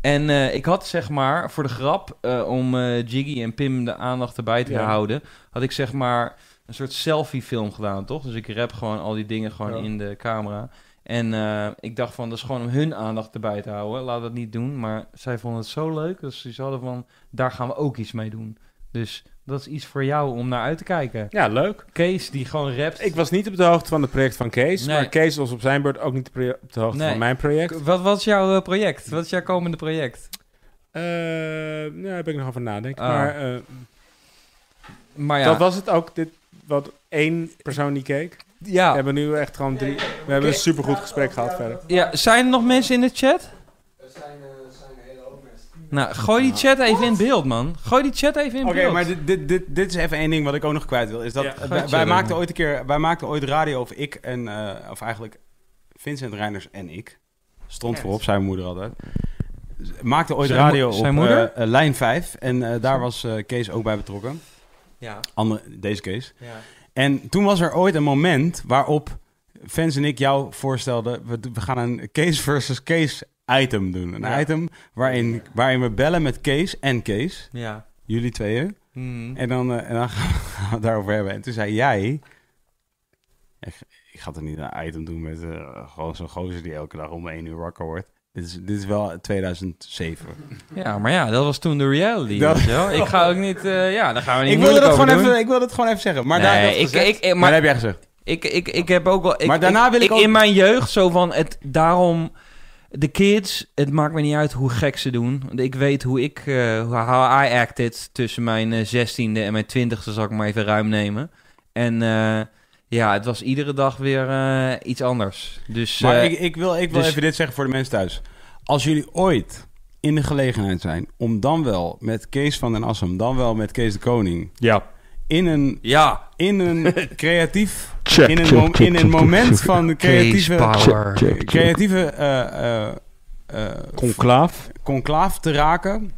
En eh, ik had zeg maar, voor de grap, eh, om eh, Jiggy en Pim de aandacht erbij te Ja. houden, had ik zeg maar een soort selfie-film gedaan, toch? Dus ik rap gewoon al die dingen gewoon Ja. in de camera. En eh, ik dacht van, dat is gewoon om hun aandacht erbij te houden. Laten we dat niet doen. Maar zij vonden het zo leuk, dus ze hadden van, daar gaan we ook iets mee doen. Dus dat is iets voor jou om naar uit te kijken. Ja, leuk. Kees die gewoon rapt. Ik was niet op de hoogte van het project van Kees. Nee. Maar Kees was op zijn beurt ook niet pre- op de hoogte Nee. van mijn project. wat was jouw eh, project? Wat is jouw komende project? Eh, nou, daar ben ik nog over nadenken. Ah. Maar eh, Maar ja, dat was het ook. Dit, wat één persoon die keek. We ja. hebben nu echt gewoon drie. We hebben een supergoed gesprek gehad verder. ja, zijn er nog mensen in de chat? Er zijn, eh, zijn een hele hoop mensen. die- Nou, gooi die chat even in beeld, man. Gooi die chat even in Oké, beeld. maar dit, dit, dit, dit is even één ding wat ik ook nog kwijt wil. Is dat, Ja, wij- gaat je wij, doen. maakten ooit een keer, wij maakten ooit radio, of ik en, eh, of eigenlijk Vincent Reiners en ik. Stond voorop, zijn moeder altijd. Maakte ooit Zijn mo- radio op zijn moeder? eh, eh, lijn 5. En eh, daar was eh, Kees ook bij betrokken. Ja, Andere, deze Kees. ja. En toen was er ooit een moment waarop fans en ik jou voorstelden... we, we gaan een Kees versus Kees item doen. Een Ja. item waarin, waarin we bellen met Kees en Kees. Ja. Jullie tweeën. Hmm. En dan, eh, en dan gaan we- gaan we het daarover hebben. En toen zei jij... Ik, ik ga er niet een item doen met eh, gewoon zo'n gozer die elke dag om 1 uur wakker wordt. Dit is, dit is wel 2007. Ja, maar ja, dat was toen de reality. Dat- weet je wel. Ik ga ook niet... eh, ja, daar gaan we niet Ik wilde, moeilijk dat gewoon over doen. even, ik wilde dat gewoon even zeggen. Maar, Nee, daar, ik- ik- ik- maar- maar dat heb jij gezegd. Ik, ik, ik heb ook wel. Ik, Maar daarna wil ik ook- In mijn jeugd zo van het daarom. De kids, het maakt me niet uit hoe gek ze doen. Want Ik weet hoe ik, eh, how I acted tussen mijn eh, 16e en mijn 20e, zal ik maar even ruim nemen. En eh, ja, het was iedere dag weer eh, iets anders. Dus Maar eh, ik, ik wil, ik wil dus- even dit zeggen voor de mensen thuis. Als jullie ooit in de gelegenheid zijn om dan wel met Kees van den Assem, dan wel met Kees de Koning, Ja. in een, ja, in een creatief, Check, in een, check, mom- check, in een check, moment van Case creatieve, Power. creatieve eh, eh, eh, Conclaaf. conclaaf te raken,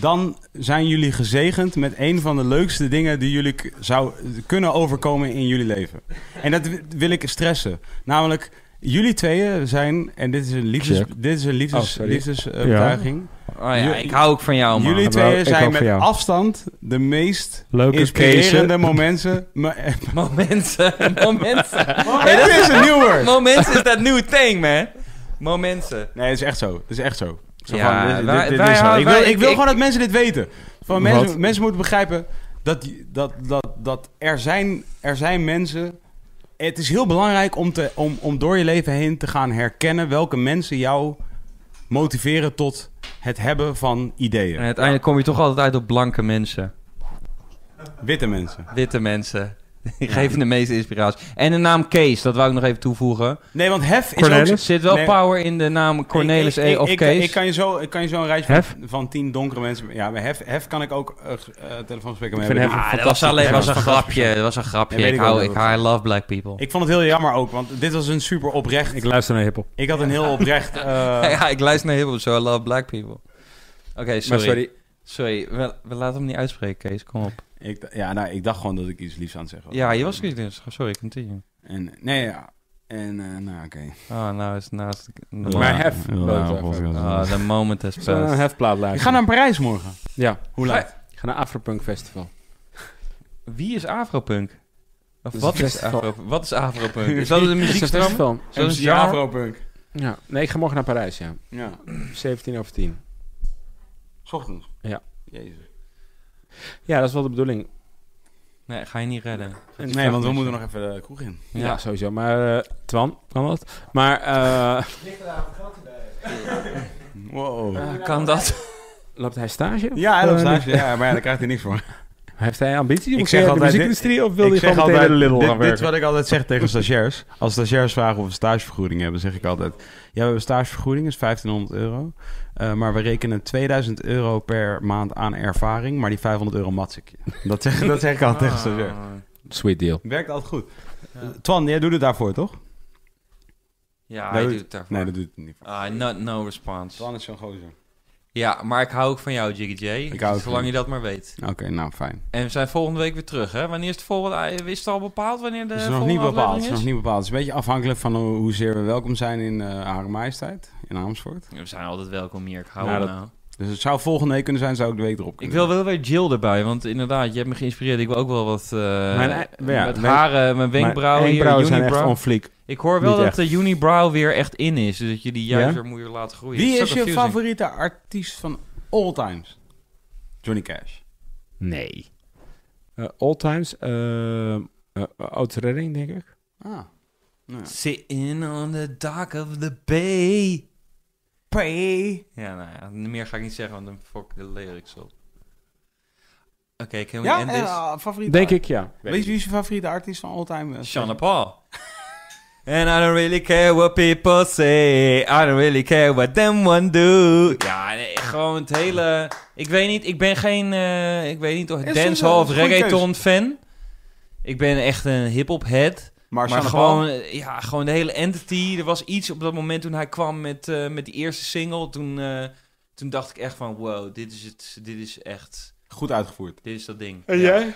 dan zijn jullie gezegend met een van de leukste dingen die jullie k- zou kunnen overkomen in jullie leven. En dat wi- wil ik stressen. Namelijk, jullie tweeën zijn, en dit is een, liefdes, Check. dit is een liefdes, Oh, sorry. liefdesovertuiging. Oh ja, ik hou ook van jou, man. jullie Ik hou tweeën zijn van met jou. afstand de meest Leuke inspirerende case. momenten. Maar- Momenten, momenten. Hey, dat is een nieuw woord. Momenten is dat new thing, man. Momenten. Nee, het is echt zo. Het is echt zo. Zo Ja, van, dit- dit- wij- dit wij is zo. houden- ik wil, wij- ik wil ik- gewoon dat mensen dit weten. Van Wat? mensen, mensen moeten begrijpen dat, die- dat, dat, dat er, zijn, er zijn mensen. Het is heel belangrijk om, te, om, om door je leven heen te gaan herkennen welke mensen jou motiveren tot het hebben van En ideeën. uiteindelijk kom je toch altijd uit op blanke mensen. Witte mensen. Witte mensen. Die geven de meeste inspiratie. En de naam Kees, dat wou ik nog even toevoegen. Nee, want hef is Cornelis? ook. Er zit wel Nee. power in de naam Cornelis Ik- ik- E. of ik, Kees. Ik, kan je zo, ik kan je zo een rijtje Hef? van, van tien donkere mensen. Ja, maar hef, hef kan ik ook eh, g- eh, telefoonspreker mee Ik vind hebben. hef Ah, dat was alleen was een grapje. Dat was een Ja, grapje. weet Ik ik wel hou, dat ik het- hou, I love black people. Ik vond het heel jammer ook, want dit was een super oprecht. Ik Ik, luister naar hiphop. had een heel oprecht. eh, ja, ik luister naar heel zo I love black people. Oké, Maar sorry. Sorry, sorry. we, we laten hem niet uitspreken, Kees. Kom op. ik, d- ja, nou, ik dacht gewoon dat ik iets liefs aan het zeggen was. Ja, je was niet dus. Sorry, continue. En, nee, ja. En, eh, nou, oké. Oh, nou is naast... Maar Nou, hef. oh, the moment has Zullen we een passed. hefplaat Ik luisteren? ga naar Parijs morgen. Ja. Hoe laat? Ik ga naar Afropunk Festival. Wie is Afropunk? Of is wat een is, festival. Afro, wat is Afropunk? Is dat een muziekstroming? festival. Zo'n MC genre? Afropunk. Ja. Nee, ik ga morgen naar Parijs, ja. Ja. 17 over 10. S ochtends. Ja. Jezus. Ja, dat is wel de bedoeling. Nee, ga je niet redden. Nee, want we moeten nog even de kroeg in. Ja, sowieso. Maar eh, Twan, kan dat? Maar eh, Wow. Ah, kan dat? loopt hij stage? Ja, Of, hij eh, loopt stage. Ja, maar ja, daar krijgt hij niks voor. Heeft hij ambities? Ik Ik zeg zeg de altijd dit- muziekindustrie of wil hij ik zeg gewoon meteen bij de Lidl dit, gaan dit is werken? wat ik altijd zeg tegen stagiairs. Als stagiairs vragen of we stagevergoeding hebben, zeg ik altijd... Ja, we hebben stagevergoeding, is 1500 euro. Eh, maar we rekenen 2000 euro per maand aan ervaring. Maar die 500 euro mats ik je. Dat zeg, dat zeg ik altijd Ah. tegen stagiairs. Sweet deal. Werkt altijd goed. Eh, Twan, jij doet het daarvoor, toch? Ja, Nee, hij doet het daarvoor. Nee, dat doet het niet. voor. Ah, no, no response. Twan is zo'n gozer. Ja, maar ik hou ook van jou, Jiggy J. Ik hou ook zolang van- je dat maar weet. Oké, nou fijn. En we zijn volgende week weer terug, hè? Wanneer is het volgende... eh, Is het al bepaald wanneer de Het is nog Eh, volgende niet bepaald. Het aflevering is nog niet bepaald. Het is een beetje afhankelijk van hoe- hoezeer we welkom zijn in eh Hare Majesteit, in Amersfoort. We zijn altijd welkom hier, ik hou Nou, nou, dat- nou. Dus het zou volgende week kunnen zijn, zou ik de week erop Ik kunnen. wil wel weer Jill erbij, want inderdaad, je hebt me geïnspireerd. Ik wil ook wel wat... eh Mijn ei- ja, met mijn- haren, mijn wenkbrauwen Mijn hier, wenkbrauwen zijn echt unibrow. on fleek. Ik hoor wel Niet dat echt. de unibrow weer echt in is. Dus dat je die juist Ja? weer moet weer laten groeien. Wie Dat is zo je confusing. favoriete artiest van all times? Johnny Cash. Nee. Eh, all times. eh eh Oud Redding, denk ik. Ah. Nou ja. Sitting on the dock of the bay. Bay. Ja, nou ja, meer ga ik niet zeggen, want dan fuck de lyrics op. Oké, can we Ja, end en, this? eh, favoriete Denk ik, ja. Weet je wie is je favoriete artiest van all time? eh, Sean Paul. And I don't really care what people say. I don't really care what them one do. Ja, nee, gewoon het hele... Ik weet niet, ik ben geen... eh, ik weet niet of Is dancehall een, of eh, goede reggaeton fan. Ik ben echt een hip-hop head. Maar, Maar Sean gewoon, Paul? eh, ja, gewoon de hele entity. Er was iets op dat moment toen hij kwam met, eh, met die eerste single. Toen, eh, toen dacht ik echt van, wow, dit is het. Dit is echt, Oh, Goed uitgevoerd. dit is dat ding. En Ja. jij?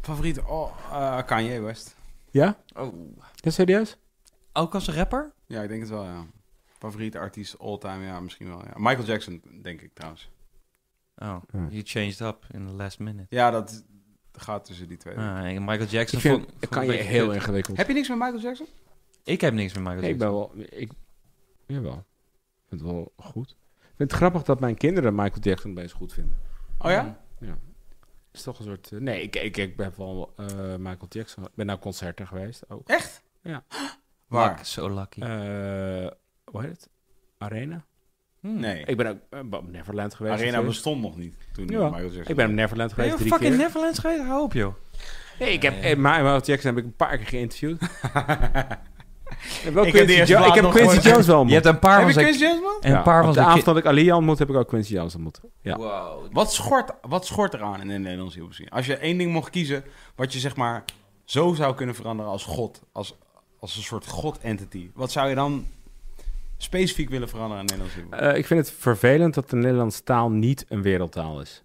Favoriete? Oh, eh, Kanye West. Ja? Oh. Ja, serieus? Ook als rapper? Ja, ik denk het wel, ja. Favoriete artiest all time, ja, misschien wel. Ja. Michael Jackson, denk ik trouwens. Oh, Ja. you changed up in the last minute. Ja, dat gaat tussen die twee. Ah, en Michael Jackson Ik vind, vond- het vond kan ik je een heel kut. ingewikkeld. Heb je niks met Michael Jackson? Ik heb niks met Michael Nee, ik Jackson. ben wel... Ik, Jawel. Ik vind het wel goed. Ik vind het grappig dat mijn kinderen Michael Jackson best goed vinden. Oh ja? Het is toch een soort... eh, nee, ik, ik, ik ben wel eh, Michael Jackson... Ik ben naar concerten geweest ook. Echt? Ja. Waar? Zo lucky. Eh, hoe heet het? Arena? Nee. Ik ben ook eh, op Neverland geweest. Arena natuurlijk. bestond nog niet toen Ja. Michael Jackson. Ik ben op ben Neverland geweest je drie fucking keer. Neverland geweest? Hou op, joh. nee, ik heb... Nee. eh, Ma- Michael Jackson heb ik een paar keer geïnterviewd. ik heb, wel Ik heb Quincy de eerste Jo- ik plaat heb nog Quincy gehoord. Jones wel Je ontmoet. hebt een paar Heb van je zijn... Quincy Jones, man? En een Ja, paar van op de zijn... avond dat ik Ali ontmoet, heb ik ook Quincy Jones ontmoet. Ja. Wow. Wat schort, wat schort eraan in de Nederlandse hielpmachine? Als je één ding mocht kiezen wat je zeg maar zo zou kunnen veranderen als God, als, als een soort God-entity, wat zou je dan specifiek willen veranderen aan de Nederlandse hielpmachine? Eh, ik vind het vervelend dat de Nederlandse taal niet een wereldtaal is.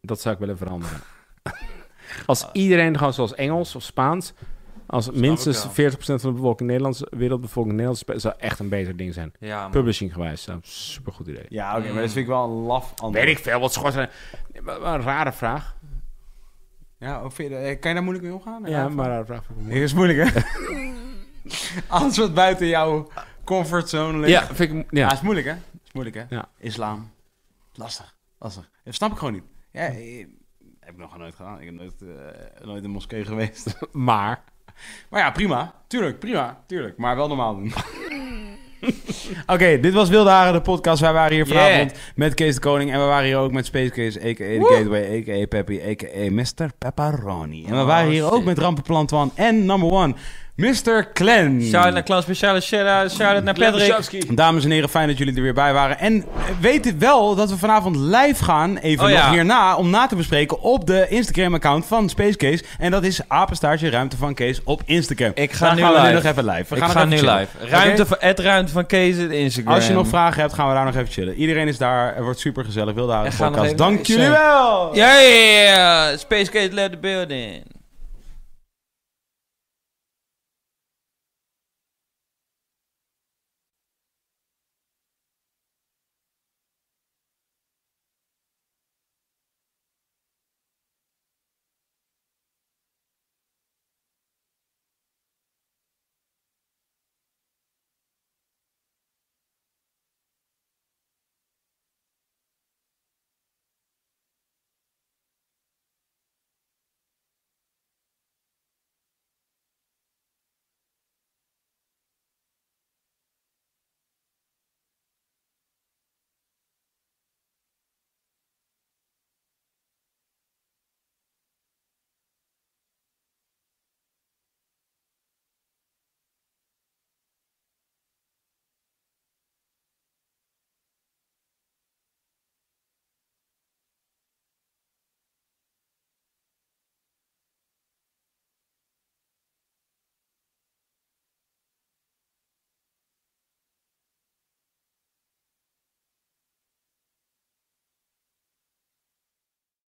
Dat zou ik willen veranderen. als iedereen gewoon zoals Engels of Spaans, als minstens wel. 40% van de bevolking Nederlands, wereldbevolking Nederlands, spreekt, zou echt een beter ding zijn. Ja, man. Publishing gewijs, zou een supergoed idee. Ja, oké, maar dat vind ik wel een laf antwoord. Weet ik veel, wat schort. Nee, maar- maar Een rare vraag. Ja, of vind je, eh, kan je daar moeilijk mee omgaan? Ja, maar een rare vraag. voor Dit is moeilijk, hè? Alles wat buiten jouw comfortzone ligt. Ja, vind ik, Ja, ja. is moeilijk, hè? Is moeilijk, hè? Ja. Islam. Lastig. Lastig. Dat snap ik gewoon niet. Ja, eh, heb ik nog nooit gedaan. Ik heb nooit, eh, nooit in een moskee geweest. maar Maar ja, prima. Tuurlijk, prima. Tuurlijk. Maar wel normaal doen. Oké, dit was Wilde Haren, de podcast. Wij waren hier vanavond met Kees de Koning. En we waren hier ook met Space Case, a.k.a. The Gateway, a.k.a. Peppy, a.k.a. Mr. Pepperoni. En we Oh, waren hier ook shit. met Rampenplan Twan en number one, Mr. Clan. Shout-out naar Klas, speciale shout-out. Shout-out naar Patrick. Dames en heren, fijn dat jullie er weer bij waren. En weet wel dat we vanavond live gaan, even Oh nog ja. hierna, om na te bespreken op de Instagram-account van Space Case. En dat is apenstaartje ruimte van Kees op Instagram. Ik ga Daar nu gaan we live. nog even live. We ik gaan ga nog nu even chillen. live. Ruimte van, het ruimte van Kees in Instagram. Als je nog vragen hebt, gaan we daar nog even chillen. Iedereen is daar. Er wordt super gezellig. Wilde houden En gaan nog podcast. even- Dank jullie wel. Yeah, Space Case led the building.